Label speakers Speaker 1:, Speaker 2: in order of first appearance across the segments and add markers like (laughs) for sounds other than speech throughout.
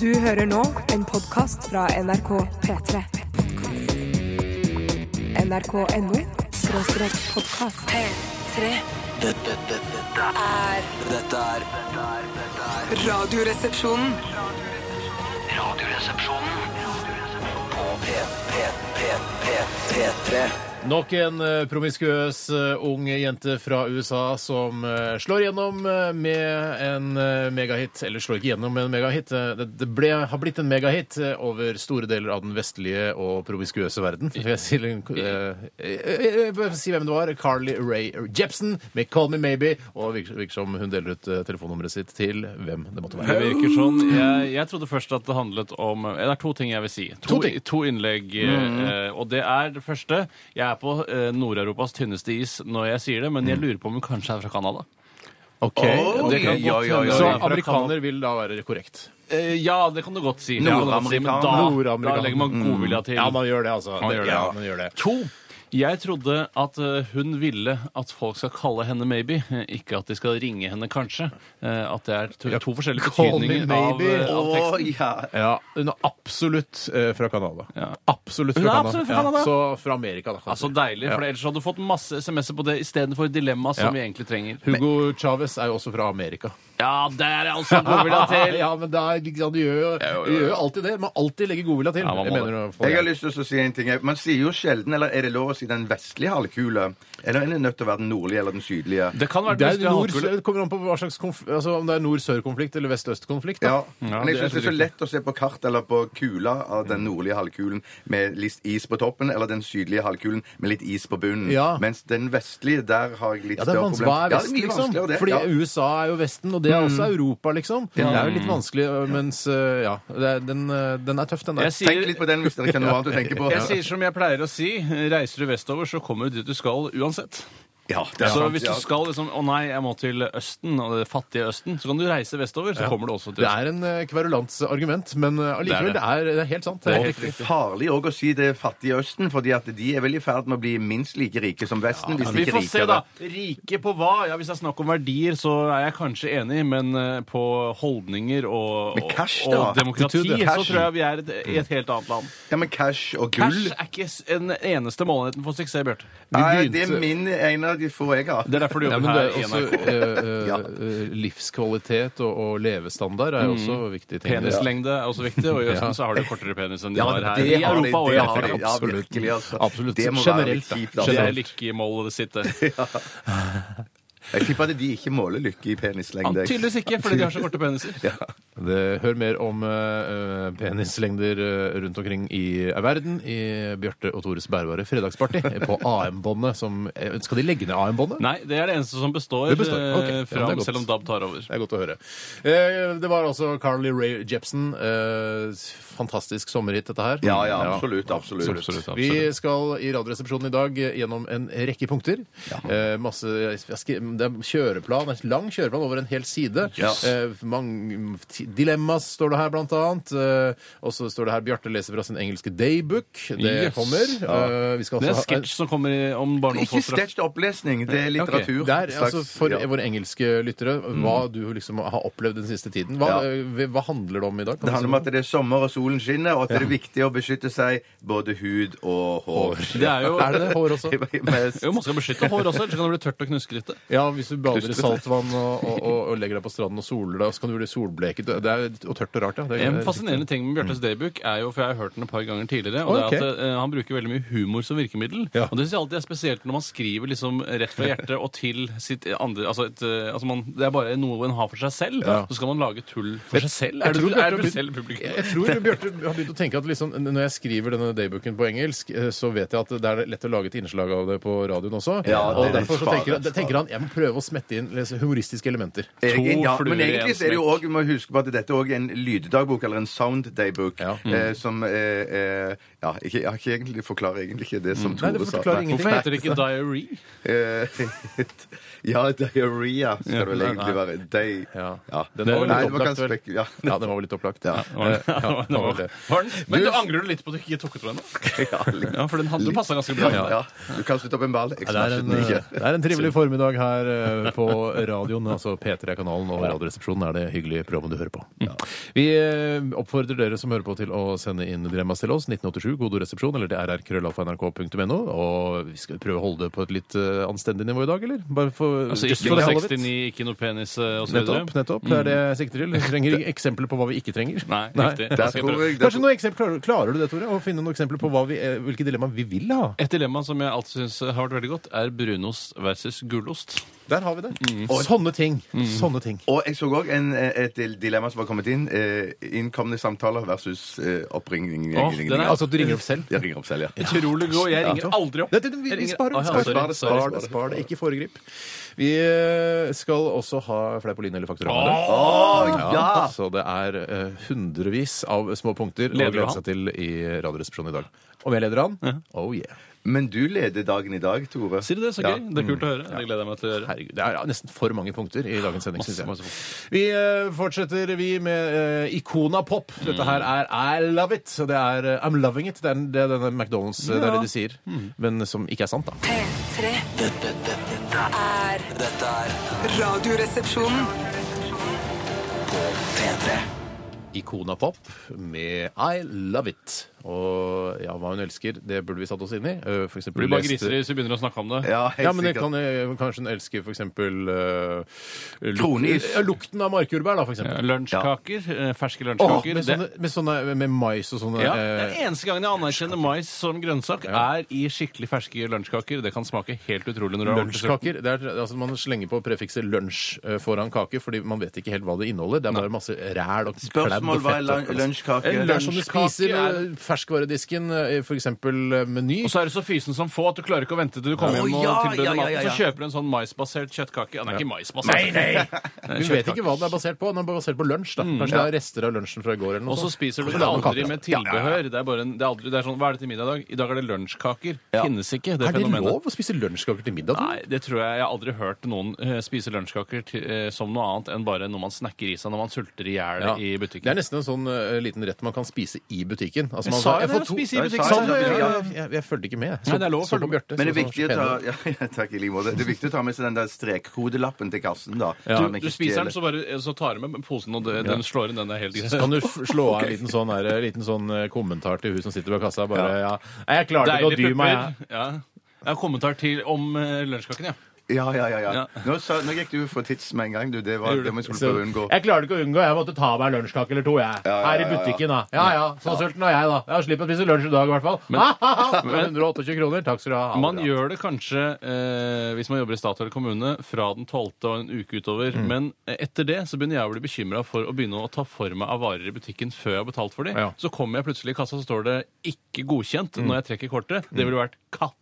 Speaker 1: Du hører nå en podkast fra NRK P3. NRK.no skråstrek podkast. P3
Speaker 2: Dette, dette, dette,
Speaker 1: er
Speaker 2: dette er dette er- dette er
Speaker 1: Radioresepsjonen.
Speaker 2: Radioresepsjonen på P, P, P, P, P3
Speaker 3: Nok en eh, promiskuøs eh, ung jente fra USA som eh, slår gjennom eh, med en eh, megahit. Eller slår ikke gjennom med en megahit. eh, Det det ble, har blitt en megahit eh, over store deler av den vestlige og promiskuøse verden. Jeg sier, eh, eh, eh, eh, si hvem det var. Carly Ray Jepsen med 'Call Me Maybe'. Og virker virker som hun deler ut eh, telefonnummeret sitt til hvem det måtte
Speaker 4: Det
Speaker 3: være.
Speaker 4: virker sånn. Jeg, jeg trodde først at det handlet om Det er to ting jeg vil si. To,
Speaker 3: To ting.
Speaker 4: to innlegg. eh, og det er det første. Jeg er på eh, Nord-Europas tynneste is når jeg sier det, men jeg lurer på om hun kanskje er fra Canada.
Speaker 3: Ok.
Speaker 4: Det kan
Speaker 5: ja,
Speaker 4: godt
Speaker 5: ja,
Speaker 4: hende.
Speaker 5: ja,
Speaker 3: Så
Speaker 4: Så amerikaner
Speaker 3: amerikaner vil da være korrekt.
Speaker 4: eh, Ja, det kan du godt si. Det kan du godt si, men Da,
Speaker 3: Nordamerikaner.
Speaker 4: da legger Mm. man godvilja til.
Speaker 3: Ja, man gjør det, altså.
Speaker 4: Man gjør det.
Speaker 3: Ja, man gjør det.
Speaker 4: To. Jeg trodde at eh, hun ville at folk skal kalle henne maybe, eh, ikke at de skal ringe henne kanskje. Eh, At det er to, to forskjellige
Speaker 3: call me
Speaker 4: betydninger av,
Speaker 3: maybe.
Speaker 4: eh, av teksten.
Speaker 5: ja.
Speaker 3: Ja, hun er absolutt eh, fra Canada.
Speaker 4: Ja. Altså,
Speaker 3: Absolutt fra
Speaker 4: Hun er
Speaker 3: Canada.
Speaker 4: absolutt fra Canada.
Speaker 3: Ja, så fra Amerika, da. kan
Speaker 4: Ja, Så
Speaker 3: du si.
Speaker 4: deilig, for
Speaker 3: Ja.
Speaker 4: ellers hadde du fått masse SMS-er på det istedenfor dilemma som
Speaker 3: Ja.
Speaker 4: vi egentlig trenger.
Speaker 3: Hugo Chávez er jo også fra Amerika.
Speaker 4: Ja, der er altså godvilja til!
Speaker 3: (laughs) ja, men det er, liksom, du gjør jo du gjør jo alltid det. Man alltid legger godvilja til.
Speaker 4: Ja, man må
Speaker 3: Jeg
Speaker 4: det.
Speaker 3: mener, for-
Speaker 5: Jeg har lyst til å si en ting. Man sier jo sjelden, eller er det lov å si den vestlige halvkule? Eller er det nødt til å være den nordlige eller den sydlige?
Speaker 4: Det kan være
Speaker 3: det,
Speaker 4: hvis
Speaker 3: er
Speaker 4: har
Speaker 3: nord,
Speaker 4: alkohol-
Speaker 3: det kommer an på hva slags konf altså, om det er nord-sør-konflikt eller vest-øst-konflikt. da.
Speaker 5: Ja. Men jeg
Speaker 4: det
Speaker 5: syns det er så lett å se på kart eller på kula av den nordlige halvkulen med litt is på toppen, eller den sydlige halvkulen med litt is på bunnen.
Speaker 3: Ja.
Speaker 5: Mens den vestlige, der har jeg litt
Speaker 3: Ja, det er
Speaker 5: større
Speaker 3: vanskelig. Hva
Speaker 5: problemer.
Speaker 3: er vest,
Speaker 5: mye
Speaker 3: liksom?
Speaker 5: vanskeligere, det.
Speaker 3: Fordi
Speaker 5: Ja.
Speaker 3: USA er jo Vesten, og det er også Europa, liksom. Det er jo litt vanskelig, mens eh, Ja, det er, den, eh, den er tøff, den der.
Speaker 4: Jeg sier,
Speaker 5: Tenk litt på den hvis dere ikke har noe annet å tenke på.
Speaker 4: jeg sier som jeg pleier å si, reiser du vestover, så kommer du dit du skal uansett.
Speaker 5: Ja, det er
Speaker 4: så
Speaker 5: sant,
Speaker 4: hvis du
Speaker 5: ja.
Speaker 4: skal liksom Å nei, jeg må til Østen, og det fattige Østen, så kan du reise vestover, så kommer du også til
Speaker 3: Det er en eh, kverulants argument, men eh, allikevel, det
Speaker 4: Det
Speaker 3: er, det er helt sant. Det er helt
Speaker 5: Det
Speaker 3: riktig.
Speaker 5: er farlig òg å si det fattige Østen, fordi at de er vel i ferd med å bli minst like rike som Vesten. hvis de
Speaker 4: Vi
Speaker 5: ikke
Speaker 4: får se,
Speaker 5: rikere.
Speaker 4: da. Rike på hva? Ja, Hvis det er snakk om verdier, så er jeg kanskje enig, men eh, på holdninger og,
Speaker 5: Men cash,
Speaker 4: og,
Speaker 5: da?
Speaker 4: og demokrati,
Speaker 3: Attitude,
Speaker 4: så
Speaker 5: cash.
Speaker 4: tror jeg vi er et, i et helt annet land.
Speaker 5: Ja, men cash og gull
Speaker 4: Cash er ikke s- den eneste målenheten for suksess, Bjarte.
Speaker 5: Nei,
Speaker 3: begynte-
Speaker 5: det er min en av de få jeg har.
Speaker 4: Det er derfor du
Speaker 3: Ja,
Speaker 4: jobber
Speaker 3: men det er
Speaker 4: her i
Speaker 3: også,
Speaker 4: NRK.
Speaker 3: eh, eh, eh, livskvalitet og, og levestandard er jo også viktige ting.
Speaker 4: Mm. Penislengde er også viktig, og i Østen
Speaker 3: Ja.
Speaker 4: så har du kortere penis enn de
Speaker 5: Ja,
Speaker 4: har her.
Speaker 5: det
Speaker 4: I
Speaker 5: har de,
Speaker 4: Europa og i
Speaker 5: det har de.
Speaker 4: Afrika.
Speaker 5: Ja,
Speaker 3: Absolutt.
Speaker 5: virkelig, altså.
Speaker 3: Absolutt.
Speaker 5: Det må være
Speaker 3: Generelt, da.
Speaker 5: litt kjipt, altså.
Speaker 4: Det er
Speaker 3: Generelt.
Speaker 4: lykkemålet sitt, det.
Speaker 5: Jeg tipper at de ikke måler lykke i penislengde.
Speaker 4: Tydeligvis ikke, fordi de har så korte peniser.
Speaker 3: Det, hør mer om eh, eh, penislengder eh, rundt omkring i eh, verden i Bjarte og Tores bærbare fredagsparty
Speaker 4: (laughs)
Speaker 3: på AM-båndet. som- eh, Skal de legge ned AM-båndet?
Speaker 4: Nei, det er det eneste som består,
Speaker 3: Det består, ok.
Speaker 4: eh,
Speaker 3: Ja,
Speaker 4: fram
Speaker 3: det er godt.
Speaker 4: selv om DAB tar over.
Speaker 3: Det er godt å høre. Eh, Det var altså Carly Rae Jepsen. eh, Fantastisk sommerhit, dette her.
Speaker 5: Ja, ja, absolutt, absolutt.
Speaker 3: Vi skal i Radioresepsjonen i dag eh, gjennom en rekke punkter. Eh, masse, jeg skri- det er kjøreplan, en lang kjøreplan over en hel side.
Speaker 5: Yes.
Speaker 3: Eh, mang- ti- dilemmas står det her, blant annet. Eh, og så står det her Bjarte leser fra sin engelske daybook. Det
Speaker 4: Yes.
Speaker 3: kommer. Eh, vi skal
Speaker 4: Det er en
Speaker 3: også ha-
Speaker 4: sketsj som kommer i- om barne- og
Speaker 5: Ikke
Speaker 4: ungdomsforstra.
Speaker 5: sketsj til opplesning, det er litteratur.
Speaker 3: Det er,
Speaker 5: Slags-
Speaker 3: altså, for
Speaker 5: ja. Mm.
Speaker 3: våre engelske lyttere, hva du liksom har opplevd den siste tiden. Hva,
Speaker 5: Ja.
Speaker 3: eh, hva handler det om i dag? Kan
Speaker 5: Det
Speaker 3: du si
Speaker 5: handler om
Speaker 3: noe?
Speaker 5: at det er sommer og solen skinner, og at det er viktig å beskytte seg både hud og hår.
Speaker 4: Det er jo
Speaker 3: Er det det? Hår
Speaker 5: (laughs)
Speaker 3: også?
Speaker 5: Mest-
Speaker 4: jo, Man skal beskytte hår også, ellers kan det bli tørt og knuskrete.
Speaker 3: Ja, hvis du bader i
Speaker 5: Klustrete.
Speaker 3: saltvann og, og, og, og legger deg på stranden og soler deg, så kan du bli solbleket. Det er og tørt og rart, ja. Det er,
Speaker 4: En Eh, fascinerende ting med Bjartes daybook er jo, for jeg har hørt den et par ganger tidligere, og
Speaker 3: Mm. Ok.
Speaker 4: det er at eh, han bruker veldig mye humor som virkemiddel.
Speaker 3: Ja.
Speaker 4: Og det syns jeg alltid er spesielt når man skriver liksom rett fra hjertet og til sitt andre Altså, et, eh, altså man, det er bare noe en har for seg selv.
Speaker 3: Ja.
Speaker 4: Så skal man lage tull for seg selv.
Speaker 3: jeg
Speaker 4: Er du,
Speaker 3: tror Bjarte har
Speaker 4: er du
Speaker 3: begynt-
Speaker 4: selv publikum?
Speaker 3: Jeg tror Bjarte har begynt å tenke at liksom, når jeg skriver denne daybooken på engelsk, eh, så vet jeg at det er lett å lage et innslag av det på radioen også.
Speaker 5: Ja,
Speaker 3: og
Speaker 5: det er
Speaker 3: derfor så
Speaker 5: fare,
Speaker 3: tenker,
Speaker 5: det er
Speaker 3: tenker han jeg må prøve å smette inn liksom, humoristiske elementer.
Speaker 5: Egen- ja,
Speaker 4: fluer
Speaker 5: men
Speaker 4: i en
Speaker 5: egentlig så er det jo
Speaker 4: smekk.
Speaker 5: også, vi må huske på at hadde dette òg en lyddagbok, eller en sound daybook,
Speaker 3: Ja. Mm.
Speaker 5: eh, som eh, eh, Ja, ikke, jeg har ikke egentlig forklarer egentlig ikke det som
Speaker 3: Mm. Nei, det
Speaker 5: Tore sa.
Speaker 3: forklarer ingenting.
Speaker 4: Hvorfor heter det ikke diary?
Speaker 5: Eh, (laughs) ja, diaré skal det vel
Speaker 4: Ja,
Speaker 5: egentlig
Speaker 4: nei.
Speaker 5: være. Day.
Speaker 3: Ja.
Speaker 5: Ja.
Speaker 3: Den var vel litt
Speaker 5: Nei, det var
Speaker 3: opplagt,
Speaker 5: kanskje
Speaker 3: vel?
Speaker 5: spek- ja.
Speaker 3: Ja, den var vel litt opplagt. (laughs)
Speaker 5: Ja.
Speaker 4: (laughs) Var den-
Speaker 3: Eh, Ja, det var det.
Speaker 4: Var den? Men
Speaker 3: Du-
Speaker 4: du angrer litt på at du ikke tok ut den? da?
Speaker 5: Ja, litt.
Speaker 4: Ja, for den, hadde- den passa ganske bra.
Speaker 5: Ja, Du kan slutte opp en ball. Jeg
Speaker 3: Ja, Det er,
Speaker 5: smashet
Speaker 3: en, eh,
Speaker 5: den ikke.
Speaker 3: det er en trivelig formiddag her eh, på radioen. altså P3-kanalen og Radioresepsjonen er det hyggelige programmet du hører på. Vi eh, oppfordrer dere som hører på til å sende inn dilemmas til oss. 1987, kodoresepsjon, eller det er rrkrøllalfa.nrk.no. Og vi skal prøve å holde det på et litt eh, anstendig nivå i dag, eller? Bare for,
Speaker 4: Altså,
Speaker 3: just
Speaker 4: ikke
Speaker 3: for the hell
Speaker 4: noe
Speaker 3: of it.
Speaker 4: 69, ikke noe penis eh, og så videre.
Speaker 3: Nettopp. nettopp, Det er det jeg sikter til. Vi trenger eksempler på hva vi ikke trenger.
Speaker 4: Nei, riktig.
Speaker 5: Der
Speaker 4: Da skal jeg
Speaker 5: tror
Speaker 4: prøve.
Speaker 5: jeg- der
Speaker 3: Kanskje noen eksempler, klarer- Klarer du det, Tore? Å finne noen eksempler på hva vi, eh, hvilke dilemmaer vi vil ha?
Speaker 4: Et dilemma som jeg alltid syns har vært veldig godt, er brunost versus gulost.
Speaker 3: Der har vi det.
Speaker 4: Mm.
Speaker 3: Sånne ting. Sånne ting.
Speaker 5: Og jeg så òg et dilemma som var kommet inn. Eh, innkomne samtaler versus eh, oppringning.
Speaker 4: Åh, den er-
Speaker 3: Altså at du ringer opp selv?
Speaker 5: Jeg ringer opp selv, ja.
Speaker 4: (laughs) Utrolig god. Jeg ringer aldri opp.
Speaker 3: Nei, det- vi- vi sparer,
Speaker 4: Å, ja,
Speaker 3: sparer.
Speaker 4: sorry, sorry.
Speaker 3: Spar det, spar det. Ikke foregrip. Vi eh, skal også ha Fleipolin eller Faktorama.
Speaker 4: Åh,
Speaker 3: Ja, så det er eh, hundrevis av små punkter å
Speaker 4: Leder du
Speaker 3: glede
Speaker 4: han?
Speaker 3: seg til i Radioresepsjonen i dag. Om jeg leder han? Oh yeah.
Speaker 5: Men du leder dagen i dag, Tore.
Speaker 4: Sier du det? Så
Speaker 5: Ja.
Speaker 4: gøy. Det er kult å høre. Det gleder jeg meg til å gjøre.
Speaker 3: Mm. Herregud, Det er nesten for mange punkter i dagens sending,
Speaker 4: Masse,
Speaker 3: syns jeg.
Speaker 4: masse
Speaker 3: Vi eh, fortsetter vi med eh, Ikona Pop. Dette her er I Love It. og Det er eh, I'm Loving It. Det er, det er denne McDonald's, eh, det er det de sier.
Speaker 4: Mm.
Speaker 3: Men som ikke er sant, da.
Speaker 1: P3
Speaker 2: Dette, dette, dette,
Speaker 1: er
Speaker 2: dette er
Speaker 1: Radioresepsjonen.
Speaker 2: P3.
Speaker 3: Ikona Pop med I Love It. Og ja, hva hun elsker, det burde vi satt oss inn i. Eh, For eksempel
Speaker 4: Blir bare
Speaker 3: lest-
Speaker 4: griser hvis vi begynner å snakke om det.
Speaker 5: Ja, helt
Speaker 3: Ja, men det
Speaker 5: sikkert.
Speaker 3: kan eh, kanskje hun elsker for eksempel eh, luk-
Speaker 5: Kronis.
Speaker 3: Ja, lukten av markjordbær, da, for
Speaker 4: Eh,
Speaker 3: eksempel.
Speaker 4: Lunsjkaker. eh, Ferske
Speaker 3: Åh,
Speaker 4: lunsjkaker.
Speaker 3: med, sånne, med sånne med mais og sånne
Speaker 4: Ja,
Speaker 3: eh,
Speaker 4: Den eneste gangen jeg anerkjenner mais som grønnsak, er i skikkelig ferske lunsjkaker. Det kan smake helt utrolig når du har ordentlig sulten.
Speaker 3: Lunsjkaker. Det er, altså, man slenger på prefikset 'lunsj' eh, foran kake, fordi man vet ikke helt hva det inneholder. Det er bare masse ræl og klem
Speaker 5: Spørsmål
Speaker 3: og
Speaker 5: hva er
Speaker 3: fett. og-
Speaker 5: lun- lunsjkake?
Speaker 3: En lunsj som du
Speaker 4: Lunsjkake
Speaker 3: spiser
Speaker 4: er-
Speaker 3: eh, ferskvaredisken, eh, for eksempel eh, Meny.
Speaker 4: Og så er du så fysen som få at du klarer ikke å vente til du kommer
Speaker 5: Å,
Speaker 4: hjem og
Speaker 5: ja,
Speaker 4: tilbereder
Speaker 5: ja, ja,
Speaker 4: maten.
Speaker 5: ja, ja.
Speaker 4: Så kjøper du en sånn maisbasert kjøttkake. Ja, den er ikke maisbasert. (laughs)
Speaker 3: Vi vet ikke hva den er basert på. Den er bare basert på lunsj. da. Kanskje det er rester av lunsjen fra i går. eller noe
Speaker 4: Mm, Og så
Speaker 3: sånt.
Speaker 4: spiser du
Speaker 3: Og så
Speaker 4: det
Speaker 3: lager man
Speaker 4: aldri
Speaker 3: kake.
Speaker 4: med tilbehør. Det er bare en, det er aldri, det er sånn, Hva er det til middag i dag? I dag er det lunsjkaker. Finnes ikke det
Speaker 3: Er det
Speaker 4: fenomenet.
Speaker 3: lov å spise lunsjkaker til middag?
Speaker 4: Nei, det tror jeg jeg har aldri hørt noen eh, spise lunsjkaker til, eh, som noe annet enn bare noe man snakker i seg når man sulter i hjel
Speaker 3: Ja. Det
Speaker 4: i
Speaker 3: er
Speaker 4: butikken.
Speaker 3: nesten en sånn eh, liten rett man kan spise i butikken. Altså, man,
Speaker 4: Men sa jeg det,
Speaker 3: får
Speaker 4: å spise i
Speaker 3: Nei,
Speaker 4: butikken?
Speaker 3: sa
Speaker 5: Sa
Speaker 3: du det?
Speaker 5: jeg det?
Speaker 3: Ja, jeg, jeg, jeg følte ikke med. jeg. Så,
Speaker 4: Nei, det er lov å
Speaker 3: så
Speaker 4: følge
Speaker 3: på Bjarte.
Speaker 5: Men det
Speaker 3: så-
Speaker 4: sånn
Speaker 5: er viktig å
Speaker 3: så-
Speaker 5: ta (laughs) ja, ja, Takk i like måte. Det er viktig å ta med seg den der strekkodelappen til kassen, da.
Speaker 4: Du,
Speaker 5: så man
Speaker 4: du
Speaker 5: ikke
Speaker 4: spiser den,
Speaker 5: stjeler.
Speaker 4: så, bare, så tar du med posen, og det- den slår inn. Den er helt
Speaker 3: (laughs)
Speaker 4: greit.
Speaker 3: Kan du f- slå av en liten sånn, her, liten sånn eh, kommentar til hun som sitter ved kassa? Bare, ja. Nei, jeg klarte ikke å dy
Speaker 4: Deilige
Speaker 3: meg.
Speaker 4: pupper. Ja. Jeg har kommentar til om eh, lunsjkaken, ja.
Speaker 5: Ja, ja, ja. ja.
Speaker 4: Ja.
Speaker 5: Nå, sa, nå gikk du for tids med en gang, du. Det var
Speaker 4: Jeg gjorde
Speaker 5: det vi
Speaker 3: jeg.
Speaker 5: skulle
Speaker 3: Så,
Speaker 5: prøve å unngå.
Speaker 3: jeg klarte ikke å unngå. Jeg måtte ta meg en lunsjkake eller to, jeg.
Speaker 5: ja,
Speaker 3: Her i
Speaker 5: ja, ja.
Speaker 3: butikken, da. Ja ja, så sulten er jeg, da. Jeg slipper å spise lunsj i dag, i hvert fall. (laughs) Men 128 kroner. Takk skal du ha. Ha det
Speaker 4: Man
Speaker 3: bra.
Speaker 4: gjør det kanskje eh, hvis man jobber i stat eller kommune fra den 12. og en uke utover,
Speaker 3: Mm.
Speaker 4: men eh, etter det så begynner jeg å bli bekymra for å begynne å ta for meg av varer i butikken før jeg har betalt for dem.
Speaker 3: Ja. Mm.
Speaker 4: Så kommer jeg plutselig i kassa, så står det 'ikke godkjent' når jeg trekker kortet. Det ville vært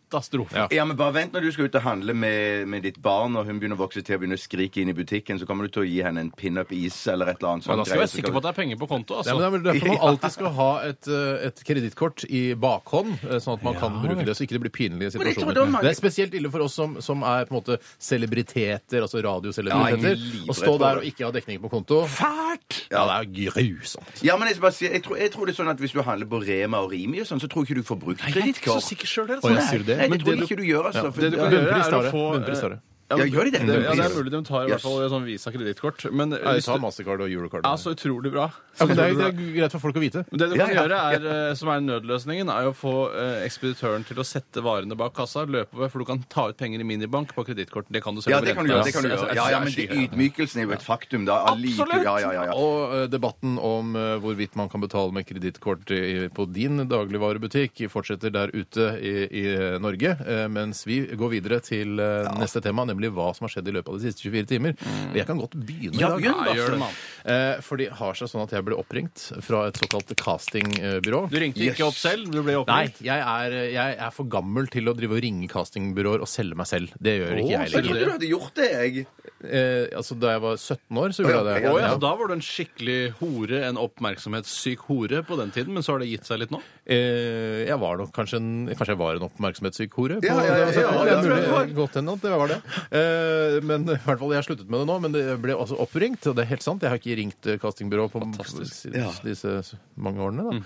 Speaker 4: katastrofe.
Speaker 5: Ja, men bare vent når du skal ut og handle med, med ditt barn, og hun begynner å vokse til og begynner å skrike inn i butikken, så kommer du til å gi henne en pinup-is eller et eller annet
Speaker 4: Ja,
Speaker 5: sånt.
Speaker 4: da skal jeg
Speaker 5: greier,
Speaker 4: være
Speaker 5: så
Speaker 4: sikker på at det er penger på konto.
Speaker 3: Ja,
Speaker 4: Altså.
Speaker 3: men det er vel
Speaker 5: (laughs)
Speaker 3: derfor man alltid skal ha et, eh, et kredittkort i bakhånd, eh, sånn at man kan bruke det så ikke det blir pinlige
Speaker 5: jeg tror det
Speaker 3: situasjoner.
Speaker 5: var mange-
Speaker 3: Det er spesielt ille for oss som, som er på en måte celebriteter, altså
Speaker 5: Ja, jeg er
Speaker 3: radiocelebiteter,
Speaker 5: livredd
Speaker 3: å stå
Speaker 5: for
Speaker 3: der
Speaker 5: det.
Speaker 3: og ikke ha dekning på konto. Fælt! Ja, det er grusomt.
Speaker 5: Ja, men jeg, skal bare si, jeg, tror, jeg tror det er sånn at Hvis du handler på Rema og Rimi, og sånn, så tror jeg ikke du får brukt kredittkort.
Speaker 4: sikker sjøl,
Speaker 3: Å, jeg sier det.
Speaker 5: Nei,
Speaker 3: Men
Speaker 5: det tror
Speaker 3: det
Speaker 5: jeg
Speaker 3: du-
Speaker 5: ikke du gjør. altså. for-
Speaker 4: det du kan
Speaker 5: ja,
Speaker 4: gjøre,
Speaker 3: Bunnpris
Speaker 4: er
Speaker 3: tar
Speaker 4: å
Speaker 3: det.
Speaker 4: få, eh,
Speaker 3: Bunnpris tar det.
Speaker 5: ja, gjør de det?
Speaker 4: Ja, det er mulig de tar i hvert
Speaker 5: Yes.
Speaker 4: fall sånn Visa kredittkort. Men
Speaker 3: Ja, de
Speaker 4: hvis
Speaker 3: tar
Speaker 4: du
Speaker 3: Mastercard og Eurocard.
Speaker 4: er
Speaker 5: Altså,
Speaker 4: så utrolig bra
Speaker 3: Ja, men det, er, det er greit for folk å vite.
Speaker 4: Det du
Speaker 5: Ja,
Speaker 4: kan
Speaker 5: ja,
Speaker 4: gjøre, er, eh, som er nødløsningen, er jo å få eh, ekspeditøren til å sette varene bak kassa, løpe over, for du kan ta ut penger i minibank på kredittkort. Det kan du selv
Speaker 5: Ja,
Speaker 4: om
Speaker 5: det kan du
Speaker 4: renten
Speaker 5: gjøre.
Speaker 4: er-
Speaker 5: det kan du gjøre.
Speaker 4: altså,
Speaker 5: Ja, ja,
Speaker 4: er
Speaker 5: Men det
Speaker 4: skyhøy.
Speaker 5: ydmykelsen er jo et faktum, da. Allike-
Speaker 4: Absolutt.
Speaker 5: Ja, ja, ja, ja.
Speaker 3: Og eh, debatten om eh, hvorvidt man kan betale med kredittkort i- på din dagligvarebutikk fortsetter der ute i, i Norge, eh, mens vi går videre til eh, neste tema, nemlig hva som har skjedd i løpet av de siste 24 timer. Jeg kan godt begynne
Speaker 4: Mm. Ja,
Speaker 3: i dag.
Speaker 4: begynn da,
Speaker 3: Nei, gjør det.
Speaker 4: mann.
Speaker 3: Eh, for det har seg sånn at jeg ble oppringt fra et såkalt castingbyrå.
Speaker 4: Du ringte
Speaker 5: Yes.
Speaker 4: ikke opp selv? Du ble
Speaker 3: Nei,
Speaker 4: oppringt?
Speaker 3: jeg er, jeg er for gammel til å drive og ringe castingbyråer og selge meg selv. Det gjør
Speaker 4: Å,
Speaker 3: ikke jeg
Speaker 5: Jeg
Speaker 4: sier
Speaker 3: lenger.
Speaker 5: trodde du hadde gjort det, jeg.
Speaker 3: Eh, altså, da jeg var 17 år, så gjorde jeg det.
Speaker 5: Å,
Speaker 4: Å ja,
Speaker 5: Ja.
Speaker 4: så da var du en skikkelig hore, en oppmerksomhetssyk hore på den tiden, men så har det gitt seg litt nå?
Speaker 3: Eh, jeg var nok kanskje en, kanskje jeg var en oppmerksomhetssyk hore. på-
Speaker 5: Ja, ja, ja, ja,
Speaker 3: det
Speaker 5: ja,
Speaker 3: er
Speaker 5: ja,
Speaker 3: mulig-
Speaker 5: det tror
Speaker 3: Godt hende at det var det. Eh, men i hvert fall, jeg har sluttet med det nå, men det ble altså oppringt, og det er helt sant. Jeg har ikke ringt eh, castingbyrå på
Speaker 4: Fantastisk.
Speaker 3: s- disse mange årene.
Speaker 5: Mm.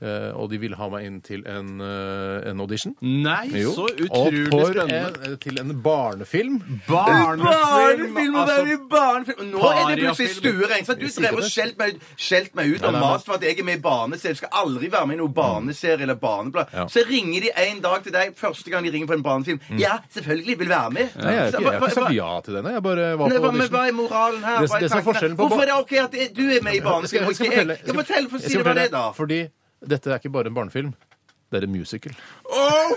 Speaker 3: Da. Eh, og de ville ha meg inn til en, eh, en audition.
Speaker 5: Mm.
Speaker 4: Nei,
Speaker 3: Jo.
Speaker 4: så
Speaker 3: og
Speaker 4: utrolig
Speaker 3: for
Speaker 4: spennende.
Speaker 3: En, til en barnefilm.
Speaker 5: Barnefilm! og det er jo altså. barnefilm. Og Nå er det plutselig
Speaker 4: Pariafilm.
Speaker 5: stuereint. Du drev og skjelt meg, skjelt meg ut og mast for at jeg er med i barneserie. Du skal aldri være med i noen barneserie eller barneblad.
Speaker 3: Ja.
Speaker 5: Så ringer de en dag til deg, første gang de ringer på en barnefilm. Ja, selvfølgelig, vil være med.
Speaker 3: Nei, jeg har ikke, jeg har ikke
Speaker 5: Hva- hva-
Speaker 3: sagt ja til denne. Jeg bare var
Speaker 5: Nei,
Speaker 3: på
Speaker 5: hva, men
Speaker 3: audition.
Speaker 5: hva er moralen her?
Speaker 3: Det-
Speaker 5: Hva er
Speaker 3: det som er
Speaker 5: tanken her?
Speaker 3: forskjellen på
Speaker 5: Hvorfor
Speaker 3: ba-
Speaker 5: er det ok at det- du er med i barnefilm? og
Speaker 3: Jeg skal
Speaker 5: ikke jeg?
Speaker 3: fortelle-
Speaker 5: Ja, fortell, for
Speaker 3: jeg
Speaker 5: si
Speaker 3: skal
Speaker 5: det hva det
Speaker 3: fortelle-
Speaker 5: er, da.
Speaker 3: Fordi dette er ikke bare en barnefilm. Det er en musical.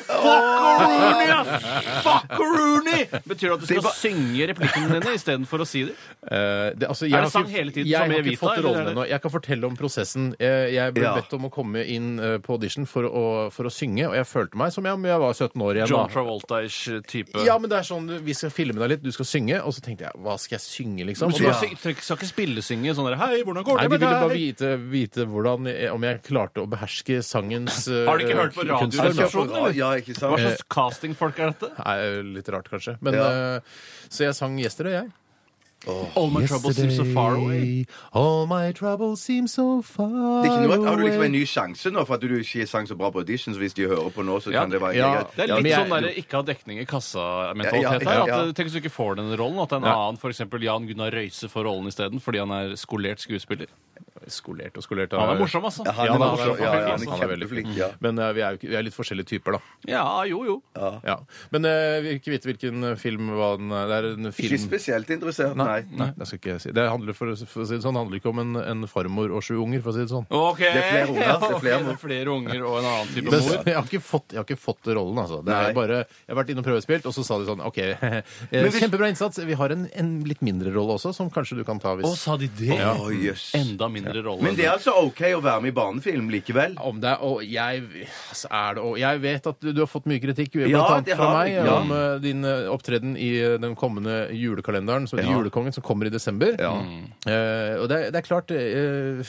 Speaker 4: Fuckaroony,
Speaker 3: (laughs)
Speaker 4: ass! Fuckaroony! Betyr det at du skal
Speaker 5: ba-
Speaker 4: synge replikkene dine istedenfor å si dem?
Speaker 3: Eh, det, altså, jeg
Speaker 4: det
Speaker 3: har
Speaker 4: sang
Speaker 3: ikke-
Speaker 4: hele tiden
Speaker 3: jeg har
Speaker 4: som jeg
Speaker 3: ikke
Speaker 4: vet,
Speaker 3: fått
Speaker 4: eller
Speaker 3: rollen
Speaker 4: er det-
Speaker 3: ennå. Jeg kan fortelle om prosessen. Jeg, jeg ble
Speaker 5: Ja.
Speaker 3: bedt om å komme inn eh, på audition for å, for å synge, og jeg følte meg som jeg, om jeg var 17 år igjen. da.
Speaker 4: John Travolta-ish type.
Speaker 3: Ja, men det er sånn, Vi skal filme deg litt, du skal synge, og så tenkte jeg hva skal jeg synge, liksom?
Speaker 4: Og
Speaker 3: Og
Speaker 4: da
Speaker 3: da-
Speaker 4: sy- trekk- skal ikke spillesynge sånn der Hei, hvordan går
Speaker 3: Nei,
Speaker 4: det
Speaker 3: De
Speaker 4: med
Speaker 3: ville bare
Speaker 4: deg?»
Speaker 3: vite, vite hvordan, jeg- om jeg klarte å beherske sangens eh,
Speaker 4: (laughs) Har de ikke hørt på
Speaker 3: kunstform.
Speaker 4: radioresepsjonen, eller?
Speaker 5: Ja, ikke sant?
Speaker 4: Hva
Speaker 3: Eh,
Speaker 4: slags castingfolk er dette?
Speaker 3: Nei, Litt rart, kanskje. Men,
Speaker 5: Ja.
Speaker 3: eh, så jeg sang 'Yesterday', jeg.
Speaker 4: All my troubles seem so far away.
Speaker 3: All my troubles seem so far
Speaker 5: Det er ikke noe, at- har du liksom en ny
Speaker 3: eh,
Speaker 5: sjanse nå for at du ikke sang så bra på audition? Så hvis de hører på nå, så
Speaker 4: Ja,
Speaker 5: kan det være
Speaker 3: ja.
Speaker 5: greit.
Speaker 4: Det er
Speaker 3: Ja,
Speaker 4: litt
Speaker 3: men jeg-
Speaker 4: sånn der, ikke ha dekning i
Speaker 5: Ja,
Speaker 4: kassa-mentalitet
Speaker 5: ja,
Speaker 4: her.
Speaker 5: ja,
Speaker 4: At,
Speaker 5: ja.
Speaker 4: eh, Tenk hvis du ikke får den rollen, at det er en
Speaker 3: Ja.
Speaker 4: annen for eksempel Jan Gunnar Røise får rollen isteden fordi han er skolert skuespiller.
Speaker 3: Skolert og skolert.
Speaker 4: Han er morsom, altså.
Speaker 5: Ja, han
Speaker 3: Ja,
Speaker 5: er
Speaker 3: da,
Speaker 5: morsom.
Speaker 3: han er
Speaker 5: Ja, ja, han
Speaker 3: flink, altså.
Speaker 5: er
Speaker 3: Han er veldig
Speaker 5: kjempeflink. Ja.
Speaker 3: Men eh, vi, er jo ikke, vi er litt forskjellige typer, da.
Speaker 4: Ja, jo, jo.
Speaker 3: Ja. Men eh, vi vil ikke vite hvilken eh, film hva den er. Det er en film
Speaker 5: Ikke spesielt interessert, nei.
Speaker 3: Nei, det skal ikke jeg si. Det handler, for, å- for å si det sånn, det handler ikke om en, en farmor og sju unger, for å si det sånn.
Speaker 4: Ok!
Speaker 5: er flere unger,
Speaker 4: Ja,
Speaker 5: det er
Speaker 4: ok, (laughs)
Speaker 5: flere
Speaker 4: det er flere unger og en annen type
Speaker 3: Det,
Speaker 4: mor.
Speaker 3: jeg, har ikke fått, jeg har ikke fått rollen, altså. Det er
Speaker 5: Nei.
Speaker 3: bare, jeg har vært inne og prøvespilt, og så sa de sånn OK, (laughs) eh,
Speaker 5: hvis-
Speaker 3: kjempebra innsats. Vi har en, en litt mindre rolle også, som kanskje du kan ta
Speaker 4: Å,
Speaker 3: hvis
Speaker 4: sa de det?
Speaker 5: Å, jøss.
Speaker 4: Enda mindre rolle.
Speaker 5: Men det er altså OK å være med i barnefilm likevel?
Speaker 3: om det, og jeg, altså, er det, og jeg vet at du, du har fått mye kritikk blant
Speaker 5: Ja,
Speaker 3: annet
Speaker 5: det
Speaker 3: fra
Speaker 5: har
Speaker 3: meg
Speaker 5: jeg. Ja.
Speaker 3: om eh, din eh, opptreden i eh, den kommende julekalenderen, som heter
Speaker 5: Ja.
Speaker 3: Julekongen, som kommer i desember. Eh, og det, er- det er klart eh,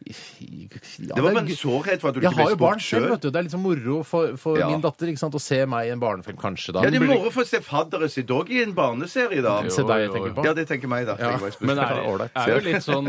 Speaker 3: ja,
Speaker 5: Det var
Speaker 3: er
Speaker 5: bare en
Speaker 3: gu-
Speaker 5: sårhet for at du
Speaker 3: Jeg
Speaker 5: ikke
Speaker 3: har
Speaker 5: ble
Speaker 3: jo barn
Speaker 5: spurt
Speaker 3: selv,
Speaker 5: sjøl.
Speaker 3: vet du. Det er liksom moro for, for
Speaker 5: Ja.
Speaker 3: min datter ikke sant, å se meg i en barnefilm, kanskje. da.
Speaker 5: Ja, det er
Speaker 3: Burde-
Speaker 5: moro for å se faddere sitt òg i en barneserie, da.
Speaker 3: Se deg jeg tenker på.
Speaker 5: Ja, det tenker meg, da.
Speaker 3: Ja.
Speaker 5: Jeg var i
Speaker 4: Men
Speaker 3: Det
Speaker 4: det
Speaker 3: var
Speaker 4: er,
Speaker 3: ålreit.
Speaker 4: er jo litt sånn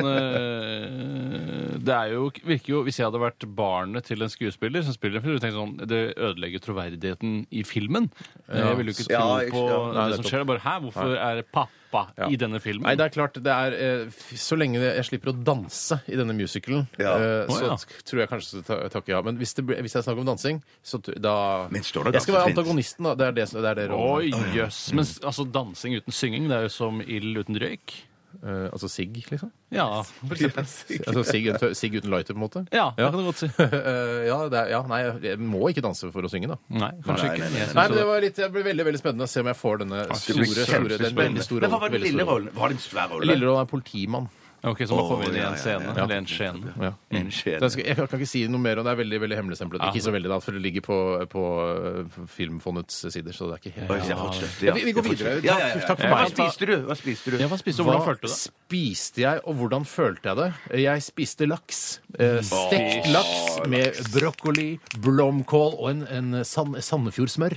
Speaker 4: eh, Det er jo, virker jo Hvis jeg hadde vært barnet til en skuespiller som spiller en film, tenker sånn, det ødelegger troverdigheten i filmen. Jeg vil jo ikke tro
Speaker 5: Ja, ikke-
Speaker 4: på
Speaker 5: ja.
Speaker 3: Nei,
Speaker 4: det som
Speaker 3: nettopp.
Speaker 4: skjer. Bare, Hæ, hvorfor er pappa
Speaker 3: Ja.
Speaker 4: i denne filmen?
Speaker 3: Nei, det er klart. Det er, eh, f- så lenge det- jeg slipper å danse i denne musicalen,
Speaker 5: Ja.
Speaker 3: eh,
Speaker 4: Å,
Speaker 3: så
Speaker 4: ja.
Speaker 3: t- tror jeg kanskje ta- takker ja. Men hvis, det, blir- hvis jeg snakker om dansing, så t- da
Speaker 5: Men står det
Speaker 3: Jeg skal være
Speaker 5: dansetrinn?
Speaker 3: antagonisten, da. Det er det, som- det, er det rollen.
Speaker 4: Oi, jøss. Men s- altså, dansing uten synging, det er jo som ild uten røyk.
Speaker 3: Eh, altså sigg, liksom.
Speaker 4: Ja, for eksempel.
Speaker 3: Altså sigg sig uten lighter, på en måte.
Speaker 4: Ja, det kan du godt si.
Speaker 3: (laughs) Eh, ja, det er, ja, nei, jeg- jeg må ikke danse for å synge, da.
Speaker 4: Nei, kanskje
Speaker 5: Nei, nei,
Speaker 4: ikke.
Speaker 5: nei,
Speaker 4: Jeg
Speaker 5: nei.
Speaker 4: synes
Speaker 3: Nei, men
Speaker 4: det-
Speaker 3: det var litt, det blir veldig veldig spennende å se om jeg får denne store,
Speaker 5: blir
Speaker 3: store, den veldig store
Speaker 5: Men hva var den
Speaker 3: veldig
Speaker 5: lille
Speaker 3: store rollen.
Speaker 5: rollen? Var det en svær rolle?
Speaker 3: Lillerollen er politimann.
Speaker 4: Ok, så man kommer inn i
Speaker 5: Å, ja,
Speaker 4: en
Speaker 5: ja,
Speaker 4: scene,
Speaker 5: ja.
Speaker 4: eller en skjene.
Speaker 3: Ja.
Speaker 5: En skjede.
Speaker 3: Så Jeg, skal, jeg kan ikke si noe mer, og det er veldig veldig hemmeligstemplet. Ikke så veldig, da, for det ligger på, på eh, Filmfondets sider. så det er ikke helt...
Speaker 5: Oi, jeg har fått støtte,
Speaker 3: Ja, vi- vi går videre.
Speaker 5: Ja, ja, ja, ja.
Speaker 3: Takk- takk for
Speaker 5: Hva
Speaker 3: meg.
Speaker 5: spiste du? Hva spiste du?
Speaker 4: Ja, hva spiste du, og hvordan følte du det?
Speaker 3: spiste jeg, og hvordan følte jeg det? Jeg spiste laks. Eh, stekt
Speaker 4: Åh,
Speaker 3: laks med brokkoli, blomkål og en, en sand, Sandefjordsmør.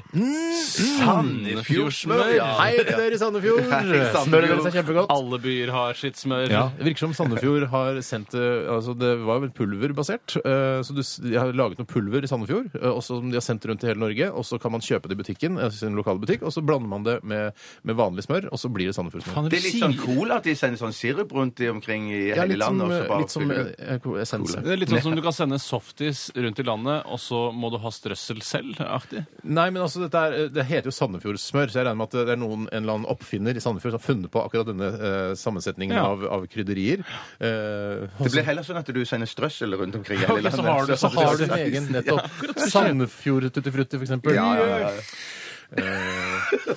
Speaker 5: Sandefjordsmør, ja.
Speaker 3: Hei til dere i Sandefjord!
Speaker 5: Hei, (laughs) Sandefjord.
Speaker 3: Smøret deres er kjempegodt.
Speaker 4: Alle byer har sitt smør.
Speaker 3: Ja, Det virker som Sandefjord har sendt eh, altså Det var vel pulverbasert. eh, Så du, s- de har laget noe pulver i Sandefjord eh, og som de har sendt rundt i hele Norge. Og så kan man kjøpe det i butikken, eh, sin lokale butikk, og så blander man det med, med vanlig smør, og så blir det Sandefjordsmør.
Speaker 4: Faen,
Speaker 5: Det er litt sånn cola at de sender sånn sirup rundt i omkring i
Speaker 3: Ja,
Speaker 5: hele
Speaker 3: litt som,
Speaker 5: landet. og så
Speaker 3: eh,
Speaker 5: bare
Speaker 3: litt som
Speaker 5: fyller du-
Speaker 3: eh, eh, essens.
Speaker 4: Det er litt sånn som du kan sende softis rundt i landet, og så må du ha strøssel selv. aktig.
Speaker 3: Nei, men altså, dette er, eh, Det heter jo Sandefjordsmør, så jeg regner med at det er noen, en eller annen oppfinner i Sandefjord som har funnet på akkurat denne eh, sammensetningen
Speaker 4: Ja.
Speaker 3: av, av krydderier. Eh, og
Speaker 5: Det blir heller sånn at du sender strøssel rundt omkring i hele
Speaker 4: Ok,
Speaker 5: landet.
Speaker 4: så har du-
Speaker 3: så har du en (laughs) egen nettopp. Sandefjord Tutti Frutti, for eksempel. (laughs)
Speaker 5: Ja, ja, ja, ja.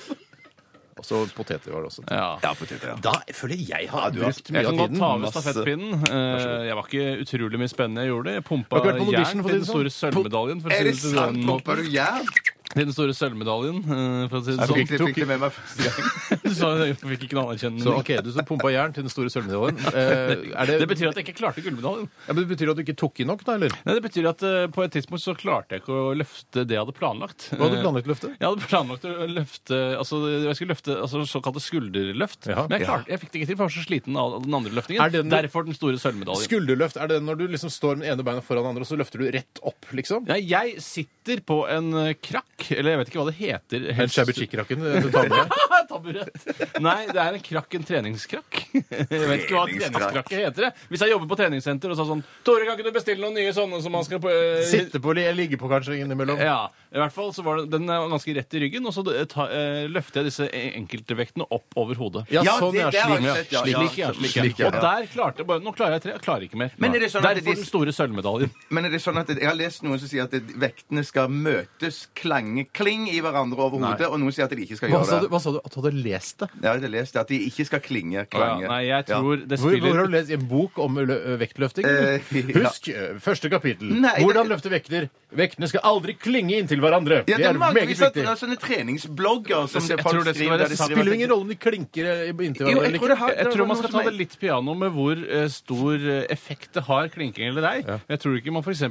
Speaker 3: Og så poteter var det Eh, også.
Speaker 4: Ja.
Speaker 5: Ja, poteter, ja.
Speaker 3: Da føler jeg jeg har
Speaker 5: du har-
Speaker 3: brukt mye
Speaker 4: Jeg kan
Speaker 3: av
Speaker 4: godt
Speaker 3: tiden.
Speaker 4: ta over
Speaker 3: Masse-
Speaker 4: stafettpinnen. Eh, Jeg var ikke utrolig mye spennende jeg gjorde. Jeg pumpa
Speaker 3: Har ikke vært på noen audition,
Speaker 4: jern
Speaker 3: for å
Speaker 4: til
Speaker 3: si
Speaker 4: den
Speaker 3: det
Speaker 4: store sølvmedaljen. For å
Speaker 5: Er
Speaker 4: si
Speaker 5: det
Speaker 4: det til den
Speaker 5: sant?
Speaker 4: måten.
Speaker 5: Popper du jern? Sånn
Speaker 4: Til den store sølvmedaljen, eh, for å si det
Speaker 5: Jeg fikk
Speaker 4: sånn.
Speaker 5: ikke- fikk det med meg første gang.
Speaker 4: (laughs) Du sa jeg fikk ikke
Speaker 3: Så
Speaker 4: noe anerkjennelse.
Speaker 3: ok, du som pumpa jern til den store sølvmedaljen. Eh, er (laughs) det,
Speaker 4: Det betyr at jeg ikke klarte gullmedaljen.
Speaker 3: ja, men det betyr at du ikke tok i nok, da, eller?
Speaker 4: Nei, det betyr at eh, På et tidspunkt så klarte jeg ikke å løfte det jeg hadde planlagt.
Speaker 3: Hva hadde
Speaker 4: Eh,
Speaker 3: du planlagt å løfte?
Speaker 4: Jeg hadde planlagt å løfte altså, jeg skulle løfte altså, såkalte skulderløft.
Speaker 3: Ja.
Speaker 4: men jeg, klarte, jeg fikk det ikke til, for jeg var så sliten av den andre
Speaker 3: Er
Speaker 4: løftingen.
Speaker 3: det den-
Speaker 4: Derfor den store sølvmedaljen.
Speaker 3: Skulderløft, er det når du liksom står med ene beina foran det andre, og så løfter du rett opp, liksom?
Speaker 4: Nei, jeg sitter på en eh, krakk, eller jeg vet ikke hva det heter.
Speaker 3: En shabby
Speaker 4: (laughs)
Speaker 3: chic-rakken du tar (laughs) med deg?
Speaker 4: Taburett. Nei, det er en krakk, en treningskrakk. (laughs) Jeg vet ikke hva
Speaker 5: Treningskrakk.
Speaker 4: treningskrakke heter. Jeg. Hvis jeg jobber på treningssenter og sa sånn Tore, kan ikke du bestille noen nye sånne som man skal på eh,
Speaker 3: Sitte på eller ligge på, kanskje, innimellom?
Speaker 4: (laughs) Ja, i hvert fall så var det, Den er ganske rett i ryggen, og så eh, ta, eh, løfter jeg disse enkeltvektene opp over hodet.
Speaker 3: Ja,
Speaker 5: Ja,
Speaker 3: sånn,
Speaker 5: det-
Speaker 3: ja.
Speaker 5: det har jeg
Speaker 3: Slik, ja.
Speaker 5: sett, ja.
Speaker 3: Slik,
Speaker 5: Ja,
Speaker 3: slik, ja.
Speaker 5: slik,
Speaker 3: Slik,
Speaker 5: ja.
Speaker 3: ja.
Speaker 4: Og der klarte jeg bare Nå klarer jeg tre, jeg klarer ikke mer.
Speaker 5: Men er det sånn at
Speaker 4: Derfor
Speaker 5: de-
Speaker 4: den store sølvmedaljen.
Speaker 5: Men er det sånn at, jeg har lest noen som sier at vektene skal møtes, klange, kling i hverandre over hodet, og noen sier at de ikke skal
Speaker 3: Hva sa,
Speaker 5: gjøre
Speaker 3: du,
Speaker 5: det.
Speaker 3: hva sa du? At du hadde lest det?
Speaker 5: Ja, jeg har lest at de ikke skal klinge,
Speaker 4: Ja,
Speaker 5: klange.
Speaker 4: nei, jeg tror det
Speaker 3: Hvor, hvor
Speaker 4: spiller
Speaker 3: har du lest en bok om lø- ø, vektløfting?
Speaker 5: Eh, ja.
Speaker 3: (laughs) Husk ø, første kapittel.
Speaker 5: Nei, det-
Speaker 3: Hvordan løfte vekter. Vektene skal aldri klinge inntil hverandre.
Speaker 5: Ja, det er
Speaker 3: meget
Speaker 5: vanligvis at
Speaker 3: viktig.
Speaker 5: det er sånne treningsblogger som
Speaker 4: Jeg
Speaker 5: det
Speaker 4: tror
Speaker 5: folk
Speaker 4: det skal
Speaker 5: skriver.
Speaker 4: være
Speaker 5: der de
Speaker 4: sant.
Speaker 3: Spiller
Speaker 5: skriver at-
Speaker 3: jo ingen rolle om de klinker ø, inntil
Speaker 5: Jo,
Speaker 3: hverandre
Speaker 5: jeg
Speaker 3: eller
Speaker 5: tror
Speaker 3: ikke.
Speaker 5: det har
Speaker 4: Jeg
Speaker 5: det
Speaker 4: tror man
Speaker 5: var noe
Speaker 4: skal
Speaker 5: som
Speaker 4: ta det litt piano med hvor eh, stor eh, effekt det har, klinking eller ei. Jeg tror ikke man f.eks.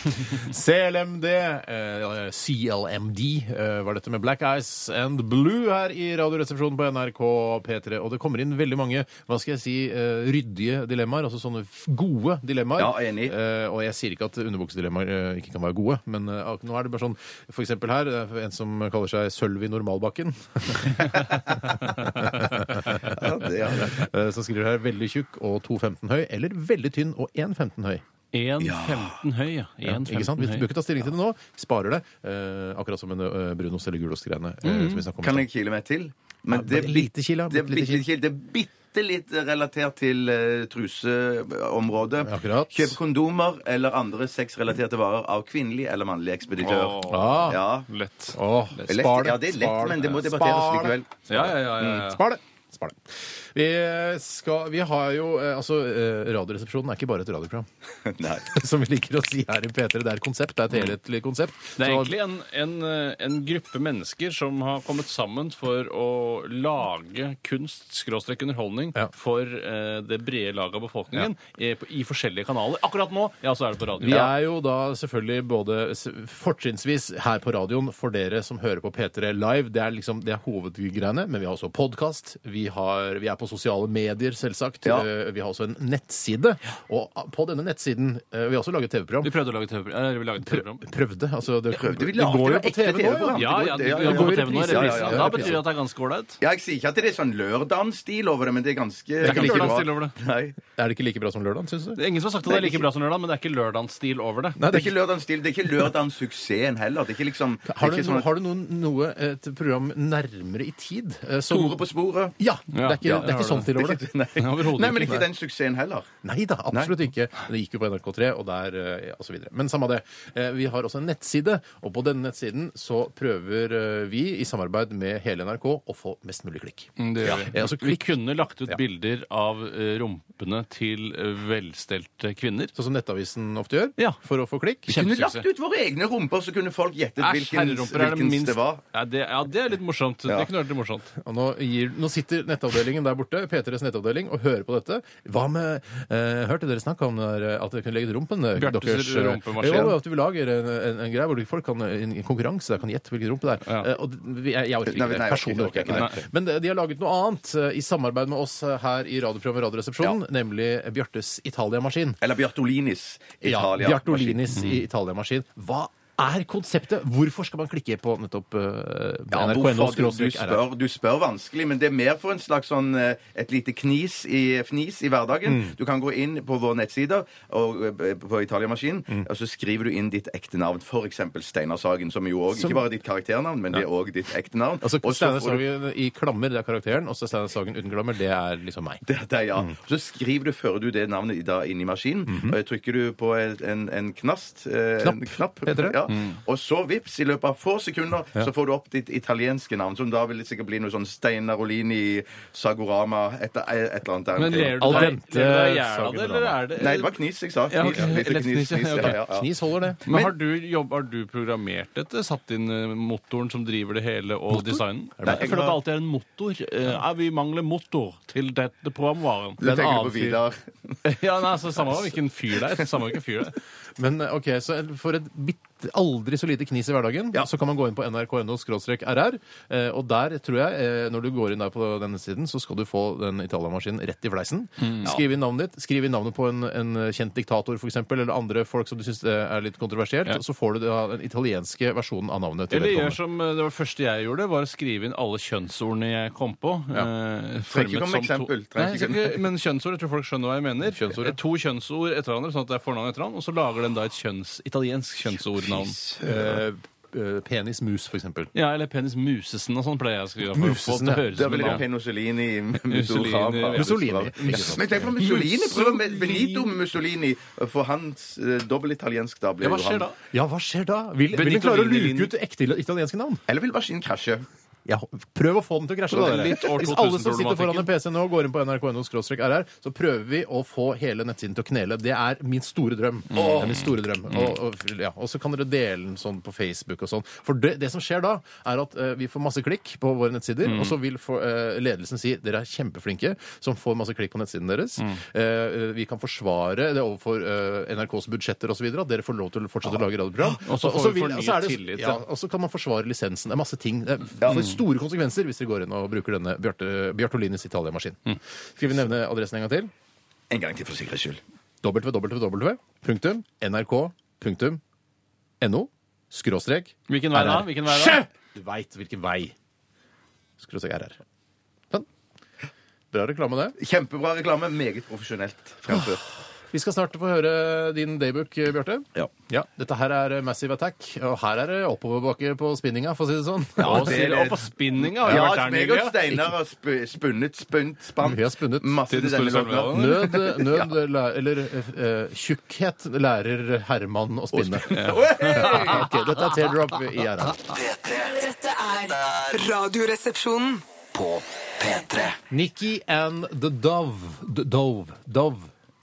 Speaker 3: CLMD, eh, CLMD eh, var dette med Black Eyes and Blue her i Radioresepsjonen på NRK P3. Og det kommer inn veldig mange hva skal jeg si, eh, ryddige dilemmaer, altså sånne f- gode dilemmaer.
Speaker 5: Ja, enig.
Speaker 3: Eh, og jeg sier ikke at underbuksedilemmaer eh, ikke kan være gode, men eh, ak- nå er det bare sånn for eksempel her, det er en som kaller seg Sølvi Normalbakken.
Speaker 5: (laughs) Ja, det, ja, det.
Speaker 3: Eh, Som skriver her 'veldig tjukk og 2,15 høy', eller 'veldig tynn og 1,15 høy'.
Speaker 4: 1,15 høy, ja.
Speaker 3: Ja, ikke sant? Vi bør ikke ta stilling til det nå. Sparer det. Eh, akkurat som en eh, brunost- eller gulostgreiene. eh,
Speaker 4: Mm.
Speaker 3: som vi snakket om i
Speaker 5: Kan
Speaker 3: stad.
Speaker 5: jeg kile meg til? Men
Speaker 3: bare lite kile,
Speaker 5: det er
Speaker 3: bitte lite
Speaker 5: bitte, kile. Det er bitte litt relatert til eh, truseområdet.
Speaker 3: Akkurat.
Speaker 5: Kjøp kondomer eller andre sexrelaterte varer av kvinnelig eller mannlig ekspeditør.
Speaker 4: Åh.
Speaker 3: Ah.
Speaker 5: Ja. (laughs)
Speaker 4: Lett.
Speaker 3: Åh,
Speaker 5: er lett.
Speaker 3: spar det.
Speaker 5: Ja, det er lett,
Speaker 3: spar
Speaker 5: men det må debatteres
Speaker 3: Spar det.
Speaker 5: likevel.
Speaker 4: Ja, ja, ja. ja, ja.
Speaker 3: Spar det. Spar det. Vi, eh, skal, vi har jo eh, Altså, eh, Radioresepsjonen er ikke bare et radioprogram, (laughs)
Speaker 5: Nei.
Speaker 3: som vi liker å si her i P3. Det er et konsept. Det er et helhetlig konsept.
Speaker 4: Det er
Speaker 3: Så-
Speaker 4: egentlig en, en, en gruppe mennesker som har kommet sammen for å lage kunst, skråstrek underholdning,
Speaker 3: Ja.
Speaker 4: for eh, det brede laget av befolkningen eh, på, i forskjellige kanaler. Akkurat nå ja, så er det på radio.
Speaker 3: Vi er jo da selvfølgelig både s- fortrinnsvis her på radioen for dere som hører på P3 Live. Det er liksom det er hovedgreiene, men vi har også podkast. Vi, har- vi er på sosiale medier, selvsagt.
Speaker 5: Ja.
Speaker 3: Eh, Vi har også en nettside. Og på denne nettsiden eh, Vi har også laget TV-program.
Speaker 4: Vi prøvde å lage et TV-program. eller vi laget et TV-program.
Speaker 3: Prøvde. Altså, det,
Speaker 5: prøvde. Vi
Speaker 3: det
Speaker 5: lagde
Speaker 3: går jo
Speaker 5: det
Speaker 3: på
Speaker 5: ekte
Speaker 3: TV nå, ja.
Speaker 5: TV-program.
Speaker 4: Ja, ja,
Speaker 5: det-
Speaker 4: det,
Speaker 5: ja,
Speaker 4: det,
Speaker 5: ja,
Speaker 4: går
Speaker 3: ja.
Speaker 4: på TV nå,
Speaker 3: Reprise, ja, ja,
Speaker 4: reprise.
Speaker 3: ja,
Speaker 4: Da
Speaker 3: reprise.
Speaker 4: betyr det at det er ganske ålreit.
Speaker 5: Ja, jeg sier ikke at det er sånn lørdagsstil over det, men det er ganske Det
Speaker 4: er ikke lørdagsstil over det.
Speaker 5: Nei.
Speaker 3: Er det ikke like bra som lørdag, syns du?
Speaker 4: Det er ingen som har sagt at det
Speaker 5: Nei,
Speaker 4: er like bra som lørdag, men det er ikke lørdagsstil over det.
Speaker 3: Nei,
Speaker 5: Det er ikke lørdagsstil. Det er ikke lørdagssuksessen heller. Det er ikke liksom det er
Speaker 3: Har du,
Speaker 5: ikke sånn
Speaker 3: no,
Speaker 5: at-
Speaker 3: har du noen, noe, et program nærmere i tid? eh, som-
Speaker 5: Tore på sporet.
Speaker 3: Ja! Det er ikke,
Speaker 4: Ja,
Speaker 3: det er
Speaker 4: har
Speaker 3: ikke sånn til over det.
Speaker 5: Nei.
Speaker 4: overhodet
Speaker 5: Nei, men
Speaker 4: ikke.
Speaker 5: ikke den suksessen heller.
Speaker 3: Nei da, absolutt ikke. Men det gikk jo på NRK3 og der eh, ja, og så videre. Men samme det. Eh, Vi har også en nettside, og på denne nettsiden så prøver eh, vi, i samarbeid med hele NRK, å få mest mulig klikk.
Speaker 4: Mm, Det gjør vi.
Speaker 3: Ja, altså,
Speaker 4: vi
Speaker 3: klikk-
Speaker 4: kunne lagt ut bilder av eh, rumpene til eh, velstelte kvinner.
Speaker 3: Sånn som Nettavisen ofte gjør,
Speaker 4: Ja.
Speaker 3: for å få klikk.
Speaker 4: Kjempe-
Speaker 5: Kunne lagt ut våre egne rumper, så kunne folk gjettet
Speaker 4: Æsj,
Speaker 5: hvilken
Speaker 4: herrerumper er det
Speaker 5: hvilkens
Speaker 4: minst
Speaker 5: det var.
Speaker 4: ja, det, ja, det er litt morsomt. Det kunne vært litt morsomt.
Speaker 3: Og nå, gir, nå sitter nettavdelingen der borte, P3s nettavdeling, og hører på dette. Hva med eh, Hørte dere snakke om der, eh, at dere kunne legge ut rumpen? eh,
Speaker 4: Bjartes
Speaker 3: deres, eh,
Speaker 4: rumpemaskin.
Speaker 3: Jo, at vi lager en, en, en greie hvor folk kan eh, en en konkurranse der kan gjette hvilken rumpe det er.
Speaker 4: Ja.
Speaker 3: Eh, og det- vi- jeg, jeg orker ikke det.
Speaker 5: Nei, nei, jeg orker
Speaker 3: Personlig orker jeg ikke
Speaker 5: ikke,
Speaker 3: det. Men eh, de de har laget noe annet eh, i samarbeid med oss eh, her i radioprogrammet Radioresepsjonen, nemlig Bjartes Italiamaskin.
Speaker 5: Eller Bjartolinis
Speaker 3: Ja,
Speaker 5: Italia.
Speaker 3: Bjartolinis
Speaker 4: Mm.
Speaker 3: i Italiamaskin. Hva er konseptet? Hvorfor skal man klikke på nettopp uh,
Speaker 5: Ja, hvorfor? Du, du, spør, du spør vanskelig, men det er mer for en slags sånn, eh, et lite knis i, fnis i hverdagen. Du kan gå inn på vår nettside og, eh, på Italiamaskinen, og så skriver du inn ditt ekte navn. For eksempel Steinar Sagen, som jo òg
Speaker 3: Som-
Speaker 5: Ikke bare ditt karakternavn, men det er òg ditt ekte navn.
Speaker 3: Altså,
Speaker 5: Og så
Speaker 3: Steinar
Speaker 5: får du-
Speaker 3: Sagen i klammer, det er karakteren, og så Steinar Sagen uten klammer, det er liksom meg.
Speaker 5: Det, det, er ja.
Speaker 4: Mm.
Speaker 5: Så skriver du, fører du det navnet i- da inn i maskinen,
Speaker 4: Mhm.
Speaker 5: og trykker du på en, en, en knast eh,
Speaker 3: Knapp,
Speaker 5: en knapp
Speaker 3: heter det.
Speaker 5: Ja.
Speaker 4: Mm.
Speaker 5: Og så, vips, i løpet av få sekunder, så får du opp ditt italienske navn, som da vil det sikkert bli noe sånn Steinar Olini, Sagorama, et, et eller annet der.
Speaker 4: Men ler du
Speaker 3: Al
Speaker 4: deg ler
Speaker 3: dente
Speaker 4: du deg i hjel av det,
Speaker 3: sagerdrama.
Speaker 4: eller er det
Speaker 5: Nei, det var knis jeg sa.
Speaker 4: Ja,
Speaker 5: Knis,
Speaker 4: ok.
Speaker 5: litt
Speaker 4: Lett
Speaker 5: knis,
Speaker 4: knis, ja,
Speaker 5: knis, ja,
Speaker 4: ok.
Speaker 5: ja, ja.
Speaker 3: Knis holder det.
Speaker 4: Men har du, jobb, har du programmert dette? Satt inn eh, motoren som driver det hele, og designen?
Speaker 5: Nei,
Speaker 4: jeg
Speaker 5: jeg
Speaker 4: føler at det
Speaker 5: var-
Speaker 4: alltid er en motor. Eh, er vi mangler motor til dette programvaren.
Speaker 5: Du tenker på
Speaker 3: annen fyr.
Speaker 5: Vidar.
Speaker 4: (laughs) ja, nei, altså, Samme hvilken fyr det er. Samme hvilken fyr det er.
Speaker 3: Men eh, ok, så for et bitt, aldri så lite knis i hverdagen, så kan man gå inn på nrk.no-rr, eh, og der tror jeg, eh, når du går inn der på denne siden, så skal du få den Italia-maskinen rett i fleisen. Skriv inn navnet ditt, skriv inn navnet på en, en kjent diktator, for eksempel, eller andre folk som du synes eh, er litt kontroversielt,
Speaker 4: Ja.
Speaker 3: og så får du da den italienske versjonen av navnet til
Speaker 4: Eller gjør
Speaker 3: vedkommende.
Speaker 4: som eh, det var det første jeg gjorde, var å skrive inn alle kjønnsordene jeg kom på. eh, Ja.
Speaker 5: Trenger ikke komme eksempel, trenger
Speaker 4: Nei,
Speaker 5: ikke
Speaker 4: jeg skal
Speaker 5: komme-
Speaker 4: ikke, men kjønnsord, jeg tror folk skjønner hva jeg mener.
Speaker 3: Kjønnsord, ja.
Speaker 4: Eh, To kjønnsord etter hverandre, sånn at det er fornavn etter hverandre, og så lager den da et kjønns, italiensk kjønnsordnavn.
Speaker 3: Eh, eh, penismus, for eksempel.
Speaker 4: Ja, eller penis Musesen og sånn pleier jeg å skrive. for å få
Speaker 3: Musesen,
Speaker 4: det
Speaker 3: ja.
Speaker 4: til å høres
Speaker 5: Da
Speaker 4: som
Speaker 5: blir
Speaker 4: en
Speaker 5: det
Speaker 4: navn.
Speaker 5: Penosolini
Speaker 4: Mussolini, ja.
Speaker 3: Mussolini.
Speaker 5: Men tenk på Mussolini! Prøv med Benito Mussolini, for hans eh, dobbeltitaliensk da blir
Speaker 4: Ja, hva
Speaker 5: jo
Speaker 4: skjer
Speaker 5: han.
Speaker 4: da?
Speaker 3: Ja, hva skjer da? Vil, vil den
Speaker 4: Benito
Speaker 3: klare å
Speaker 4: Vini-
Speaker 3: luke ut ekte italienske navn?
Speaker 5: Eller vil maskinen krasje?
Speaker 3: Ja, prøv å få den til å krasje, da.
Speaker 4: Litt
Speaker 3: Dere.
Speaker 4: år
Speaker 3: Hvis alle som sitter
Speaker 4: 2000-problematikken.
Speaker 3: foran en PC nå, går inn på nrk.no-rr, så prøver vi å få hele nettsiden til å knele. Det er min store drøm.
Speaker 4: Mm.
Speaker 3: Det er min store drøm. Og, og, ja. og så kan dere dele den sånn på Facebook og sånn. For det, det som skjer da, er at eh, vi får masse klikk på våre nettsider,
Speaker 4: Mm.
Speaker 3: og så vil få- eh, ledelsen si dere er kjempeflinke som får masse klikk på nettsiden deres.
Speaker 4: Mm.
Speaker 3: Eh, vi kan forsvare det overfor eh, NRKs budsjetter osv. at dere får lov til å fortsette å lage radioprogram.
Speaker 4: Og så får
Speaker 3: Og så
Speaker 4: vi
Speaker 3: vil-
Speaker 4: fornyet
Speaker 3: og så er det-
Speaker 4: tillit,
Speaker 3: Ja,
Speaker 4: ja.
Speaker 3: og så kan man forsvare lisensen. Det er masse ting. Det får store konsekvenser hvis dere går inn og bruker denne Bjarte, Bjartolinis Italia-maskin. Skal vi nevne adressen en gang til?
Speaker 5: En gang til, for sikkerhets skyld.
Speaker 3: www.nrk.no skråstrek
Speaker 4: Hvilken vei da?
Speaker 3: RR.
Speaker 4: Hvilken vei da?
Speaker 3: Sjef! Du veit hvilken vei. Skråstrek RR. Sånn. Bra reklame, det.
Speaker 5: Kjempebra reklame. Meget profesjonelt fremført.
Speaker 3: Vi skal snart få høre din daybook, eh, Bjarte.
Speaker 5: Ja.
Speaker 3: Dette her er eh, Massive Attack, og her er det oppoverbakke på spinninga, for å si det sånn.
Speaker 4: Ja, og
Speaker 5: det
Speaker 4: sier-
Speaker 5: er-
Speaker 4: og på spinninga har vi
Speaker 5: Ja,
Speaker 4: vært der
Speaker 5: meg og
Speaker 4: nylig. ja.
Speaker 5: Steinar har sp spunnet, spunt, spant.
Speaker 3: Vi har spunnet.
Speaker 5: Masse
Speaker 4: Til
Speaker 5: til
Speaker 4: den
Speaker 5: denne
Speaker 4: store
Speaker 5: låten. her.
Speaker 4: salmen,
Speaker 3: Nød,
Speaker 4: (laughs)
Speaker 3: nød læ- eller eh, tjukkhet lærer Herman å spinne. (laughs) Ok, dette er Teardrop i RR.
Speaker 2: P3
Speaker 1: Dette er Radioresepsjonen.
Speaker 2: på P3
Speaker 3: Nikki and the Dove. D Dove. Dove.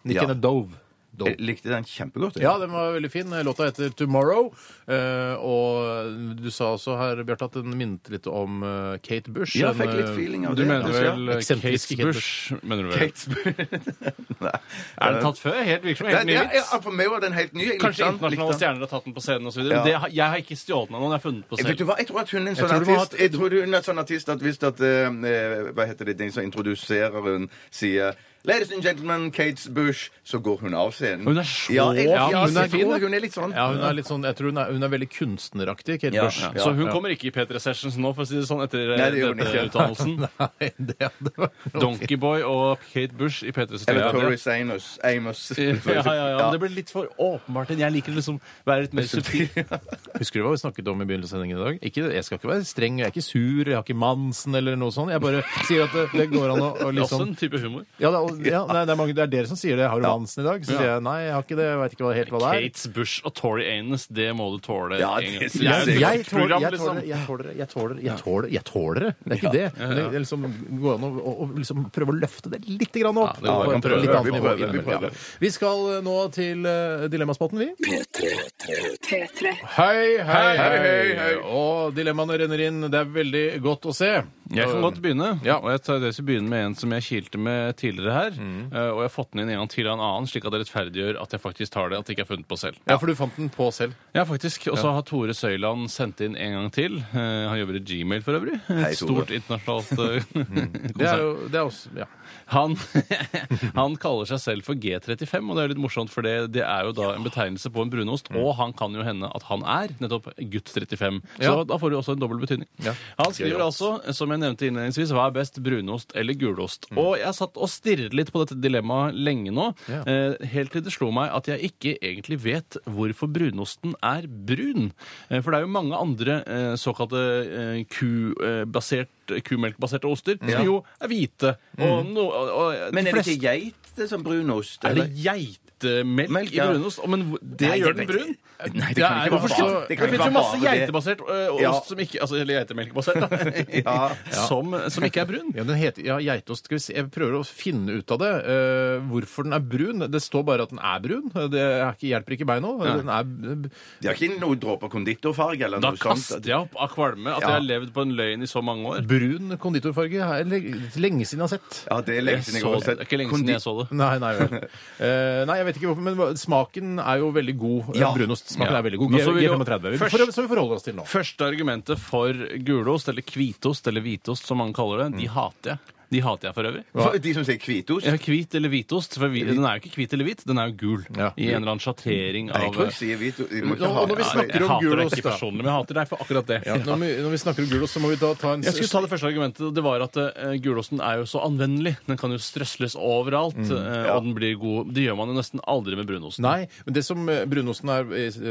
Speaker 3: Nikki
Speaker 5: Ja.
Speaker 3: and the Dove.
Speaker 5: Jeg
Speaker 3: Dove.
Speaker 5: likte den kjempegodt. jeg.
Speaker 3: Ja, den var veldig fin. Låta heter 'Tomorrow'. eh, og du sa også her, Bjarte, at den minnet litt om eh, Kate Bush.
Speaker 5: Ja, jeg
Speaker 3: En,
Speaker 5: fikk litt
Speaker 3: eh,
Speaker 5: feeling av
Speaker 4: Du
Speaker 5: det.
Speaker 4: mener vel eh,
Speaker 3: Eksemplisk
Speaker 4: Kate Bush? Mener du vel?
Speaker 5: Kate Spun- (laughs) Nei.
Speaker 4: Er den tatt før? Helt virker som helt
Speaker 5: Nei,
Speaker 4: ny
Speaker 5: ja,
Speaker 4: vits.
Speaker 5: ja, for meg var den helt ny. Jeg likte
Speaker 4: Kanskje
Speaker 5: den, likte
Speaker 4: internasjonale
Speaker 5: den.
Speaker 4: stjerner har tatt den på scenen osv.
Speaker 5: Ja.
Speaker 4: Men det, har- jeg har ikke stjålet den av noen. Jeg har funnet på
Speaker 5: Jeg, vet du
Speaker 4: selv.
Speaker 5: hva, jeg tror at hun er en sånn
Speaker 3: tror du må ha
Speaker 5: artist Jeg tror hun er en sånn artist at hvis at eh, eh, Hva heter det, den som introduserer hun sier Ladies and gentlemen, Kate Bush Så går hun av scenen
Speaker 4: Hun er så-
Speaker 5: ja, jeg,
Speaker 4: ja,
Speaker 5: ja,
Speaker 4: hun
Speaker 5: jeg
Speaker 4: er fin,
Speaker 5: tror
Speaker 4: da.
Speaker 5: Hun er litt sånn
Speaker 3: Ja, hun er litt sånn, jeg tror hun er, hun er veldig kunstneraktig, Kate
Speaker 5: Ja,
Speaker 3: Bush.
Speaker 5: ja.
Speaker 4: Så hun kommer ikke i P3 Sessions nå, for å si det sånn, etter eh,
Speaker 5: Nei, det gjør hun
Speaker 4: dette
Speaker 5: ikke.
Speaker 4: (laughs) utdannelsen.
Speaker 3: (laughs) Nei, det hadde vært
Speaker 4: Donkeyboy og Kate Bush i P3
Speaker 5: Eller
Speaker 4: Sessions.
Speaker 5: Tori Amos, Amos.
Speaker 4: Ja, (laughs) ja, ja,
Speaker 5: (laughs)
Speaker 4: ja. men Det blir litt for åpenbart. Jeg liker liksom være litt mer subtil. (laughs)
Speaker 3: Husker du hva vi snakket om i begynnelsen av sendingen i dag? Ikke, jeg skal ikke være streng, jeg er ikke sur, jeg har ikke mansen eller noe sånt. Jeg bare sier at det, det går an å, å
Speaker 4: Det er også
Speaker 3: liksom
Speaker 4: en type humor.
Speaker 3: ja, det, er- ja, nei, det, er mange, det er dere som sier det. Har du mansen i dag? Så
Speaker 4: Ja.
Speaker 3: sier jeg nei, jeg har ikke det. Jeg vet ikke hva, helt hva det er.
Speaker 4: Kates Bush og Tori Anes, det må du tåle.
Speaker 5: Ja,
Speaker 4: en gang.
Speaker 5: det synes
Speaker 4: Det er
Speaker 5: jeg-
Speaker 4: et
Speaker 5: jeg
Speaker 4: program,
Speaker 3: jeg
Speaker 4: liksom.
Speaker 3: tåler det, jeg tåler det, jeg tåler det, jeg tåler det. Jeg tåler det. Det er ikke det. Men det det liksom går an å, å, å liksom prøve å løfte det litt grann opp.
Speaker 4: Ja, det går an.
Speaker 3: På et
Speaker 5: Vi prøver,
Speaker 3: litt annet
Speaker 5: vi
Speaker 3: nivå
Speaker 5: prøver, vi
Speaker 3: innimellom.
Speaker 5: prøver.
Speaker 3: Ja. Vi skal eh, nå til eh, Dilemmaspotten, vi.
Speaker 1: P3.
Speaker 3: Hei, hei,
Speaker 5: Hei, hei, hei.
Speaker 3: Og dilemmaene renner inn. Det er veldig godt å se.
Speaker 4: Jeg kan godt begynne.
Speaker 3: Ja.
Speaker 4: og jeg tar, jeg skal begynne med en som jeg kilte med tidligere her. eh, Og jeg har fått den inn en gang til av en annen, slik at det rettferdiggjør at jeg faktisk tar det. At jeg ikke har funnet på selv.
Speaker 3: Ja, for du fant den på selv.
Speaker 4: Ja, faktisk. Og så har Tore Søyland sendt inn en gang til. Eh, Han jobber i Gmail for øvrig. Et
Speaker 5: Hei, Tore.
Speaker 4: stort (laughs) internasjonalt eh,
Speaker 3: Det er
Speaker 4: konsern.
Speaker 3: jo det er også, ja.
Speaker 4: Han, (laughs) han kaller seg selv for G35, og det er litt morsomt, for det, det er jo da en betegnelse på en brunost, og han kan jo hende at han er nettopp gutt 35. Så
Speaker 3: Ja.
Speaker 4: da får du også en dobbel betydning.
Speaker 3: Ja.
Speaker 4: Han skriver altså, som jeg nevnte innledningsvis, hva er best, brunost eller gulost?
Speaker 5: Mm.
Speaker 4: Og jeg har satt og stirret litt på dette dilemmaet lenge nå,
Speaker 3: Ja.
Speaker 4: eh, helt til det slo meg at jeg ikke egentlig vet hvorfor brunosten er brun. Eh, for det er jo mange andre eh, såkalte eh, ku-basert kumelkbaserte oster, som jo er hvite. Og no, og, og,
Speaker 5: Mm. Men
Speaker 4: de
Speaker 5: er det
Speaker 4: fleste-
Speaker 5: ikke geit det er sånn brunost?
Speaker 4: er det
Speaker 5: eller?
Speaker 4: geitemelk
Speaker 5: Melk,
Speaker 4: i
Speaker 5: ja.
Speaker 4: brunost? Å, Men hvor- det
Speaker 5: Nei,
Speaker 4: gjør den
Speaker 5: det-
Speaker 4: brun.
Speaker 5: Nei, det
Speaker 3: Ja,
Speaker 5: kan
Speaker 3: er-
Speaker 5: ikke være
Speaker 3: hvorfor
Speaker 5: bare-
Speaker 3: så-
Speaker 5: det
Speaker 4: Det
Speaker 5: kan
Speaker 4: finnes
Speaker 5: ikke
Speaker 4: jo masse
Speaker 5: være bare det.
Speaker 4: geitebasert ø, ost
Speaker 5: Ja.
Speaker 4: som ikke Altså eller geitemelkbasert, da.
Speaker 5: (laughs) Ja.
Speaker 4: (laughs) Som, som ikke er brun.
Speaker 3: Ja, den heter, ja, geitost. Skal vi se. Jeg prøver å finne ut av det. eh, hvorfor den er brun. Det står bare at den er brun. Det er ikke, hjelper ikke meg noe. Den er,
Speaker 5: De har ikke noe dråper konditorfarge eller
Speaker 4: Da
Speaker 5: noe sånt.
Speaker 4: kaster jeg opp av kvalme at jeg har
Speaker 5: Ja.
Speaker 4: levd på en løgn i så mange år.
Speaker 3: brun konditorfarge er le- lenge siden jeg har sett.
Speaker 5: Ja, det er lenge siden jeg
Speaker 4: Så,
Speaker 5: har
Speaker 4: det er
Speaker 5: sett.
Speaker 4: ikke lenge siden jeg så det.
Speaker 3: Nei, nei, vel. Eh, nei, jeg vet ikke hvorfor, men hva- smaken er jo veldig god.
Speaker 5: Ja.
Speaker 3: Brunostsmaken
Speaker 4: Ja.
Speaker 3: er veldig god.
Speaker 4: Men så vil jo-
Speaker 3: G35 vi får- som vi forholder oss til nå.
Speaker 5: Mm.
Speaker 4: Første argumentet for gulost, eller hvitost, eller hvitost som mange kaller det, de hater jeg. De hater jeg for øvrig.
Speaker 5: For De som sier hvitost?
Speaker 4: Ja, hvit eller hvitost. For hvi- den er jo ikke hvit eller hvit, den er jo gul.
Speaker 3: Ja.
Speaker 4: I en eller annen sjattering
Speaker 5: Nei, jeg
Speaker 4: av
Speaker 5: tror jeg sier hvitost. Vi
Speaker 3: Nå,
Speaker 5: må ikke ha
Speaker 3: og når vi
Speaker 5: det.
Speaker 3: snakker
Speaker 4: Jeg
Speaker 3: om
Speaker 4: hater deg
Speaker 3: gulost,
Speaker 4: ikke
Speaker 3: da.
Speaker 4: personlig, men jeg hater deg for akkurat det.
Speaker 3: Ja, når, vi, når vi snakker om gulost, så må vi da ta en
Speaker 4: Jeg skulle ta Det første argumentet Det var at eh, gulosten er jo så anvendelig. Den kan jo strøsles overalt,
Speaker 5: Mm,
Speaker 4: eh, og den blir god. Det gjør man jo nesten aldri med brunost.
Speaker 3: Nei, men det som eh, brunosten er eh,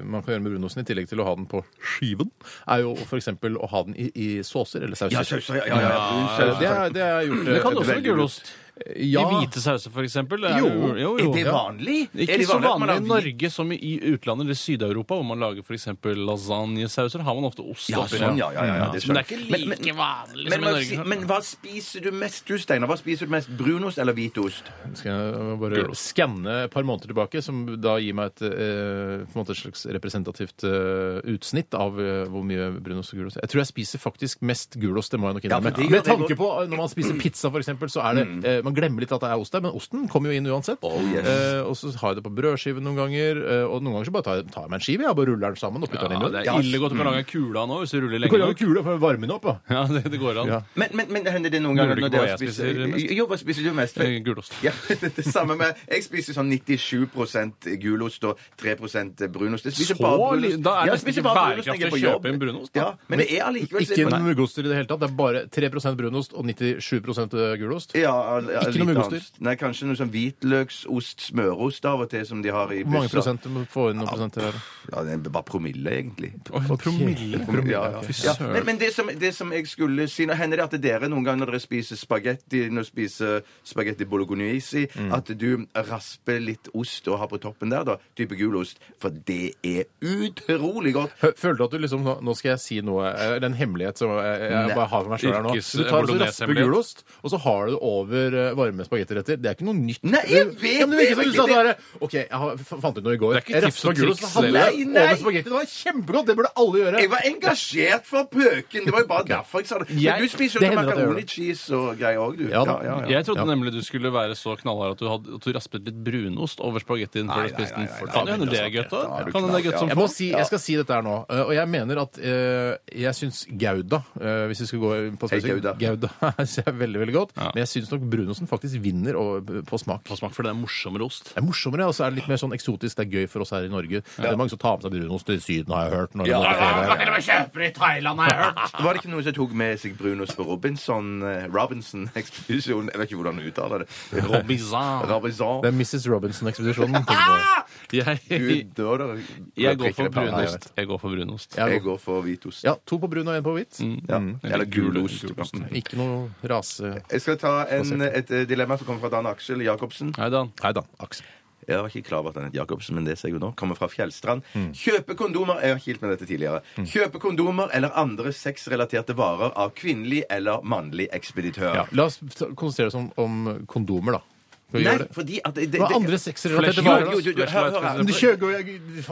Speaker 3: eh, Man kan gjøre med brunosten i tillegg til å ha den på skiven, er jo f.eks. å ha den i, i såser eller sauser.
Speaker 5: Ja, sauser, ja, ja, ja. Brun
Speaker 3: Eh,
Speaker 5: saus.
Speaker 3: Det er- det har jeg gjort.
Speaker 4: Det kan du
Speaker 3: eh,
Speaker 4: også med
Speaker 5: veldig
Speaker 4: gulost.
Speaker 3: ja.
Speaker 4: I hvite sauser, for eksempel. er
Speaker 3: Jo.
Speaker 4: det jo,
Speaker 5: Er
Speaker 4: jo.
Speaker 5: det vanlig?
Speaker 4: Ikke
Speaker 5: er det
Speaker 4: så
Speaker 5: vanlig at
Speaker 4: vanlig
Speaker 5: man har
Speaker 4: i
Speaker 5: hvit-
Speaker 4: Norge som i utlandet eller Syd-Europa, hvor man lager f.eks. lasagnesauser. Har man ofte ost
Speaker 5: Ja,
Speaker 4: oppi.
Speaker 5: sånn, ja, ja, ja, ja,
Speaker 4: Men det er
Speaker 5: det skjønner
Speaker 4: ikke like
Speaker 5: jeg. Men- men-
Speaker 4: vanlig
Speaker 5: Men,
Speaker 4: som i
Speaker 5: hva
Speaker 4: Norge.
Speaker 5: si- men hva spiser du mest, du, Steinar? Hva spiser du mest, Brunost eller hvitost?
Speaker 3: Skal jeg bare skanne et par måneder tilbake, som da gir meg et, eh, på en måte et slags representativt eh, utsnitt av eh, hvor mye brunost og gulost Jeg tror jeg spiser faktisk mest gulost, det må jeg nok
Speaker 5: Ja, for
Speaker 3: innrømme.
Speaker 5: det gjør
Speaker 3: Med
Speaker 5: jeg
Speaker 3: tanke på eh, når man
Speaker 5: (clears throat)
Speaker 3: spiser pizza, for eksempel, så er det eh, Man glemmer litt at det er ost der, men osten kommer jo inn uansett.
Speaker 5: Oh, yes.
Speaker 3: Eh, og så har jeg det på brødskive noen ganger, eh, og noen ganger så bare tar jeg, tar jeg meg en skive, jeg, og bare ruller den sammen og putter
Speaker 4: Ja,
Speaker 3: den inn i
Speaker 4: det
Speaker 3: munnen.
Speaker 4: er ille
Speaker 5: Mm.
Speaker 4: godt å lage en kule av nå hvis du ruller
Speaker 3: Du kan
Speaker 4: lenge
Speaker 3: lage
Speaker 4: nok.
Speaker 3: kule for å varme den opp, da.
Speaker 4: (laughs) Ja, det, det går an.
Speaker 3: Ja.
Speaker 5: Men, men, men hender det noen
Speaker 4: Lurer
Speaker 5: ganger
Speaker 4: du
Speaker 5: når
Speaker 4: ikke på
Speaker 5: dere
Speaker 4: hva jeg
Speaker 5: spiser
Speaker 4: spiser mest?
Speaker 5: Jo, hva spiser du mest?
Speaker 4: Eh, Gulost.
Speaker 5: Ja, (laughs) det, det samme med Jeg spiser sånn 97 gulost og 3 brunost. Jeg spiser
Speaker 4: Så
Speaker 5: bare
Speaker 4: li-
Speaker 5: brunost.
Speaker 4: da er det
Speaker 5: Ja, jeg
Speaker 4: nesten
Speaker 5: spiser
Speaker 4: ikke
Speaker 5: bare brunost når jeg er
Speaker 4: bærekraftig
Speaker 5: på
Speaker 4: å
Speaker 5: jobb.
Speaker 4: kjøpe en brunost, da.
Speaker 5: Ja, men det er allikevel
Speaker 3: Ikke noe muggoster i det hele tatt. Det er bare 3 brunost og 97 gulost.
Speaker 5: ja, all- all-
Speaker 3: Ikke noe
Speaker 5: litt
Speaker 3: muggoster?
Speaker 5: annet. Nei, kanskje noe sånn hvitløksost, smørost av og til, som de har i
Speaker 3: Hvor mange
Speaker 5: busser.
Speaker 3: prosent eh, du må få inn noen prosenter her?
Speaker 5: Ja, det er bare promille, egentlig.
Speaker 4: Oi, promille.
Speaker 5: Promille, ja, ja.
Speaker 4: Fy
Speaker 5: Ja,
Speaker 4: søren.
Speaker 5: men men det, som, det som jeg skulle si Nå hender det at dere noen ganger når dere spiser spagetti Når dere spiser spagetti bolognese
Speaker 3: Mm.
Speaker 5: At du rasper litt ost og har på toppen der da Type gulost For det er utrolig godt
Speaker 3: Hø- Føler du at du liksom nå- Nå skal jeg si noe eh, Det er en hemmelighet som jeg, jeg
Speaker 5: Nei.
Speaker 3: bare har for meg sjøl her nå.
Speaker 4: Mm, Yrkes-
Speaker 3: Du tar også raspe
Speaker 4: bolognese-hemmelighet.
Speaker 3: gulost, og så har du det over eh, varme spagettiretter. Det er ikke noe nytt.
Speaker 5: Nei, jeg
Speaker 3: Det-
Speaker 5: vet
Speaker 3: ja, men det! virker som du
Speaker 5: det, jeg
Speaker 3: sa
Speaker 5: vet
Speaker 3: det bare, OK, jeg har- f- fant ut noe i går.
Speaker 4: Det er ikke
Speaker 3: Jeg
Speaker 4: tips
Speaker 3: raspa
Speaker 4: og
Speaker 3: gulost,
Speaker 4: triks,
Speaker 3: så hadde jeg
Speaker 5: det. Nei, nei.
Speaker 3: over spagetti. Det var kjempegodt! Det burde alle gjøre.
Speaker 5: Jeg var engasjert for pøken Det var jo bare derfor jeg sa det
Speaker 3: Jeg-
Speaker 5: Men du spiser
Speaker 3: det
Speaker 5: jo noe
Speaker 3: hender at jeg gjør
Speaker 5: macaroni
Speaker 3: det.
Speaker 5: cheese og greier også du
Speaker 3: Ja da.
Speaker 4: Jeg trodde
Speaker 3: Ja.
Speaker 4: nemlig du skulle være så knallhard at du, hadde, at du raspet litt brunost over spagettien før
Speaker 5: Nei,
Speaker 4: du spiste den.
Speaker 5: nei, nei,
Speaker 4: Kan
Speaker 5: nei, nei, altså,
Speaker 4: det hende det er
Speaker 5: nei,
Speaker 4: godt, da?
Speaker 5: nei, nei,
Speaker 4: Kan hende det er godt
Speaker 5: nei,
Speaker 4: som
Speaker 5: nei,
Speaker 3: Jeg, må si, jeg skal si dette her nå, eh, og jeg mener at eh, jeg syns Gouda eh, Hvis vi skal gå på
Speaker 5: Hei,
Speaker 3: spesifikt-
Speaker 5: Gouda.
Speaker 3: Gouda (laughs) synes jeg er veldig, veldig godt.
Speaker 4: Ja.
Speaker 3: Men jeg syns nok brunosten faktisk vinner over- på smak.
Speaker 4: Få smak for det er morsommere ost.
Speaker 3: Det er morsommere, og så er det litt mer sånn eksotisk. Det er gøy for oss her i Norge. Det er mange som tar med seg brunost til Syden, har jeg hørt. Når de
Speaker 5: Ja,
Speaker 3: går på ferie.
Speaker 5: Var det ikke noen som tok med seg Brunos på Robinson eh, Robinson-ekspedisjonen? Jeg vet ikke hvordan du uttaler det
Speaker 3: (laughs)
Speaker 4: Robizan.
Speaker 5: Robinson
Speaker 3: Det er Mrs. Robinson-ekspedisjonen.
Speaker 5: (laughs)
Speaker 4: Jeg,
Speaker 5: Gud, da, da,
Speaker 4: jeg går for
Speaker 5: prikker det på meg.
Speaker 4: brunost. Jeg går for brunost.
Speaker 5: Jeg går for hvitost.
Speaker 3: Ja, to på brun og en på hvit.
Speaker 5: Ja. Eller
Speaker 4: gulost.
Speaker 5: gulost.
Speaker 3: Ikke noe rase...
Speaker 5: Jeg skal ta en, et eh, dilemma som kommer fra Dan Aksel Jacobsen.
Speaker 4: Nei, Dan.
Speaker 3: Nei da, Aksel.
Speaker 5: Jeg var ikke klar over at han het Jacobsen, men det ser jeg jo nå. Kommer fra Fjellstrand. Kjøpe kondomer Jeg har ikke hilt med dette tidligere. Kjøpe kondomer eller andre sexrelaterte varer av kvinnelig eller mannlig ekspeditør.
Speaker 3: Ja. La oss ta- konsentrere oss om, om kondomer, da. Skal vi
Speaker 5: Nei,
Speaker 3: gjøre det?
Speaker 5: fordi at det, det,
Speaker 3: Hva er
Speaker 5: det-
Speaker 3: andre sexrelaterte
Speaker 4: Flashlight.
Speaker 3: varer?
Speaker 5: Jo, jo,
Speaker 3: da?
Speaker 5: jo, hør, hør, her.
Speaker 3: Men du kjøper,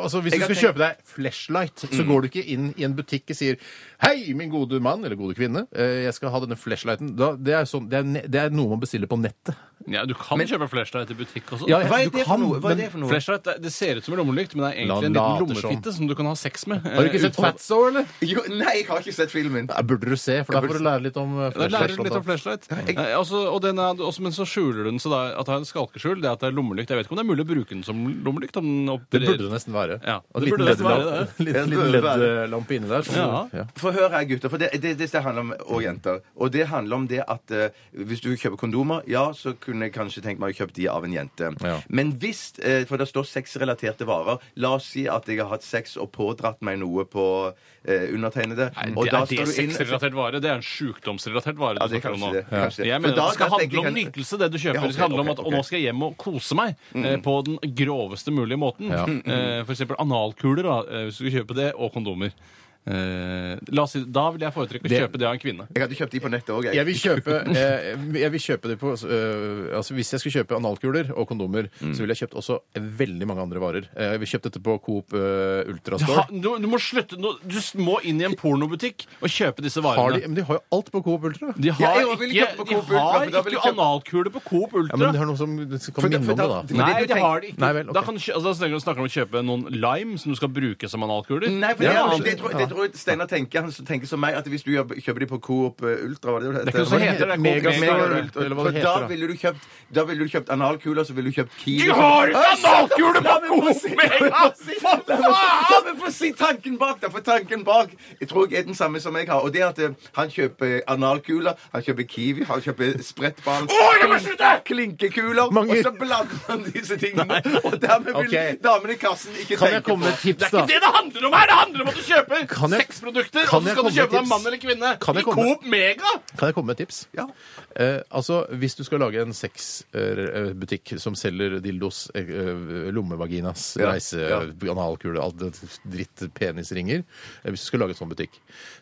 Speaker 3: altså, hvis du
Speaker 5: Jeg
Speaker 3: skal
Speaker 5: Mm. har tenkt-
Speaker 3: kjøpe deg flashlight, så går du ikke inn i en butikk og sier 'Hei, min gode mann eller gode kvinne, eh, jeg skal ha denne flashlighten'. Da, det, er sånn, det, er, ne- det er noe man bestiller på nettet.
Speaker 4: Ja, du kan kjøpe flashlight i butikk også.
Speaker 3: Ja,
Speaker 4: da.
Speaker 3: ja.
Speaker 5: Hva er
Speaker 3: Du
Speaker 5: det for
Speaker 3: kan,
Speaker 5: noe? Hva er
Speaker 3: men
Speaker 5: det for noe?
Speaker 4: Flashlight, det- det ser ut som en lommelykt, men det er
Speaker 3: La
Speaker 4: egentlig
Speaker 3: han
Speaker 4: en liten
Speaker 3: late som.
Speaker 4: lommefitte som du kan ha sex med. Eh,
Speaker 3: Har du
Speaker 5: Eh,
Speaker 3: ikke sett Fatso, eller?
Speaker 5: Jo, nei, jeg har ikke sett filmen.
Speaker 3: Nei, burde du se, for da får du lære litt om eh,
Speaker 4: Da lærer du
Speaker 3: flashlight.
Speaker 4: litt om
Speaker 3: da.
Speaker 4: flashlight. Eh, altså, og den er, også, men så skjuler du den, så det er, at det er en skalkeskjul. Det er at det er lommelykt. Jeg vet ikke om det er mulig å bruke den som lommelykt. Om den
Speaker 3: Det
Speaker 4: opererer.
Speaker 3: burde det nesten være.
Speaker 4: Ja,
Speaker 3: Og
Speaker 4: det
Speaker 3: en
Speaker 4: burde
Speaker 3: (laughs)
Speaker 4: nesten
Speaker 3: liten
Speaker 4: være
Speaker 3: LED-lamp-
Speaker 5: det.
Speaker 3: liten-
Speaker 5: Det
Speaker 3: liten
Speaker 5: burde være det.
Speaker 3: LED-lampe inni der. som-
Speaker 4: Ja.
Speaker 3: ja.
Speaker 5: For hør her, gutter. For det, det, det handler om, og jenter. Og det handler om det at eh, hvis du kjøper kondomer, ja, så kunne jeg kanskje tenkt meg å kjøpe de av en jente.
Speaker 3: Ja.
Speaker 5: Men hvis eh, For det står sexrelaterte varer. La oss si at jeg har hatt sex og pådratt meg noe på eh, undertegnede.
Speaker 4: Nei,
Speaker 5: og
Speaker 4: det,
Speaker 5: da
Speaker 4: er det
Speaker 5: skal du inn-
Speaker 4: sexrelatert vare? Det er en sjukdomsrelatert vare.
Speaker 5: Ja,
Speaker 4: du
Speaker 5: det
Speaker 4: snakker
Speaker 5: er
Speaker 4: om nå.
Speaker 5: kanskje det. Kanskje det.
Speaker 4: Jeg
Speaker 5: For
Speaker 4: mener
Speaker 5: da
Speaker 4: Det skal
Speaker 5: kan jeg
Speaker 4: handle om
Speaker 5: tenke-
Speaker 4: nytelse, det du kjøper.
Speaker 5: Ja, ok,
Speaker 4: det skal handle om
Speaker 5: ok,
Speaker 4: at
Speaker 5: ok.
Speaker 4: 'å, nå skal jeg hjem og kose meg' eh, på den groveste mulige måten.
Speaker 3: Ja.
Speaker 4: Eh, for eksempel analkuler, da, eh, hvis du skal kjøpe det, og kondomer. Eh, la oss si, da vil jeg foretrekke å
Speaker 3: Det-
Speaker 4: kjøpe det av en kvinne.
Speaker 5: Jeg hadde kjøpt de på nettet òg, jeg.
Speaker 3: Jeg vil kjøpe, eh, jeg vil kjøpe det på eh, altså Hvis jeg skulle kjøpe analkuler og kondomer,
Speaker 4: Mm.
Speaker 3: så ville jeg kjøpt også veldig mange andre varer. Eh, jeg ville kjøpt dette på Coop eh, Ultrastore.
Speaker 4: Ha, du, du må slutte nå- Du s- må inn i en pornobutikk og kjøpe disse
Speaker 3: Har de,
Speaker 4: varene.
Speaker 3: men de har jo alt på Coop Ultra.
Speaker 4: De
Speaker 5: Ja,
Speaker 4: har
Speaker 5: jeg vil
Speaker 4: ikke,
Speaker 5: kjøpe på
Speaker 4: de
Speaker 5: Coop Ultra,
Speaker 4: har
Speaker 5: for da vil jeg
Speaker 4: ikke
Speaker 5: kjøpe-
Speaker 4: analkule på Coop
Speaker 3: Ja, men
Speaker 4: Ultra.
Speaker 3: det er noe som som
Speaker 5: For
Speaker 3: kan
Speaker 5: da-
Speaker 3: minne
Speaker 5: for
Speaker 3: om det, da.
Speaker 5: da-
Speaker 4: Nei,
Speaker 5: Men det du
Speaker 4: det har de
Speaker 3: Nei
Speaker 4: ikke.
Speaker 3: vel, ok.
Speaker 4: Da kan du kjø- altså, da snakker du om å kjøpe noen lime som du skal bruke som analkuler.
Speaker 5: Nei, for
Speaker 4: Det er
Speaker 5: det, det,
Speaker 4: annet.
Speaker 5: tror, det tror tror Steinar tenker, han tenker som meg, at hvis du jobber- kjøper de på Coop eh, Ultra var det det
Speaker 3: Det er ikke noe som heter det.
Speaker 5: Coop
Speaker 3: Megastore,
Speaker 5: Mega
Speaker 3: eller
Speaker 5: Ultra.
Speaker 3: hva det
Speaker 5: For
Speaker 3: heter,
Speaker 5: da
Speaker 3: da.
Speaker 5: ville du kjøpt Da ville du kjøpt analkuler, så ville du kjøpt Kiwi
Speaker 4: Jeg har ikke analkule på Coop Mega!
Speaker 3: altså,
Speaker 5: Hva faen?! La meg få si tanken bak, da! For tanken bak jeg tror jeg er den samme som jeg har. Og det er at eh, han kjøper analkuler, han kjøper Kiwi, han kjøper sprettball
Speaker 4: Å, jeg må slutte!
Speaker 5: Klinkekuler.
Speaker 3: Mange-
Speaker 5: Og så blander han disse tingene. Og dermed vil
Speaker 3: Ok.
Speaker 5: damene i kassen ikke
Speaker 3: Kan jeg
Speaker 5: tenke
Speaker 3: komme med
Speaker 5: på
Speaker 3: et tips,
Speaker 4: Det
Speaker 3: da?
Speaker 4: er ikke det det handler om her! Det handler om at du kjøper
Speaker 3: Kan jeg-
Speaker 4: seks produkter,
Speaker 3: kan
Speaker 4: og så
Speaker 3: jeg
Speaker 4: skal
Speaker 3: komme med
Speaker 4: du kjøpe deg en
Speaker 3: tips?
Speaker 4: mann eller kvinne
Speaker 3: Kan jeg
Speaker 4: i
Speaker 3: komme-
Speaker 4: Coop Mega!
Speaker 3: Kan jeg komme med et tips?
Speaker 5: Ja.
Speaker 3: Eh, altså, Hvis du skal lage en sexbutikk som selger dildos, eh, eh, lommevaginas,
Speaker 5: Ja,
Speaker 3: reise,
Speaker 5: ja.
Speaker 3: analkule, alt det dritt, penisringer eh, Hvis du skal lage en sånn butikk,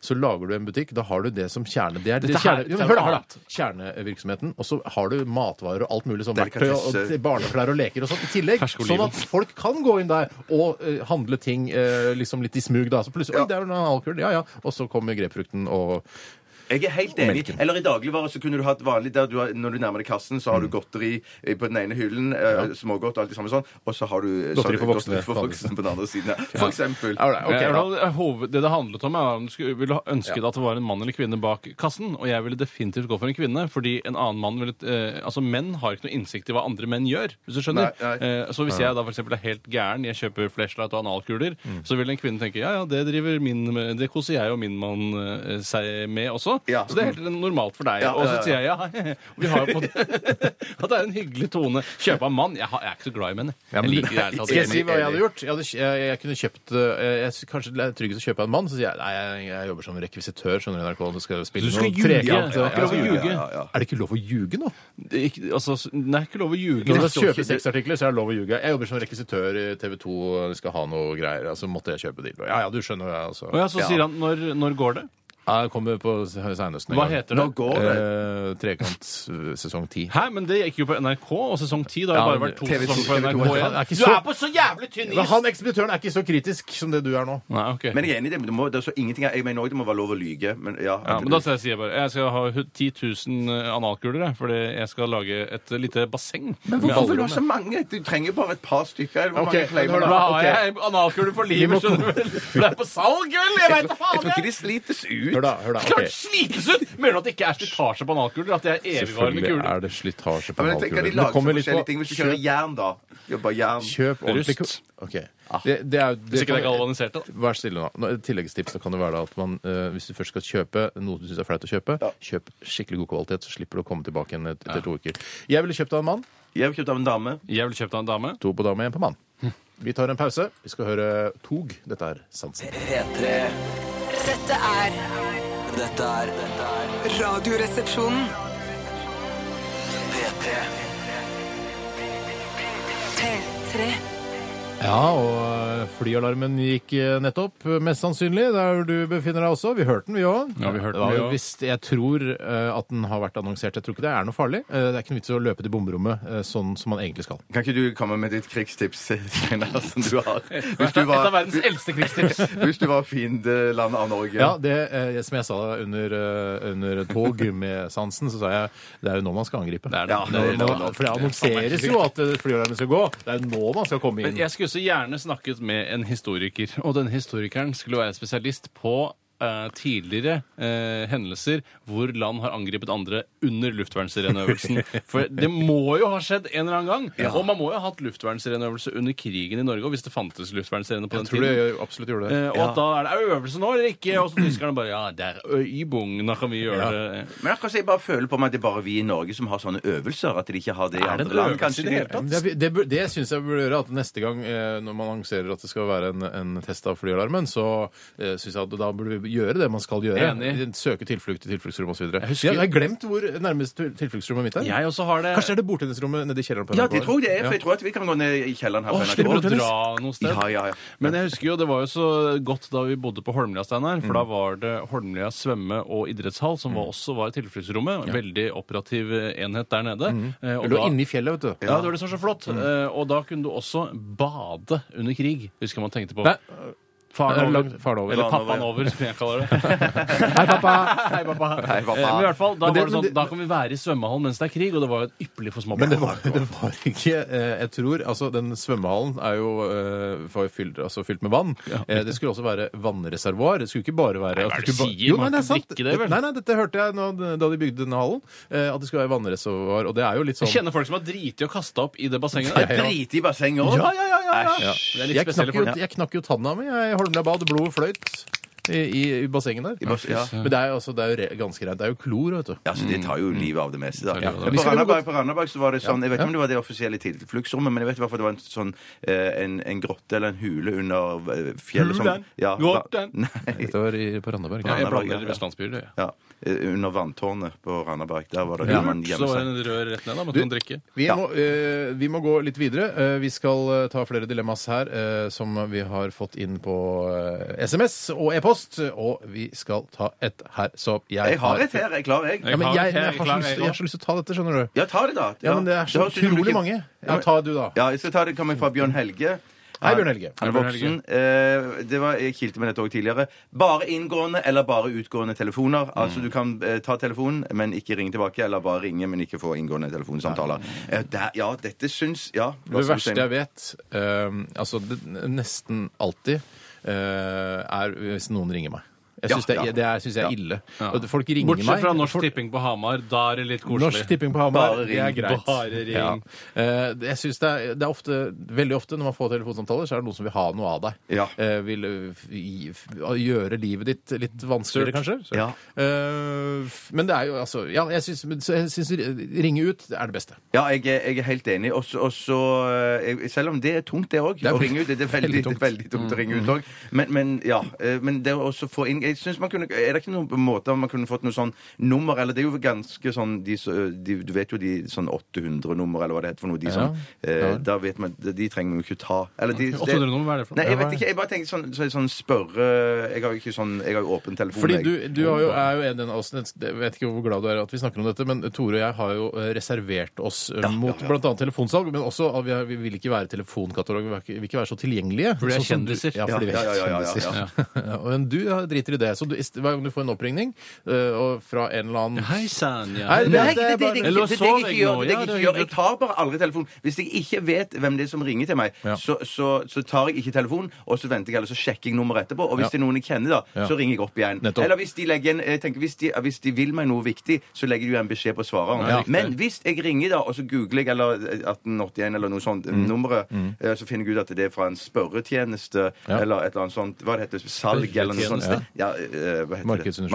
Speaker 3: så lager du en butikk. Da har du det som kjerne... Det er, det
Speaker 4: Dette her-
Speaker 3: kjerne jo, men
Speaker 4: dette er
Speaker 3: hør, da,
Speaker 4: noe
Speaker 3: hør, da! Kjernevirksomheten. Og så har du matvarer og alt mulig sånn verktøy og,
Speaker 5: Delikatesse.
Speaker 3: og barneklær og leker og sånt i tillegg.
Speaker 4: Ferske
Speaker 3: Sånn
Speaker 4: oliven.
Speaker 3: at folk kan gå inn der og eh, handle ting eh, liksom litt i smug, da. Så plutselig Oi, det er jo en analkule! Ja ja. Og så kommer grepfrukten og
Speaker 5: Jeg er helt enig. Eller i dagligvarer så kunne du hatt vanlig der du har, Når du nærmer deg kassen, så
Speaker 3: Mm.
Speaker 5: har du godteri eh, på den ene hyllen, eh, smågodt og alt det samme sånn, og så har du eh,
Speaker 3: Godteri
Speaker 5: sånn-
Speaker 3: for voksne.
Speaker 5: for voksne på den andre siden. Ja. For eksempel.
Speaker 3: Ja, det er- ok,
Speaker 4: Jeg-
Speaker 3: da.
Speaker 4: jeg- eh, hoved- det det handlet om, er om du skulle, ville ønske at det var en mann eller kvinne bak kassen. Og jeg ville definitivt gå for en kvinne, fordi en annen mann ville eh, Altså, menn har ikke noe innsikt i hva andre menn gjør, hvis du skjønner.
Speaker 5: Nei,
Speaker 4: Eh,
Speaker 5: nei.
Speaker 4: så hvis jeg da for eksempel er helt gæren, jeg kjøper flashlight og analkuler,
Speaker 3: Mm.
Speaker 4: så vil en kvinne tenke ja ja, det driver min med- Det koser jeg og min mann eh, seg med også.
Speaker 5: Ja.
Speaker 4: Så det er helt normalt for deg.
Speaker 5: Ja,
Speaker 4: og så
Speaker 5: ja, ja.
Speaker 4: sier jeg ja, (laughs) vi har jo på (laughs) At det er en hyggelig tone. Kjøpe av mann. Jeg, har, jeg er ikke så glad i menn, jeg.
Speaker 3: Ja, men-
Speaker 4: jeg liker ærlig talt
Speaker 3: Skal jeg
Speaker 4: ikke
Speaker 3: si
Speaker 4: menn.
Speaker 3: hva jeg hadde gjort? Jeg, hadde, jeg, jeg kunne kjøpt eh, jeg, sy- Kanskje det er tryggest å kjøpe en mann. Så sier jeg nei, jeg, jeg jobber som rekvisitør. Skjønner du, NRK, og skal jeg spille
Speaker 4: Du skal
Speaker 3: noe
Speaker 4: ljuge.
Speaker 3: trekant,
Speaker 4: Det er ikke lov å
Speaker 3: ja, ja,
Speaker 4: ljuge.
Speaker 3: ja. Er det ikke lov å ljuge nå?
Speaker 4: Det er ikke, altså, s- det er ikke lov å
Speaker 3: Når
Speaker 4: ljuge.
Speaker 3: du skal
Speaker 4: Det står
Speaker 3: kjøpe
Speaker 4: ikke-
Speaker 3: sexartikler, så er det lov å ljuge. Jeg jobber som rekvisitør i TV 2, og de skal ha noe greier. Altså måtte jeg kjøpe dildo. Ja ja, du skjønner. Ja, altså.
Speaker 4: Å ja, så sier han når, når går det?
Speaker 3: Ja, jeg kommer på seinhøsten.
Speaker 4: Hva heter det?
Speaker 5: Nå går det.
Speaker 3: Trekant eh, sesong ti.
Speaker 4: Hæ, men det gikk jo på NRK, og sesong 10 da har
Speaker 3: Ja,
Speaker 4: det bare vært to
Speaker 3: TV2
Speaker 4: sesonger på
Speaker 3: TV2
Speaker 4: NRK
Speaker 3: er
Speaker 4: igjen.
Speaker 3: ikke
Speaker 4: Du
Speaker 3: så-
Speaker 4: er på så jævlig tynn
Speaker 3: Men
Speaker 4: is!
Speaker 3: han ekspeditøren er ikke så kritisk som det du er nå.
Speaker 4: Nei, ok.
Speaker 5: Men jeg er enig i det. men Det, må, det er så ingenting Jeg mener òg det må være lov å lyge. Men ja,
Speaker 4: Ja, men da sier jeg bare jeg skal ha hu- 10 000 analkuler, jeg, fordi jeg skal lage et eh, lite basseng.
Speaker 5: Men
Speaker 4: med alle
Speaker 5: hvorfor vil du ha
Speaker 4: rommene.
Speaker 5: så mange? Du trenger bare et par stykker. eller Hvor
Speaker 3: Ok,
Speaker 5: mange pleier
Speaker 3: men
Speaker 4: Da
Speaker 5: man å ha?
Speaker 4: har
Speaker 5: Ok.
Speaker 4: jeg analkuler for
Speaker 3: Vi må
Speaker 4: livet, skjønner du vel? For det er på salg, vel? Jeg veit da
Speaker 5: Jeg tror
Speaker 4: faen!
Speaker 5: ikke
Speaker 4: jeg.
Speaker 5: de slites ut.
Speaker 3: Hør da, hør da. ok.
Speaker 4: Klart slites ut! Mener du at det ikke er slitasje på analkuler? At det er evigvarende
Speaker 3: Selvfølgelig
Speaker 4: kuler?
Speaker 3: er det slitasje
Speaker 5: Ja,
Speaker 3: på
Speaker 5: men jeg tenker De
Speaker 3: halvkulen. Det
Speaker 5: lager så
Speaker 3: kommer litt
Speaker 5: forskjellige ting.
Speaker 3: på
Speaker 5: Hvis du kjører
Speaker 3: kjøp-
Speaker 5: jern, da Jobber jern.
Speaker 3: Kjøp ordentlig
Speaker 4: Rust.
Speaker 3: ku-
Speaker 4: Ah.
Speaker 3: Ok. Det, det er, jo- det
Speaker 4: Hvis ikke det er
Speaker 3: kan-
Speaker 4: galvanisert, da.
Speaker 3: Vær stille nå. nå. et Tilleggstips da kan det være da at man, eh, hvis du først skal kjøpe noe du syns er flaut å kjøpe, kjøp skikkelig god kvalitet, så slipper du å komme tilbake igjen et- etter to uker. Jeg ville kjøpt av en mann.
Speaker 5: Jeg har kjøpt av en dame.
Speaker 4: Jeg ville kjøpt av en dame.
Speaker 3: To på dame, én på mann.
Speaker 4: Hm.
Speaker 3: Vi tar en pause. Vi skal høre Tog. Dette er Sansen.
Speaker 2: P3
Speaker 6: Dette er
Speaker 2: Dette er dette er
Speaker 6: Radioresepsjonen.
Speaker 2: P3
Speaker 6: P3.
Speaker 3: Ja, og flyalarmen gikk eh, nettopp, mest sannsynlig, der du befinner deg også. Vi hørte den, vi òg.
Speaker 4: Ja, vi hørte
Speaker 3: Det var
Speaker 4: den, vi
Speaker 3: jo
Speaker 4: også.
Speaker 3: visst- Jeg tror eh, at den har vært annonsert. Jeg tror ikke det er noe farlig. Eh, Det er ikke noe vits i å løpe til bomrommet eh, sånn som man egentlig skal.
Speaker 5: Kan ikke du komme med ditt krigstips, Steinar, (laughs) som du har?
Speaker 4: Et
Speaker 5: Hvis du
Speaker 4: av et av
Speaker 5: var,
Speaker 4: verdens eldste krigstips.
Speaker 5: hvis du var fiendeland av Norge.
Speaker 3: Ja, det, eh, Som jeg sa under, eh, under tog med sansen, så sa jeg det er jo nå man skal angripe.
Speaker 4: Det er det.
Speaker 3: Når
Speaker 4: Det er
Speaker 3: man, for det annonseres jo at eh, flyalarmen skal gå. Det er jo nå man skal komme
Speaker 4: Men
Speaker 3: inn.
Speaker 4: jeg skulle så gjerne snakket med en historiker, og denne historikeren skulle være spesialist på eh, tidligere eh, hendelser hvor land har angrepet andre under
Speaker 3: (laughs)
Speaker 4: luftvernsireneøvelsen. For det må jo ha skjedd en eller annen gang. Og man må jo ha hatt luftvernsireneøvelse under krigen i Norge, og hvis det fantes luftvernsirener på den
Speaker 3: Tror du
Speaker 4: tiden.
Speaker 3: jeg absolutt gjorde det?
Speaker 4: Eh, og at da er det øvelse nå, eller ikke? Og så tyskerne bare Ja, det er øybong, da kan vi gjøre det.
Speaker 5: Men akkurat så jeg bare føler på meg at det er bare vi i Norge som har sånne øvelser. At de ikke har det i
Speaker 4: Er det
Speaker 5: andre
Speaker 4: en
Speaker 5: land.
Speaker 4: øvelse
Speaker 5: Kanskje
Speaker 4: i det
Speaker 5: de
Speaker 4: hele tatt?
Speaker 3: Det, det, bur- det syns jeg burde gjøre. At neste gang eh, når man annonserer at det skal være en, en test av flyalarmen, så eh, syns jeg at da burde vi gjøre det man skal gjøre.
Speaker 4: Enig.
Speaker 3: Søke tilflukt i tilfluktsrom osv. Jeg,
Speaker 4: husker-
Speaker 3: jeg har glemt hvor nærmeste tilfluktsrommet mitt er.
Speaker 4: Jeg også har det.
Speaker 3: Kanskje er det bordtennisrommet nede i kjelleren på
Speaker 5: Ja,
Speaker 3: NRK?
Speaker 5: det tror jeg det er, for jeg tror at vi kan gå ned i kjelleren her. på
Speaker 4: Åh,
Speaker 5: NRK.
Speaker 4: slipper du å dra noe sted?
Speaker 5: Ja, ja, ja.
Speaker 4: Men jeg husker jo, det var jo så godt da vi bodde på Holmlia, Steinar. For da
Speaker 3: Mm.
Speaker 4: var det Holmlia svømme- og idrettshall, som var, også var tilfluktsrommet. En veldig operativ eh, enhet der nede. Eh, og
Speaker 3: Det Mm. lå
Speaker 4: da-
Speaker 3: inne i Mm. fjellet, vet du.
Speaker 4: ja, det var det som var så flott. Eh, og da kunne du også bade under krig, husker jeg man tenkte på.
Speaker 3: Nei,
Speaker 4: Faren
Speaker 3: Eller
Speaker 4: over.
Speaker 3: langt- faren over.
Speaker 4: Eller
Speaker 5: Faren
Speaker 4: pappaen over, som jeg
Speaker 3: (laughs)
Speaker 4: kaller det.
Speaker 3: Hei, pappa! Hei, pappa.
Speaker 5: Nei, hva
Speaker 4: Eh, Men i
Speaker 5: faen.
Speaker 4: hvert fall, da,
Speaker 3: Men det-
Speaker 4: var det sånn,
Speaker 3: men det-
Speaker 4: da kan vi være i svømmehallen mens det er krig, og det var jo et ypperlig for
Speaker 3: Men det
Speaker 4: småbarn.
Speaker 3: var, det var ikke eh, Jeg tror altså Den svømmehallen er jo eh, var jo fylt, altså, fylt med vann. Eh, det skulle også være vannreservoar. Det skulle ikke bare være
Speaker 4: Nei, hva er
Speaker 3: at
Speaker 4: det
Speaker 3: skulle ba-
Speaker 4: du sier?
Speaker 3: Jo,
Speaker 4: Man
Speaker 3: nei, det er
Speaker 4: kan
Speaker 3: sant.
Speaker 4: drikke det, vel?
Speaker 3: Nei, nei, dette hørte jeg nå, da de bygde denne hallen, eh, at det skulle være vannreservoar. Og det er jo litt
Speaker 4: Jeg
Speaker 3: sånn
Speaker 4: kjenner folk som har driti og kasta opp i det bassenget.
Speaker 5: Jeg
Speaker 4: der.
Speaker 5: driter i bassenget òg.
Speaker 3: Ja, ja, ja, ja, ja.
Speaker 5: Æsj.
Speaker 3: ja.
Speaker 4: Det er litt
Speaker 3: Jeg
Speaker 4: spesielle
Speaker 3: knakk, jo,
Speaker 4: folk.
Speaker 3: jeg knakk jo tanna mi jeg i Holmlia bad. Blodet fløyt i, i, i bassenget der.
Speaker 5: bass- ja.
Speaker 3: Men det er, jo altså, det er jo re ganske rent. Det er jo klor, vet du.
Speaker 5: Ja, så Det tar jo livet av det meste. da.
Speaker 4: livet av det.
Speaker 5: På
Speaker 3: Vi skal jo
Speaker 5: Randaberg,
Speaker 3: godt-
Speaker 5: på Randaberg så var det sånn, Jeg vet ikke om det var det offisielle tilfluktsrommet, men jeg vet i hvert fall det var en sånn eh, en, en grotte eller en hule under eh, fjellet som
Speaker 4: Hulen?
Speaker 5: ja,
Speaker 4: Grotten?
Speaker 5: (laughs) Nei,
Speaker 3: Dette var i, på Randaberg.
Speaker 4: Ja,
Speaker 3: Ja.
Speaker 4: jeg blander østlandsbyer, jeg.
Speaker 5: ja, eh, Under vanntårnet på Randaberg. Der var det
Speaker 4: Ja,
Speaker 5: ja, man
Speaker 4: så
Speaker 5: gjemmer
Speaker 4: var det
Speaker 5: seg.
Speaker 4: en rør rett ned, da. Man kan drikke.
Speaker 3: Vi, må, eh, vi må gå litt videre. Eh, vi skal eh, ta flere dilemmas her eh, som vi har fått inn på eh, SMS og e-post. Og vi skal ta et her som jeg,
Speaker 5: Jeg har et her. Jeg er klar, jeg.
Speaker 3: Ja, men
Speaker 4: Jeg har
Speaker 3: jeg,
Speaker 4: et her,
Speaker 3: jeg, har så
Speaker 4: klar,
Speaker 3: lyst,
Speaker 4: jeg.
Speaker 3: jeg har så lyst til å ta dette, skjønner du.
Speaker 5: Ja, ta det, da.
Speaker 3: Ja, men Det er så
Speaker 5: høres ut som du
Speaker 3: utrolig
Speaker 5: ikke-
Speaker 3: mange. Ja, ta du, da.
Speaker 5: Ja, jeg skal ta det. Kommer fra Bjørn Helge.
Speaker 3: Hei, Bjørn Helge.
Speaker 5: Han
Speaker 4: Hei,
Speaker 5: er
Speaker 4: Bjørn Helge.
Speaker 5: voksen. Eh, Det var, jeg kilte med dette òg tidligere. Bare inngående eller bare utgående telefoner. Altså Du kan eh, ta telefonen, men ikke ringe tilbake, eller bare ringe, men ikke få inngående telefonsamtaler. Eh, der, ja, dette syns Ja.
Speaker 3: Det verste jeg vet, eh, altså det, nesten alltid, eh, er hvis noen ringer meg. Jeg
Speaker 5: Ja,
Speaker 3: syns det,
Speaker 5: ja.
Speaker 3: er- det er- synes jeg er ille. Og Folk ringer meg.
Speaker 4: Bortsett fra Norsk
Speaker 3: folk-
Speaker 4: Tipping på Hamar. Da er det litt
Speaker 3: Norsk
Speaker 4: koselig.
Speaker 3: Tipping på Hamar,
Speaker 5: Bare
Speaker 3: det er
Speaker 5: ring,
Speaker 3: greit.
Speaker 4: bare ring.
Speaker 3: Eh, det- jeg synes det, er, det er ofte, veldig ofte når man får telefonsamtaler, så er det noen som vil ha noe av deg.
Speaker 5: Ja.
Speaker 3: Eh, vil eh, f- gi- f- gjøre livet ditt litt vanskeligere, kanskje.
Speaker 5: Ja.
Speaker 3: Eh, f- men det er jo altså Ja, jeg syns, men så jeg syns ri- ringe ut er det beste.
Speaker 5: Ja, jeg er, jeg er helt enig. Også, også, eh, jeg- selv om det er tungt, det òg,
Speaker 3: er
Speaker 5: å ringe ut. Det er veldig,
Speaker 3: veldig
Speaker 5: det
Speaker 3: tungt. Mm,
Speaker 5: er veldig tungt å ringe ut òg. Men, men ja. eh, Men det å også få inn jeg synes man kunne, Er det ikke noen måte om man kunne fått noe sånn nummer Eller det er jo ganske sånn de, så- de, Du vet jo de sånn 800-nummer, eller hva det heter for noe. De som eh,
Speaker 3: Ja.
Speaker 5: Da vet man De trenger man jo ikke ta. Eller de, det-
Speaker 4: 800 nummer, hva er det for noe?
Speaker 5: Nei, jeg vet ikke. Jeg bare tenker sånn, så, sånn spørre Jeg har jo ikke sånn Jeg har jo åpen telefon.
Speaker 3: Fordi
Speaker 5: jeg.
Speaker 3: du, du har jo, er jo en av oss Jeg vet ikke hvor glad du er at vi snakker om dette, men Tore og jeg har jo eh, reservert oss eh, mot
Speaker 5: ja.
Speaker 3: blant bl.a. telefonsalg, men også at vi, har, vi vil ikke være telefonkatalog, vi vil ikke- vil ikke være så tilgjengelige.
Speaker 4: Fordi vi er
Speaker 3: sånn som du-
Speaker 4: kjendiser.
Speaker 3: Ja, fordi vi
Speaker 5: Ja,
Speaker 3: er
Speaker 5: ja, ja, ja, ja.
Speaker 3: kjendiser. (laughs) Ja, Men du ja, driter i det. Så du, ist- hver gang du får en oppringning eh, og fra en eller annen
Speaker 4: Hei sann, ja.
Speaker 3: Nei,
Speaker 5: Nei, det,
Speaker 3: det er
Speaker 5: det, det,
Speaker 3: bare-
Speaker 5: det, det,
Speaker 4: Eller
Speaker 5: det, det,
Speaker 4: sov
Speaker 5: jeg
Speaker 4: jeg
Speaker 5: ikke
Speaker 4: nå,
Speaker 5: gjør,
Speaker 4: ja, det
Speaker 5: det jeg
Speaker 4: er
Speaker 5: ikke gjør. Jeg
Speaker 4: hyggelig.
Speaker 5: tar bare aldri telefonen. Hvis jeg ikke vet hvem det er som ringer til meg,
Speaker 3: Ja.
Speaker 5: så, så, så tar jeg ikke telefonen, og så venter jeg, eller så sjekker jeg nummeret etterpå. Og hvis
Speaker 3: Ja.
Speaker 5: det er noen jeg kjenner, da,
Speaker 3: Ja.
Speaker 5: så ringer jeg opp igjen.
Speaker 3: Nettopp.
Speaker 5: Eller hvis de, legger en, jeg tenker, hvis, de, hvis de vil meg noe viktig, så legger de jo en beskjed på svareren.
Speaker 4: Ja, riktig.
Speaker 5: Men hvis jeg ringer, da, og så googler jeg eller 1881 eller noe
Speaker 4: Mm.
Speaker 5: sånt, nummeret, eh, så finner jeg ut at det er fra en spørretjeneste
Speaker 3: Ja.
Speaker 5: eller et eller annet sånt, hva det heter, salg eller noe sånt.
Speaker 4: Spørretjeneste?
Speaker 5: Ja, eh, hva heter det?
Speaker 3: Markedsundersøkelse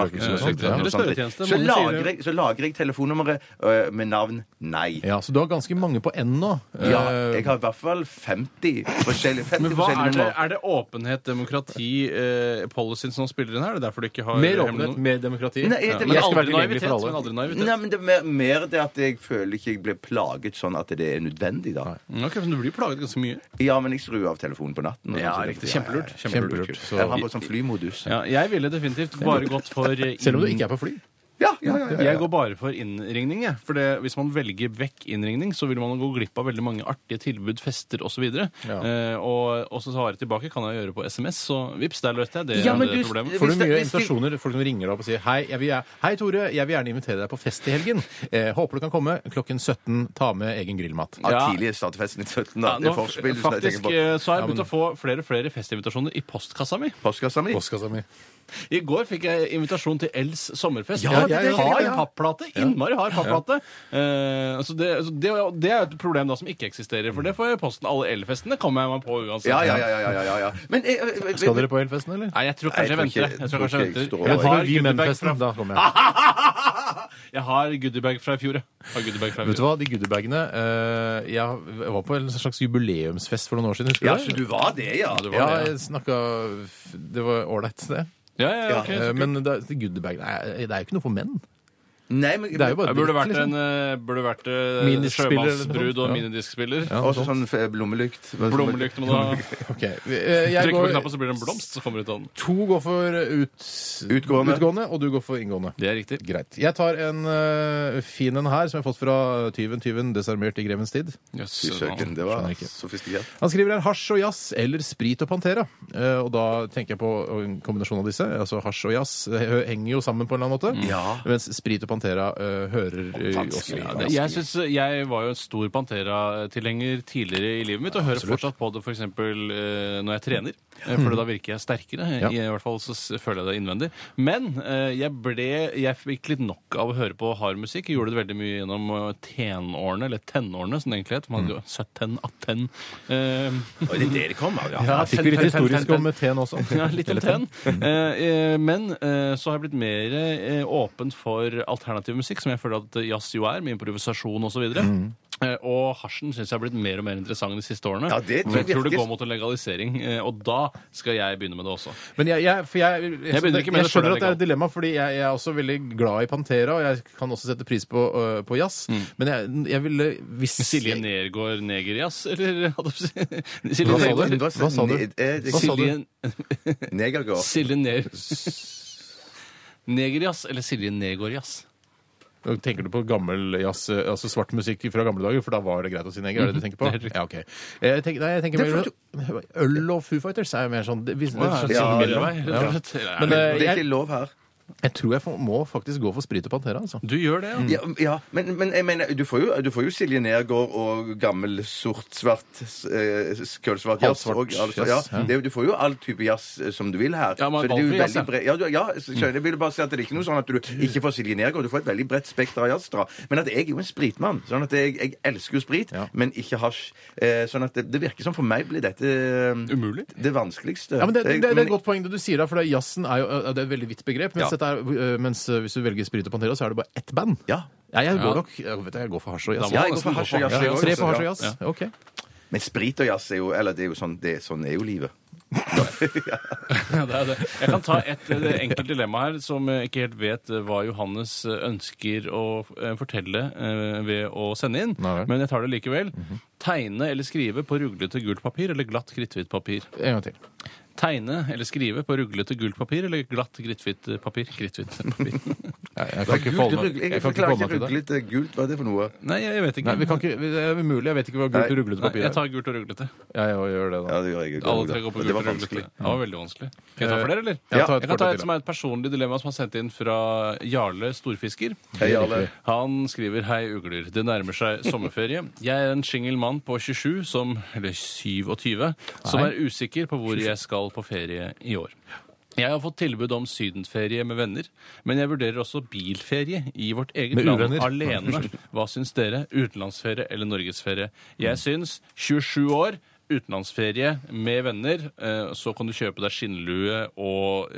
Speaker 3: og sånt,
Speaker 5: Markedsundersøkelse
Speaker 3: ja.
Speaker 5: eller noe sånt.
Speaker 4: Spørretjeneste,
Speaker 5: Så
Speaker 4: mange sier det.
Speaker 5: lager jeg så lagrer jeg telefonnummeret øh, med navn nei.
Speaker 3: Ja, Så du har ganske mange på N nå.
Speaker 5: Ja,
Speaker 3: Eh,
Speaker 5: jeg har i hvert fall 50 forskjellige, 50
Speaker 4: Men hva
Speaker 5: forskjellige
Speaker 4: er det,
Speaker 5: nummer.
Speaker 4: er det åpenhet, demokrati, eh, policyen som spiller inn her? Er det derfor du ikke har
Speaker 3: Mer
Speaker 4: hemmelig
Speaker 3: åpenhet,
Speaker 4: nummer?
Speaker 3: mer demokrati.
Speaker 5: Nei, jeg-
Speaker 3: Ja.
Speaker 5: det-
Speaker 4: Men
Speaker 3: jeg skal
Speaker 4: aldri
Speaker 3: være tilgjengelig
Speaker 4: naivitet,
Speaker 3: for alle.
Speaker 4: men aldri naivitet.
Speaker 5: Nei, men det er mer, mer det at jeg føler ikke jeg blir plaget sånn at det er nødvendig, da.
Speaker 4: Mm, Ok, men Du blir plaget ganske mye.
Speaker 5: Ja, men jeg skrur av telefonen på natten. og sånt.
Speaker 4: Kjempelurt.
Speaker 3: Kjempelurt.
Speaker 4: Kjempelurt.
Speaker 3: Så-
Speaker 5: Jeg har bare sånn flymodus.
Speaker 4: Ja, jeg ville definitivt bare gått for eh,
Speaker 3: Selv om du
Speaker 4: inn-
Speaker 3: ikke er på fly.
Speaker 5: Ja, ja, ja, ja,
Speaker 4: Jeg går bare for innringning. Jeg. For det, hvis man velger vekk innringning, så vil man gå glipp av veldig mange artige tilbud, fester osv. Og, ja.
Speaker 3: Ja.
Speaker 4: eh, og, og så svare tilbake kan jeg gjøre på SMS, så vips, der løste jeg det,
Speaker 5: Ja, men
Speaker 4: det
Speaker 5: du-
Speaker 4: problemet.
Speaker 3: Får du
Speaker 5: Hvis det-
Speaker 3: mye
Speaker 5: hvis det-
Speaker 3: invitasjoner? Folk som ringer deg opp og sier hei, jeg vil, gjerne- hei Tore, jeg vil gjerne invitere deg på fest i helgen. Eh, håper du kan komme klokken 17. Ta med egen grillmat.
Speaker 5: ja.
Speaker 4: Ja.
Speaker 5: Tidlig starter festen i 17, da.
Speaker 4: Ja, nå,
Speaker 5: det er forspill. som jeg tenker
Speaker 4: faktisk
Speaker 5: på.
Speaker 4: eh, så har jeg begynt å få flere og flere festinvitasjoner i postkassa mi.
Speaker 5: Postkassa mi.
Speaker 3: Postkassa mi.
Speaker 4: I går fikk jeg invitasjon til Els sommerfest.
Speaker 3: Ja,
Speaker 4: jeg,
Speaker 3: det- det-
Speaker 4: har
Speaker 3: det-
Speaker 4: en papplate! Innmari har papplate. Eh, altså det, altså det, det er jo et problem da som ikke eksisterer, for det får jeg i posten. Alle elfestene kommer jeg meg på uansett.
Speaker 5: Ja, ja, ja. ja, ja, ja, ja. Men eh, jeg, jeg, jeg,
Speaker 3: Skal dere på Elfesten, eller?
Speaker 4: Nei, jeg tror kanskje jeg,
Speaker 5: Nei, jeg
Speaker 4: venter.
Speaker 5: tror ikke-
Speaker 4: Jeg tror kanskje jeg
Speaker 5: jeg
Speaker 4: venter. Jeg
Speaker 5: tror ikke jeg står
Speaker 4: har
Speaker 3: Vi
Speaker 4: goodiebag
Speaker 3: Menfesten,
Speaker 4: fra
Speaker 3: da kommer jeg.
Speaker 4: Jeg har goodiebag fra (laughs) i fjor, jeg. Har goodiebag fra i
Speaker 3: Vet du
Speaker 4: fjor.
Speaker 3: hva, de goodiebagene eh, Jeg var på en slags jubileumsfest for noen år siden.
Speaker 5: ja,
Speaker 3: Husker
Speaker 5: så
Speaker 3: du det?
Speaker 5: du var det, ja.
Speaker 4: det
Speaker 3: Ja,
Speaker 4: var det, ja.
Speaker 3: jeg snakka Det var ålreit, det.
Speaker 4: Ja, ja, ja, ok,
Speaker 3: Eh,
Speaker 4: så kult.
Speaker 3: Men det- goodiebagene er- Det er jo ikke noe for menn.
Speaker 5: Nei, men,
Speaker 3: Det er jo bare
Speaker 4: Jeg burde
Speaker 3: dritt,
Speaker 4: vært en eh, burde vært eh,
Speaker 3: Minidiskspiller eller noe sånt.
Speaker 4: sjømannsbrud og
Speaker 3: Ja.
Speaker 4: minidiskspiller.
Speaker 3: Ja.
Speaker 5: Også sånn f- lommelykt.
Speaker 4: Blomlykt må du ha.
Speaker 3: Ok, vi- eh, jeg
Speaker 4: Trykker
Speaker 3: går-
Speaker 4: på knappen, så blir det en blomst som kommer ut av den.
Speaker 3: To går for ut,
Speaker 5: Utgående.
Speaker 3: og du går for inngående.
Speaker 4: Det er riktig.
Speaker 3: Greit. Jeg tar en eh, fin en her, som jeg har fått fra tyven Tyven desarmert i grevens tid.
Speaker 4: Jøss.
Speaker 5: Fy søken, det var
Speaker 3: Skjønner ikke.
Speaker 5: sofistikert.
Speaker 3: Han skriver her hasj og jazz eller sprit og Pantera. Eh, og da tenker jeg på en kombinasjon av disse. Altså hasj og jazz eh, henger jo sammen på en eller
Speaker 4: Mm.
Speaker 3: annen måte.
Speaker 5: Ja.
Speaker 3: Mens sprit og Pantera eh, hører eh, også
Speaker 5: Vanskelig,
Speaker 4: Ja, det- Jeg, synes, jeg var jo en stor Pantera-tilhenger tidligere i livet mitt, og hører fortsatt på det f.eks. når jeg trener. eh, For da virker jeg sterkere.
Speaker 3: Ja.
Speaker 4: I hvert fall så s- føler jeg det innvendig. Men eh, jeg ble Jeg fikk litt nok av å høre på hard musikk. Jeg gjorde det veldig mye gjennom eh, tenårene, eller tenårene som det egentlig het. Man hadde jo 17, 18 eh,
Speaker 5: Oi, det er det det kom av, ja.
Speaker 3: Ja, fikk vi litt historisk om teen også.
Speaker 4: (laughs)
Speaker 3: (laughs)
Speaker 4: Ja, litt om ten. Eh, eh, men eh, så har jeg blitt mer eh, åpen for alternativ musikk, som jeg føler at jazz jo er, med improvisasjon osv. Eh, og hasjen syns jeg har blitt mer og mer interessant de siste årene.
Speaker 5: Ja, det tror jeg
Speaker 4: jeg tror det
Speaker 5: virkelig.
Speaker 4: går mot en legalisering, eh, og da skal jeg begynne med det også.
Speaker 3: Men jeg, jeg, for jeg, jeg,
Speaker 4: Jeg begynner ikke med det før
Speaker 3: skjønner at det er
Speaker 4: det er legalt.
Speaker 3: et dilemma, fordi jeg, jeg er også veldig glad i Pantera, og jeg kan også sette pris på, øh, på jazz. Men jeg, jeg ville hvis
Speaker 4: Mm. Silje Nergård Negerjazz, eller (laughs)
Speaker 3: Hva
Speaker 4: hva sa
Speaker 3: sa
Speaker 4: Silje
Speaker 3: du?
Speaker 4: Nergård-
Speaker 3: Hva sa du? Hva sa du?
Speaker 4: Silje-
Speaker 5: Negergård.
Speaker 4: Silje Ner... (laughs) Negerjazz eller Silje Nergård-jazz?
Speaker 3: Nå Tenker du på gammel jazz, øh, altså svart musikk fra gamle dager, for da var det greit å si neger?
Speaker 5: Mhm.
Speaker 3: Er det det du tenker på?
Speaker 4: Det er helt riktig.
Speaker 3: Ja, ok. Eh, Jeg tenker, nei, jeg tenker mer Øl og Foo Fighters er jo mer sånn det, hvis, det er sånn
Speaker 5: Ja,
Speaker 3: sånn
Speaker 4: Middelvei,
Speaker 3: mellom.
Speaker 4: rett og slett. Eller er
Speaker 3: Men
Speaker 4: det-
Speaker 3: øh,
Speaker 5: Det er
Speaker 3: jeg,
Speaker 5: ikke lov her.
Speaker 3: jeg tror jeg får- må faktisk gå for Sprit og Pantera, altså.
Speaker 4: Du gjør det, ja?
Speaker 5: Ja, ja men, men jeg mener, du får jo, du får jo Silje Nergård og gammel sort-svart eh, Kølsvart jazz.
Speaker 3: Halvsvart
Speaker 5: og alt-
Speaker 3: jazz,
Speaker 5: ja, det, er jo- du får jo all type jazz eh, som du vil her.
Speaker 4: Ja, man
Speaker 5: så det er jo
Speaker 4: valgfri jazz,
Speaker 5: veldig
Speaker 4: ja.
Speaker 5: bredt. Ja, du- ja, så skjønner jeg. jeg vil bare si at det er ikke noe sånn at du ikke får Silje Nergård. Du får et veldig bredt spekter av jazz. Da. Men at jeg er jo en spritmann. Sånn at jeg, jeg elsker jo sprit,
Speaker 3: Ja.
Speaker 5: men ikke hasj. Eh, sånn at det, det virker som for meg blir dette eh,
Speaker 4: Umulig.
Speaker 5: Det vanskeligste.
Speaker 3: Ja, men det, det,
Speaker 5: Jeg-
Speaker 3: det er
Speaker 5: men-
Speaker 3: et godt poeng det du sier, da, for det er jazzen er jo øh, det er et veldig vidt begrep. Mens,
Speaker 5: Ja.
Speaker 3: dette er, øh, mens øh, hvis du velger Sprit og Pantera, så er det bare ett band.
Speaker 5: Ja.
Speaker 3: Ja, jeg går
Speaker 4: Ja.
Speaker 3: nok jeg vet, jeg går for hasj og jazz.
Speaker 4: Da må
Speaker 5: Ja, jeg går for hasj og jazz.
Speaker 3: Ja,
Speaker 5: jeg også.
Speaker 3: tre på hasj og
Speaker 5: Ja.
Speaker 3: jazz. Ok.
Speaker 5: Men sprit og jazz er jo Eller det er jo sånn, det, er- sånn er jo livet.
Speaker 4: Ja, det er det. Jeg kan ta et eh, enkelt dilemma her, som jeg ikke helt vet eh, hva Johannes eh, ønsker å eh, fortelle eh, ved å sende inn,
Speaker 3: Nei vel. Mhm.
Speaker 4: men jeg tar det likevel. Tegne eller skrive på ruglete gult papir eller glatt kritthvitt papir?
Speaker 3: En gang til.
Speaker 4: Tegne eller skrive på ruglete gult papir eller glatt kritthvitt eh, papir? Kritthvitt papir.
Speaker 3: (laughs) Nei, Jeg kan ikke
Speaker 5: Gult,
Speaker 3: forholde meg, jeg
Speaker 5: rugle- jeg
Speaker 3: kan ikke
Speaker 5: forklarer
Speaker 3: forholde meg
Speaker 5: ikke
Speaker 3: til det.
Speaker 5: ruglete gult. Hva er det for noe?
Speaker 4: Nei, jeg vet ikke.
Speaker 3: Nei, vi kan ikke, det er umulig. Jeg vet ikke hva gult
Speaker 5: Nei.
Speaker 3: og ruglete
Speaker 4: Nei,
Speaker 3: papir
Speaker 4: jeg
Speaker 3: er.
Speaker 4: tar gult og ruglete.
Speaker 3: Ja, jeg gjør det,
Speaker 5: Ja,
Speaker 3: da.
Speaker 5: det gjør jeg ikke.
Speaker 4: Alle tre går på
Speaker 5: Det
Speaker 4: gult
Speaker 5: var
Speaker 4: og ruglete.
Speaker 5: vanskelig.
Speaker 4: Det var veldig vanskelig. Kan jeg ta flere, eller?
Speaker 3: Ja, ta et
Speaker 4: jeg kan ta
Speaker 3: kort
Speaker 4: et
Speaker 3: til,
Speaker 4: som er et personlig dilemma som er sendt inn fra Jarle Storfisker.
Speaker 5: Hei, alle.
Speaker 4: Han skriver Hei, ugler. Det nærmer
Speaker 3: (laughs)
Speaker 4: seg sommerferie. Jeg er en singel mann på 27, som, eller 27, som er usikker på hvor jeg skal på ferie i år. Jeg har fått tilbud om sydenferie med venner, men jeg vurderer også bilferie i vårt eget
Speaker 3: Med
Speaker 4: land
Speaker 3: uvenner.
Speaker 4: alene.
Speaker 3: (laughs)
Speaker 4: Hva syns dere? Utenlandsferie eller norgesferie? Jeg
Speaker 3: Mm.
Speaker 4: syns 27 år Utenlandsferie med venner, eh, så kan du kjøpe deg skinnlue og,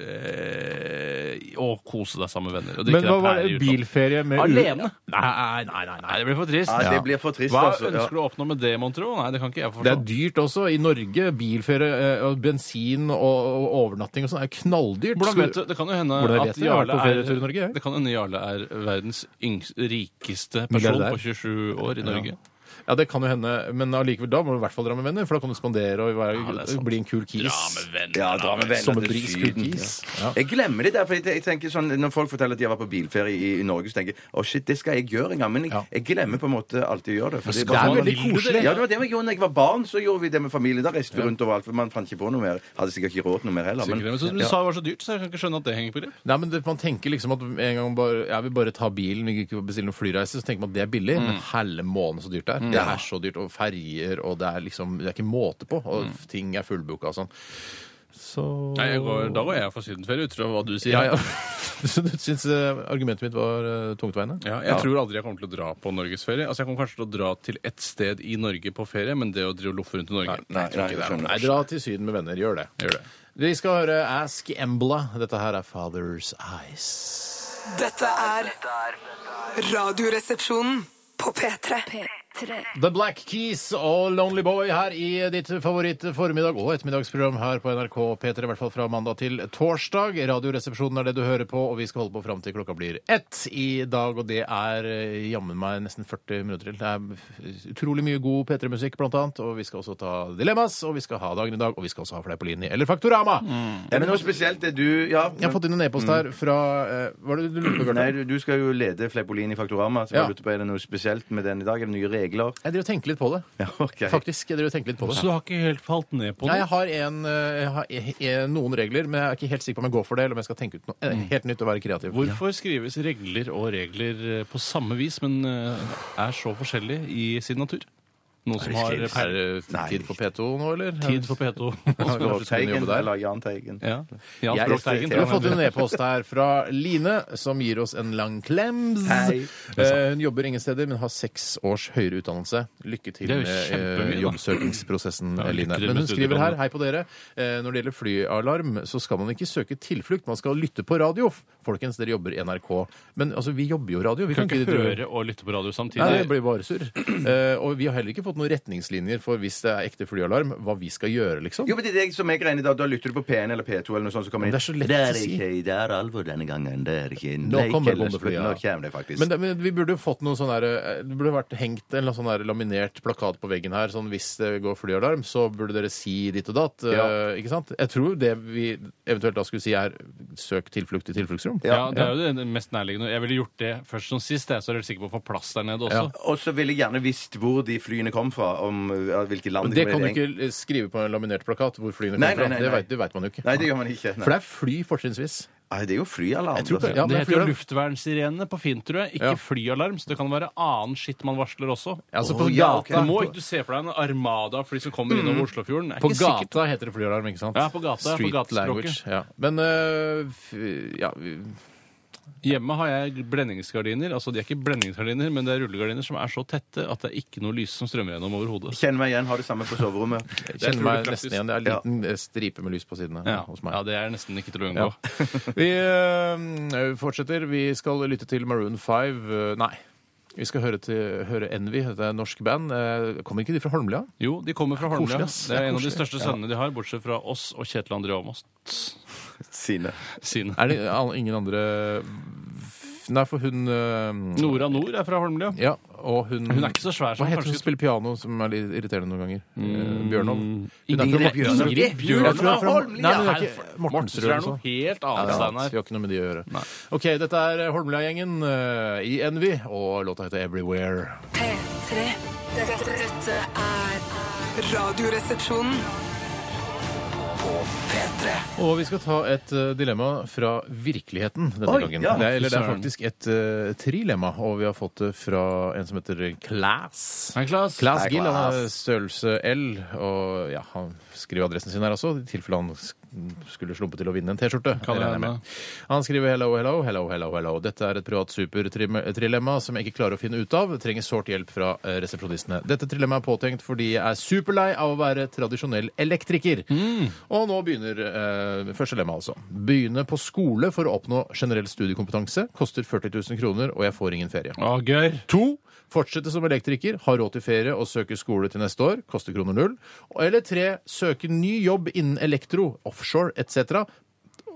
Speaker 4: eh, og kose deg sammen med venner. Og drikke
Speaker 3: Men
Speaker 4: deg
Speaker 3: hva var
Speaker 4: pære i
Speaker 3: det?
Speaker 4: utlandet.
Speaker 3: Bilferie med
Speaker 4: Alene?
Speaker 3: Nei, nei, nei.
Speaker 4: Nei,
Speaker 3: nei.
Speaker 4: det blir for trist.
Speaker 5: Ja, det blir for trist,
Speaker 4: Hva
Speaker 5: altså. Ja.
Speaker 4: ønsker du å oppnå med det, mon tro? Nei, det kan ikke jeg
Speaker 3: Det
Speaker 4: forstå.
Speaker 3: er dyrt også. I Norge, bilferie eh, og bensin og, og overnatting og sånn er knalldyrt.
Speaker 4: Hvordan vet du? Det kan jo hende
Speaker 3: Hvordan vet
Speaker 4: at
Speaker 3: jeg? Jeg har vært
Speaker 4: Jarle
Speaker 3: på ferietur i Norge,
Speaker 4: er,
Speaker 3: jeg.
Speaker 4: det kan hende Jarle er verdens yngst, rikeste person
Speaker 3: Milliardær.
Speaker 4: på 27 år i Norge.
Speaker 3: Ja, det kan jo hende, men allikevel da må du i hvert fall dra med venner, for da kan du spandere og være,
Speaker 4: Ja, det er sant.
Speaker 3: bli en kul kis.
Speaker 4: Dra med venner.
Speaker 5: Ja, dra med venner
Speaker 3: Som en
Speaker 5: til
Speaker 3: bris kul
Speaker 5: Syden.
Speaker 3: kis. Ja.
Speaker 5: Jeg glemmer det der, for jeg, jeg tenker sånn, når folk forteller at de har vært på bilferie i, i Norge, så tenker jeg å shit, det skal jeg gjøre en gang. Men jeg,
Speaker 3: Ja.
Speaker 5: jeg glemmer på en måte alltid å gjøre det. for
Speaker 3: Det
Speaker 5: bare
Speaker 3: er
Speaker 5: sånn-
Speaker 3: veldig koselig.
Speaker 5: Ja, det var det vi gjorde da jeg var barn. Så gjorde vi det med familien. Da reiste vi rundt overalt. For man fant ikke på noe mer. Hadde sikkert ikke råd til noe mer heller.
Speaker 4: Sikkert, Men, så, som du sa det var så dyrt, så jeg kan ikke skjønne at det henger på grep.
Speaker 3: Nei, men det, Man tenker liksom at en gang bare, jeg vil bare ta bilen, vil ikke bestille noen flyreise, så tenker man at det er billig,
Speaker 4: Mm.
Speaker 3: men hele måneden så dyrt det er. Det er så dyrt, og ferger, og det er liksom, det er ikke måte på, og ting er fullbooka og sånn. Så
Speaker 4: Mm. Nei, jeg går, da går jeg for sydenferie, ut fra hva du sier.
Speaker 3: Ja, (laughs) ja. Så du syns eh, argumentet mitt var eh, tungtveiende?
Speaker 4: Ja, jeg tror aldri jeg kommer til å dra på norgesferie. Altså, jeg kommer kanskje til å dra til ett sted i Norge på ferie, men det å drive og loffe rundt i Norge
Speaker 5: nei,
Speaker 4: jeg tror
Speaker 5: nei,
Speaker 4: ikke det er
Speaker 5: skjønner.
Speaker 4: noe.
Speaker 3: Nei, dra til Syden med venner. Gjør det.
Speaker 4: Gjør det.
Speaker 3: Vi skal høre Ask Embla. Dette her er Father's Eyes.
Speaker 6: Dette er Radioresepsjonen på P3. P3.
Speaker 3: The Black Keys og Lonely Boy her i ditt favoritt-formiddag- og ettermiddagsprogram her på NRK P3, i hvert fall fra mandag til torsdag. Radioresepsjonen er det du hører på, og vi skal holde på fram til klokka blir ett i dag. Og det er eh, jammen meg nesten 40 minutter til. Det er utrolig mye god P3-musikk, blant annet. Og vi skal også ta Dilemmas, og vi skal ha Dagen i dag, og vi skal også ha Fleipolini eller Faktorama.
Speaker 5: Ja, men noe spesielt det du Ja.
Speaker 3: Jeg har fått inn en e-post her fra eh, Hva er det du lurer på,
Speaker 5: Nei,
Speaker 3: Bjørnar?
Speaker 5: du, du skal jo lede Fleipolini Faktorama. Så
Speaker 3: Ja.
Speaker 5: jeg lurte på, Er det noe spesielt med den i dag? Er det nye
Speaker 3: (laughs)
Speaker 5: regler?
Speaker 3: Jeg driver og tenker litt på det.
Speaker 5: Ja, ok.
Speaker 3: Faktisk. Jeg driver og tenker litt på det.
Speaker 4: Så du har ikke helt falt ned på
Speaker 3: Nei,
Speaker 4: det?
Speaker 3: jeg har, en, eh, jeg har eh, eh, noen regler, men jeg er ikke helt sikker på om jeg går for det, eller om jeg skal tenke ut noe eh, helt nytt og være kreativ.
Speaker 4: Mm. Hvorfor skrives regler og regler eh, på samme vis, men eh, er så forskjellig i sin natur? Noen som har
Speaker 3: er
Speaker 4: per
Speaker 3: det eh, tid for P2 nå, eller?
Speaker 4: tid for P2.
Speaker 3: (laughs) Kanskje du
Speaker 5: Og
Speaker 3: skulle
Speaker 5: Teigen,
Speaker 3: jobbe der?
Speaker 5: eller Jahn Teigen.
Speaker 4: Ja. Jan
Speaker 5: Jeg
Speaker 4: Språk Teigen,
Speaker 5: respekterer
Speaker 3: Vi har fått
Speaker 4: tror jeg.
Speaker 3: en e- e-post her fra Line, som gir oss en lang klems.
Speaker 5: Hei.
Speaker 3: Eh, Hun jobber ingen steder, men har seks års høyere utdannelse. Lykke til
Speaker 4: Det er jo
Speaker 3: med eh,
Speaker 4: kjempemye, da.
Speaker 3: jobbsøkingsprosessen,
Speaker 4: Ja, lykke
Speaker 3: Line.
Speaker 4: til med
Speaker 3: Men hun skriver
Speaker 4: studieplanen.
Speaker 3: her, hei på dere, eh, når det gjelder flyalarm, så skal man ikke søke tilflukt, man skal lytte på radio. Folkens, dere jobber i NRK. Men altså, vi jobber jo radio. Vi
Speaker 4: Kan
Speaker 3: kan
Speaker 4: ikke
Speaker 3: ikke drive-
Speaker 4: høre og lytte på radio samtidig.
Speaker 3: Nei, det blir bare
Speaker 5: (clears throat)
Speaker 3: surr. Eh, og vi har heller ikke fått noen retningslinjer for hvis det er ekte flyalarm, hva vi skal gjøre, liksom.
Speaker 5: Jo, men det er det som jeg regner da, da lytter du på P1 eller P2 eller noe sånt, så kommer
Speaker 3: Men
Speaker 5: det
Speaker 3: det er så lett
Speaker 5: det
Speaker 3: å
Speaker 5: er
Speaker 3: si.
Speaker 5: ikke, det er alvor denne gangen, det er ikke
Speaker 3: Nå kommer
Speaker 5: eller
Speaker 3: bombeflyet,
Speaker 5: sprutt.
Speaker 3: ja.
Speaker 5: Nå kommer det faktisk.
Speaker 3: Men, det- men vi burde jo fått noen sånn der, eh, Det burde vært hengt en eller annen sånn der laminert plakat på veggen her. Sånn hvis det går flyalarm, så burde dere si ditt og datt. eh,
Speaker 5: Ja.
Speaker 3: Ikke sant? Jeg tror det vi eventuelt da skulle si, er søk tilflukt i tilfluktsrom.
Speaker 4: Ja, det er jo det mest nærliggende. Jeg ville gjort det først som sist, jeg, så er jeg helt sikker på å få plass der nede også.
Speaker 5: Og så ville jeg gjerne visst hvor de flyene kom fra, om ja, hvilket land
Speaker 3: Men
Speaker 5: de
Speaker 3: det kan du ikke skrive på en laminert plakat hvor flyene
Speaker 5: Nei,
Speaker 3: kommer fra.
Speaker 5: nei, nei,
Speaker 3: Det
Speaker 5: nei.
Speaker 3: vet- Det veit man jo ikke.
Speaker 5: Nei, det gjør man ikke.
Speaker 3: For
Speaker 5: Nei.
Speaker 3: det er fly, fortrinnsvis.
Speaker 5: Nei, det er jo flyalarm.
Speaker 3: Jeg tror det,
Speaker 5: altså.
Speaker 3: ja. men
Speaker 4: det heter jo
Speaker 3: flyalarm-
Speaker 4: luftvernsirene på Finn, tror jeg. Ikke
Speaker 3: Ja.
Speaker 4: flyalarm, så det kan være annen skitt man varsler også.
Speaker 3: Altså,
Speaker 5: Å,
Speaker 3: på
Speaker 5: ja,
Speaker 3: gata, Mm.
Speaker 5: ok.
Speaker 4: Du må ikke du se for deg en armada av fly som kommer innover Oslofjorden. Det er
Speaker 3: På
Speaker 4: ikke sikkert.
Speaker 3: gata heter det flyalarm, ikke sant?
Speaker 4: Ja, på gata, på
Speaker 3: Street
Speaker 4: gatespråket.
Speaker 3: language. Ja. Men øh, f- ja, vi-
Speaker 4: Hjemme har jeg blendingsgardiner. Altså, de er ikke blendingsgardiner, men det er rullegardiner som er så tette at det er ikke noe lys som strømmer gjennom overhodet.
Speaker 5: Kjenn meg igjen, har det samme på soverommet.
Speaker 3: jeg
Speaker 4: Det er
Speaker 3: kjenner meg
Speaker 4: utrolig
Speaker 3: nesten
Speaker 4: praktisk.
Speaker 3: igjen. Det er en liten eh, stripe med lys på siden her
Speaker 4: Ja.
Speaker 3: hos meg.
Speaker 4: ja, det er nesten ikke til å unngå.
Speaker 3: Ja. (laughs) Vi øh, fortsetter. Vi skal lytte til Maroon 5. øh, Nei. Vi skal høre, til, høre Envy, dette er et øh, norsk band. Eh, Kommer ikke de fra Holmlia?
Speaker 4: Jo, de kommer fra
Speaker 3: Koselig,
Speaker 4: Holmlia.
Speaker 3: ass.
Speaker 4: Det
Speaker 3: Det
Speaker 4: er
Speaker 3: er
Speaker 4: en av de
Speaker 3: koselig.
Speaker 4: største sønnene de har, bortsett fra oss og Kjetil André Aamodt
Speaker 5: Sine.
Speaker 4: sine.
Speaker 3: Er det all- ingen andre Nei, for hun øh,
Speaker 4: Nora Nord er fra Holmlia.
Speaker 3: Ja, og hun
Speaker 4: Hun er ikke så svær som
Speaker 3: Hva heter hun
Speaker 4: kanskje- Mm.
Speaker 3: som spiller piano, som er litt irriterende noen ganger? Eh, Bjørnov? Hun er
Speaker 4: Ingrid
Speaker 3: fra-
Speaker 4: Bjørnov.
Speaker 3: Ingrid Bjørnov.
Speaker 5: Bjørnov
Speaker 3: Jeg tror hun er fra-
Speaker 5: Holmlia.
Speaker 3: Nei, men hun er ikke Mortensrud
Speaker 4: Mortensrud
Speaker 3: eller
Speaker 4: er
Speaker 3: noe.
Speaker 4: noe helt
Speaker 3: Ja,
Speaker 4: annet.
Speaker 3: sant.
Speaker 4: Steinar.
Speaker 3: Vi har ikke noe med de å gjøre. OK, dette er Holmlia-gjengen eh, i Envy, og låta heter Everywhere.
Speaker 6: P3. Dette, dette er Radioresepsjonen.
Speaker 3: Og vi skal ta et eh, dilemma fra virkeligheten denne
Speaker 5: Oi,
Speaker 3: gangen.
Speaker 5: ja,
Speaker 3: det, er- eller det er
Speaker 4: søren.
Speaker 3: faktisk et eh, trilemma, og vi har fått det fra en som heter Class.
Speaker 4: Hei, Klas.
Speaker 3: Class
Speaker 5: Hei,
Speaker 3: Gill, han er
Speaker 5: Claes.
Speaker 3: størrelse L, og ja, han skriver adressen sin her også, i tilfelle han sk- skulle slumpe til å vinne en T-skjorte.
Speaker 4: Kan
Speaker 3: Det regner jeg
Speaker 4: hende.
Speaker 3: med. Han skriver hello, hello, hello, hello, hello. Dette er et privat supertrilemma som jeg ikke klarer å finne ut av. Trenger sårt hjelp fra eh, resepsjonistene. Dette trilemmaet er påtenkt fordi jeg er superlei av å være tradisjonell elektriker. Og nå begynner eh, første lemma, altså. Begynne på skole for å oppnå generell studiekompetanse. Koster 40 000 kroner, og jeg får ingen ferie.
Speaker 4: Å, gørr.
Speaker 3: To, fortsette som elektriker, ha råd til ferie og søke skole til neste år, koster kroner null. Eller tre, søke ny jobb innen elektro, offshore etc.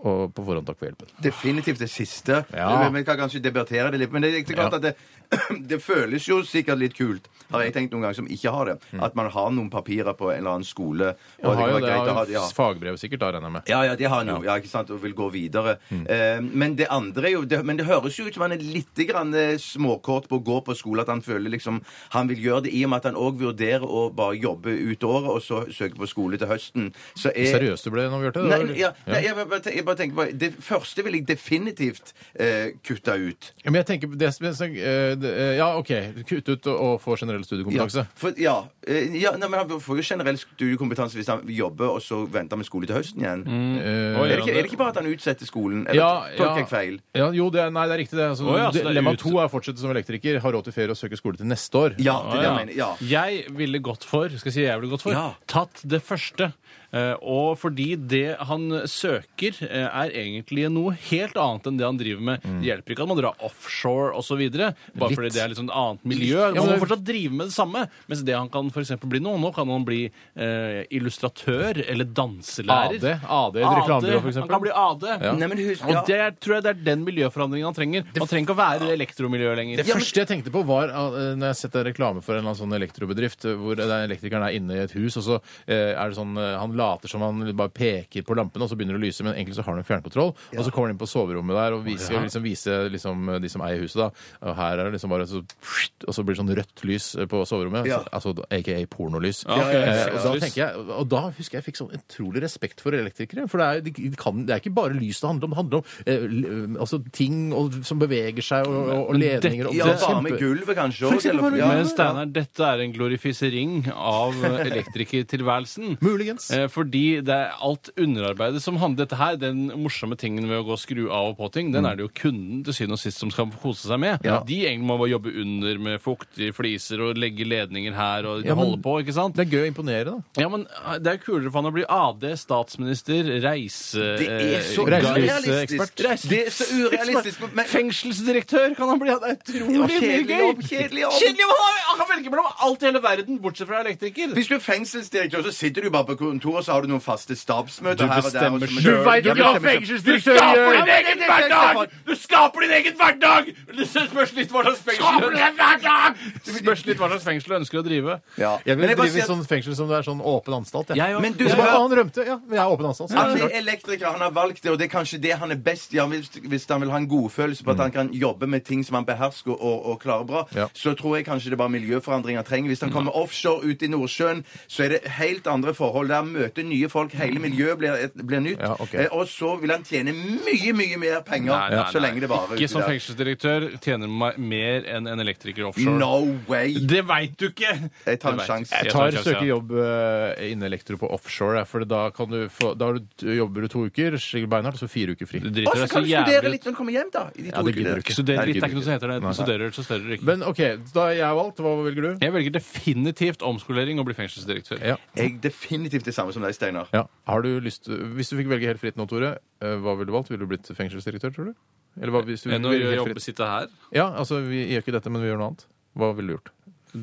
Speaker 3: Og på forhånd takk for hjelpen.
Speaker 5: Definitivt det siste.
Speaker 3: Ja.
Speaker 5: Men Vi kan kanskje debattere det litt, men det er klart
Speaker 3: Ja.
Speaker 5: at det, (clears throat) det føles jo sikkert litt kult, har jeg tenkt noen ganger som ikke har det, at man har noen papirer på en eller annen skole. Og
Speaker 3: Mm. Jeg har jo
Speaker 5: kan være
Speaker 3: det,
Speaker 5: greit å ha
Speaker 3: har
Speaker 5: det,
Speaker 3: jo
Speaker 5: ja.
Speaker 3: fagbrev sikkert, da, regner jeg med.
Speaker 5: Ja, ja, det har han jo, ja, ikke sant, og vil gå videre.
Speaker 3: Mm.
Speaker 5: Eh, men det andre er jo det, Men det høres jo ut som han er litt grann eh, småkort på å gå på skole, at han føler liksom Han vil gjøre det i og med at han òg vurderer å bare jobbe ut året, og så søke på skole til høsten. Så er
Speaker 3: Seriøst du ble når vi gjorde det?
Speaker 5: Eh, Nei,
Speaker 3: da, eller?
Speaker 5: ja, nei
Speaker 3: ja.
Speaker 5: jeg, bare, tenker- jeg bare tenker på Det første vil jeg definitivt eh, kutte ut.
Speaker 3: Ja, Men jeg tenker på det, som- eh, det, eh, Ja, OK. Kutte ut og- og få generell
Speaker 5: Ja,
Speaker 3: studiekompetanse.
Speaker 5: for, ja, eh, ja nei, men Han får jo generell studiekompetanse hvis han jobber og så venter med skole til høsten igjen.
Speaker 4: Mm.
Speaker 5: (laughs)
Speaker 3: Eh,
Speaker 5: Er, det ikke, er det ikke bare at han utsetter skolen? Eller
Speaker 3: Ja,
Speaker 5: tolker
Speaker 3: ja.
Speaker 5: jeg feil?
Speaker 3: Ja, jo, det er, nei, det er riktig, det. Altså,
Speaker 4: Å, ja, så det er
Speaker 3: dilemma
Speaker 4: ut-
Speaker 3: to er fortsette som elektriker, ha råd til ferie og søke skole til neste år.
Speaker 5: Ja, det er
Speaker 4: Ja.
Speaker 5: det jeg mener. Ja.
Speaker 4: Jeg ville gått for, skal jeg si jeg ville gått for,
Speaker 5: Ja.
Speaker 4: tatt det første. Eh, og fordi det han søker, eh, eh, er egentlig noe helt annet enn det han driver med. Det hjelper ikke at man drar offshore osv., bare
Speaker 3: Litt.
Speaker 4: fordi det er litt sånn et annet miljø.
Speaker 3: Ja,
Speaker 4: Man
Speaker 3: men-
Speaker 4: må fortsatt drive med det samme. Mens det han kan for eksempel bli nå, nå kan han bli eh, illustratør eller danselærer.
Speaker 3: AD, AD i et reklamebyrå, for
Speaker 4: Han kan
Speaker 3: eksempel.
Speaker 4: bli AD.
Speaker 5: Nei, men husk,
Speaker 4: Og det er, tror jeg det er den miljøforandringen han trenger. Man trenger ikke å være i elektromiljøet lenger.
Speaker 3: Det første jeg tenkte på, var eh, når jeg har sett en reklame for en eller annen sånn elektrobedrift, eh, hvor den elektrikeren er inne i et hus, og så eh, er det sånn eh, Han later som han bare peker på lampene, og så begynner det å lyse, men egentlig så har han en fjernkontroll. Og så kommer han inn på soverommet der og viser, liksom, viser liksom, de som eier huset, da. Og her er det liksom bare så Og så blir det sånn rødt lys eh, på soverommet.
Speaker 5: Ja.
Speaker 3: Altså aka pornolys.
Speaker 4: ok.
Speaker 3: Eh, og, da
Speaker 4: Sexlys.
Speaker 3: tenker jeg, og da husker jeg jeg fikk sånn utrolig respekt for elektrikere. For det er, de kan, det er ikke bare lys det handler om. Det handler om eh, l- altså, ting og, som beveger seg, og, og, og
Speaker 4: Men
Speaker 3: ledninger. og
Speaker 5: Ja,
Speaker 3: det er
Speaker 5: bare med
Speaker 3: kjempe-
Speaker 5: gulvet, kanskje. også, eller-
Speaker 4: Men
Speaker 5: ja.
Speaker 4: Steinar, dette er en glorifisering
Speaker 5: (laughs)
Speaker 4: av elektrikertilværelsen.
Speaker 3: Muligens.
Speaker 4: Eh, Fordi det er alt underarbeidet som handler dette her. Den morsomme tingen ved å gå og skru av og på ting,
Speaker 5: Mm.
Speaker 4: den er det jo kunden til syvende og sist som skal få kose seg med.
Speaker 3: Ja.
Speaker 4: De egentlig må bare jobbe under med fuktige fliser og legge ledninger her og
Speaker 3: Ja, men-
Speaker 4: holde på, ikke sant?
Speaker 3: Det er gøy å imponere, da.
Speaker 4: Ja, men eh, det er jo kulere for han å bli AD, statsminister, reise...
Speaker 5: Det er så
Speaker 4: eh,
Speaker 3: Reiselivs-
Speaker 5: urealistisk.
Speaker 4: Reiselivsekspert.
Speaker 5: Det er så urealistisk. Men,
Speaker 4: Fengselsdirektør kan han bli. Det er utrolig
Speaker 5: Ja,
Speaker 4: mye
Speaker 5: kjedelig
Speaker 4: gøy.
Speaker 5: jobb, kjedelig jobb.
Speaker 4: Kjedelig jobb. Han kan velge mellom alt i hele verden, bortsett fra elektriker.
Speaker 5: hvis du er fengselsdirektør, så sitter du bare på kontoret, og så har du noen faste stabsmøter her og der. og så-
Speaker 4: selv.
Speaker 5: Ja,
Speaker 4: Du
Speaker 5: bestemmer selv.
Speaker 4: fengselsdirektør
Speaker 5: gjør.
Speaker 4: din
Speaker 5: Ja, men det- det- det-
Speaker 4: Du skaper din egen hverdag! Det spørs litt hva slags fengsel Det spørs litt hva slags fengsel du ønsker å drive.
Speaker 5: Ja.
Speaker 3: Jeg
Speaker 5: Men
Speaker 3: vil
Speaker 5: jeg bare
Speaker 3: drive i
Speaker 5: sier-
Speaker 3: sånn fengsel som det er sånn åpen anstalt. jeg.
Speaker 4: Jeg òg.
Speaker 5: Men du-
Speaker 3: Så
Speaker 5: Ja,
Speaker 3: bare,
Speaker 5: ja.
Speaker 3: «Å, han rømte, ja, men jeg er åpen anstalt. så
Speaker 5: Han
Speaker 3: det er
Speaker 5: er elektriker, han har valgt det, og det er kanskje det han er best i. Han vil- Hvis han vil ha en godfølelse på at han kan jobbe med ting som han behersker og, og klarer bra,
Speaker 3: Mm. Ja. Mm.
Speaker 5: så tror jeg kanskje det er bare miljøforandring han trenger. Hvis han kommer offshore ut i Nordsjøen, så er det helt andre forhold. Der møter nye folk, hele miljøet blir, et- blir nytt.
Speaker 3: Ja, ok.
Speaker 5: Eh, Og så vil han tjene mye, mye mer penger
Speaker 4: Nei, nei,
Speaker 5: så
Speaker 4: nei.
Speaker 5: lenge det varer.
Speaker 4: Ikke
Speaker 5: ute
Speaker 4: som
Speaker 5: der.
Speaker 4: fengselsdirektør tjener meg mer enn en elektriker offshore.
Speaker 5: No way!
Speaker 4: Det veit du ikke!
Speaker 5: Jeg tar en
Speaker 4: Det vet
Speaker 5: sjanse.
Speaker 4: ikke.
Speaker 3: Jeg
Speaker 4: Jeg
Speaker 3: tar
Speaker 4: en sjanse, ja.
Speaker 3: søkejobb eh, innen elektro på offshore, jeg, for da, kan du få, da har du, jobber du to uker, slik beinhardt, og så fire uker fri.
Speaker 4: Du
Speaker 5: Og
Speaker 4: driter
Speaker 5: så
Speaker 4: deg så
Speaker 5: kan du studere
Speaker 4: jævlig
Speaker 5: litt når du kommer hjem, da. I de to
Speaker 3: Ja, det
Speaker 5: ukene.
Speaker 3: gidder du ikke.
Speaker 4: Studerer
Speaker 3: Nei,
Speaker 4: litt,
Speaker 3: det
Speaker 4: det er ikke noe som heter det.
Speaker 3: Nei.
Speaker 4: Du studerer, så studerer du ikke.
Speaker 3: Men OK, da jeg har valgt, hva velger du?
Speaker 4: Jeg velger definitivt omskolering og blir fengselsdirektør.
Speaker 3: Ja.
Speaker 5: Jeg definitivt det samme som deg, Steinar.
Speaker 3: Ja. Har du lyst, hvis du fikk velge helt fritt nå, Tore, eh, hva ville du valgt? Ville du blitt fengselsdirektør, tror du? Eller hva, hvis du
Speaker 4: Enn å
Speaker 3: velger helt
Speaker 4: jobbe
Speaker 3: fritt?
Speaker 4: sitte her.
Speaker 3: Ja, altså, vi gjør ikke dette, men vi gjør noe annet. Hva ville du gjort?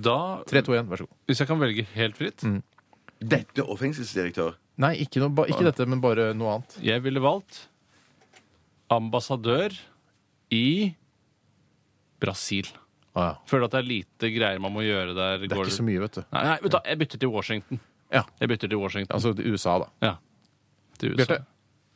Speaker 4: Da,
Speaker 3: 3, 2, 1, vær så god.
Speaker 4: hvis jeg kan velge helt fritt
Speaker 5: Dette og fengselsdirektør.
Speaker 3: Nei, ikke, noe, ba, ikke dette, men bare noe annet.
Speaker 4: Jeg ville valgt ambassadør i Brasil.
Speaker 3: Ah, ja.
Speaker 4: Føler at det er lite greier man må gjøre der.
Speaker 3: Det er ikke så mye, vet du.
Speaker 4: Nei, nei, vet du, hva, jeg bytter til Washington.
Speaker 3: Ja.
Speaker 4: Jeg bytter til Washington.
Speaker 3: Altså til USA, da.
Speaker 4: Ja. Til USA.
Speaker 3: Bjarte,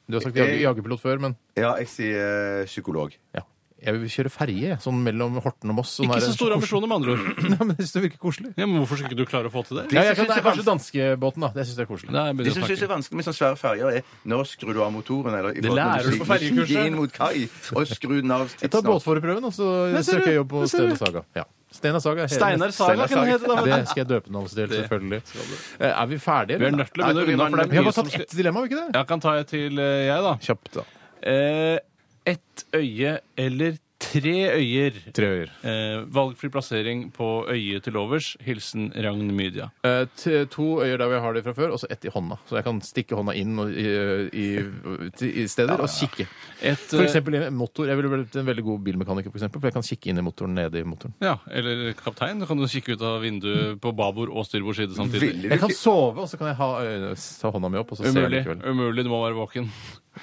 Speaker 3: du har sagt jag- jagerpilot før, men
Speaker 5: Ja, jeg sier eh, psykolog.
Speaker 3: ja. jeg vil kjøre ferje jeg, sånn mellom Horten og Moss. Sånn
Speaker 4: Ikke
Speaker 3: der-
Speaker 4: så store ambisjoner, med andre ord.
Speaker 3: Nei, men jeg synes det virker koselig.
Speaker 4: Ja, men hvorfor skulle ikke du klare å få til det?
Speaker 3: Ja, jeg kan, det
Speaker 5: som
Speaker 3: er
Speaker 5: synes er
Speaker 3: kanskje danskebåten, da. Det synes jeg er koselig.
Speaker 4: Nei, jeg
Speaker 5: Det
Speaker 4: begynner
Speaker 5: som
Speaker 4: å
Speaker 5: synes er
Speaker 4: snakke.
Speaker 5: vanskelig med sånne svære ferger, er når skrur du av motoren? Eller, i
Speaker 4: Det
Speaker 5: forhold til
Speaker 4: lærer du på
Speaker 5: når stiger
Speaker 4: fergekurset.
Speaker 5: inn mot kai, og skru den av
Speaker 3: Jeg tar
Speaker 5: tidsnavn.
Speaker 3: båtforprøven, og så
Speaker 4: ser du.
Speaker 3: søker jeg jobb på
Speaker 4: Der ser du.
Speaker 3: Stena Saga. Ja. Stena Saga er hele-
Speaker 4: Steinar Saga kan det hete. da,
Speaker 3: Det
Speaker 4: vet du.
Speaker 3: skal jeg døpe navnet til, selvfølgelig. Eh, Er vi ferdige? eller?
Speaker 4: Vi er nødt til å begynne å runde av, for det
Speaker 3: Vi har
Speaker 4: er mye
Speaker 3: bare
Speaker 4: som
Speaker 3: tatt
Speaker 4: skal
Speaker 3: ett dilemma, har vi ikke det?
Speaker 4: Jeg kan ta et til, eh, jeg, da.
Speaker 3: Kjapt, da.
Speaker 4: Eh, ett øye eller tre øyer?
Speaker 3: Tre øyer.
Speaker 4: Eh, valgfri plassering på øyet til overs. Hilsen Ragn Mydia.
Speaker 3: Eh, t- to øyer der hvor jeg har det fra før, og så ett i hånda. Så jeg kan stikke hånda inn og, i, i, til- i steder og kikke.
Speaker 4: Et,
Speaker 3: For eksempel i en motor. Jeg ville blitt en veldig god bilmekaniker, for, eksempel, for jeg kan kikke inn i motoren, nede i motoren.
Speaker 4: eh, Ja, eller kaptein. Da kan du kikke ut av vinduet på babord og styrbord side samtidig.
Speaker 5: Ville du
Speaker 3: Jeg kan
Speaker 5: ikke-
Speaker 3: sove, og så kan jeg ha øynene, ta hånda mi opp, og så ser jeg
Speaker 4: Umulig.
Speaker 3: likevel.
Speaker 4: Umulig, du må være våken.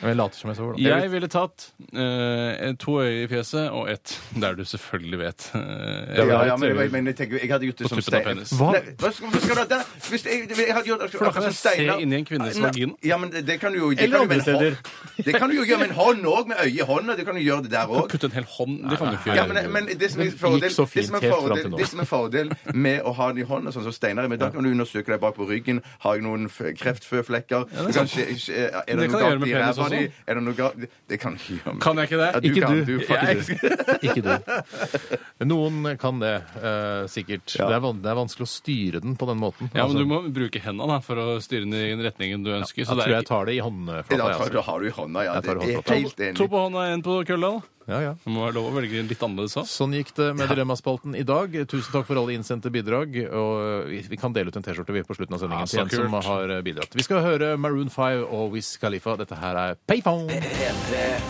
Speaker 3: Men jeg later som jeg sover, da.
Speaker 4: Jeg ville tatt eh, to øyer i fjeset og ett der du selvfølgelig vet. Eh, jeg
Speaker 5: Ja,
Speaker 4: ville
Speaker 5: ja,
Speaker 4: hatt
Speaker 5: men jeg,
Speaker 4: øyer-
Speaker 5: vet, men jeg, tenker, jeg hadde gjort det
Speaker 4: På
Speaker 5: som
Speaker 4: tuppen av
Speaker 5: Steinar.
Speaker 4: penis.
Speaker 3: Hva?
Speaker 5: Nei, Hva skal, hvorfor skal du ha det? Hvis jeg, jeg hadde gjort akkurat
Speaker 4: For da kan
Speaker 5: som
Speaker 4: jeg se
Speaker 5: Steinar.
Speaker 4: inn i en kvinnes
Speaker 5: Nei,
Speaker 4: vagina.
Speaker 5: Ja, men det det kan du jo det
Speaker 3: Eller
Speaker 5: kan du jo
Speaker 3: andre
Speaker 5: med en hånd. Det kan du jo gjøre med en hånd òg, med øyet i hånda. Det kan du gjøre det der òg.
Speaker 4: Kutte en hel hånd. Det kan du ikke
Speaker 5: Ja,
Speaker 4: gjøre.
Speaker 5: men, men det som er
Speaker 3: gikk
Speaker 5: fordel,
Speaker 3: så fint
Speaker 5: det som er
Speaker 3: helt fram til
Speaker 5: fordel,
Speaker 3: nå.
Speaker 5: det som er fordel med å ha den i hånda, sånn som Steinar er, men da kan du undersøke deg bak på ryggen. Har jeg noen f- kreftføflekker? Du kan ikke- ikke-
Speaker 4: Det
Speaker 5: Er det noe
Speaker 4: kan jeg gjøre
Speaker 5: galt
Speaker 4: med
Speaker 5: i
Speaker 4: penis
Speaker 5: ræva
Speaker 4: også.
Speaker 5: di? Er det noe galt Det kan jeg gjøre.
Speaker 4: Kan jeg ikke det?
Speaker 5: Ja, du
Speaker 3: Ikke
Speaker 5: kan,
Speaker 3: du.
Speaker 5: du, fuck
Speaker 3: Jeg- Ikke du. (laughs) Noen kan det, eh, sikkert. Det, er van det er vanskelig å styre den på den måten.
Speaker 4: Ja, men
Speaker 3: Altså,
Speaker 4: du må bruke hendene da, for å styre den i den retningen du ønsker.
Speaker 3: jeg
Speaker 4: Så det
Speaker 3: tror
Speaker 4: er
Speaker 3: jeg tar det i
Speaker 5: Da
Speaker 3: håndflata. jeg,
Speaker 5: tar,
Speaker 3: altså.
Speaker 5: da har du i hånda, ja.
Speaker 3: Jeg
Speaker 5: Det
Speaker 3: tar
Speaker 5: er
Speaker 3: håndflata.
Speaker 5: helt
Speaker 4: ikke- to
Speaker 5: enig.
Speaker 4: på hånda, én på kølla. da.
Speaker 3: Ja, ja.
Speaker 4: Det må være lov å velge litt annerledes òg.
Speaker 3: Sånn gikk det med Dilemmaspalten i dag. Tusen takk for alle innsendte bidrag. Og eh, vi- vi kan dele ut en T-skjorte vi på slutten av sendingen til
Speaker 4: Ja, så
Speaker 3: en som
Speaker 4: kult.
Speaker 3: har eh, bidratt. Vi skal høre Maroon 5 og Wiz Khalifa. Dette her er Payphone.
Speaker 2: P3 Dette er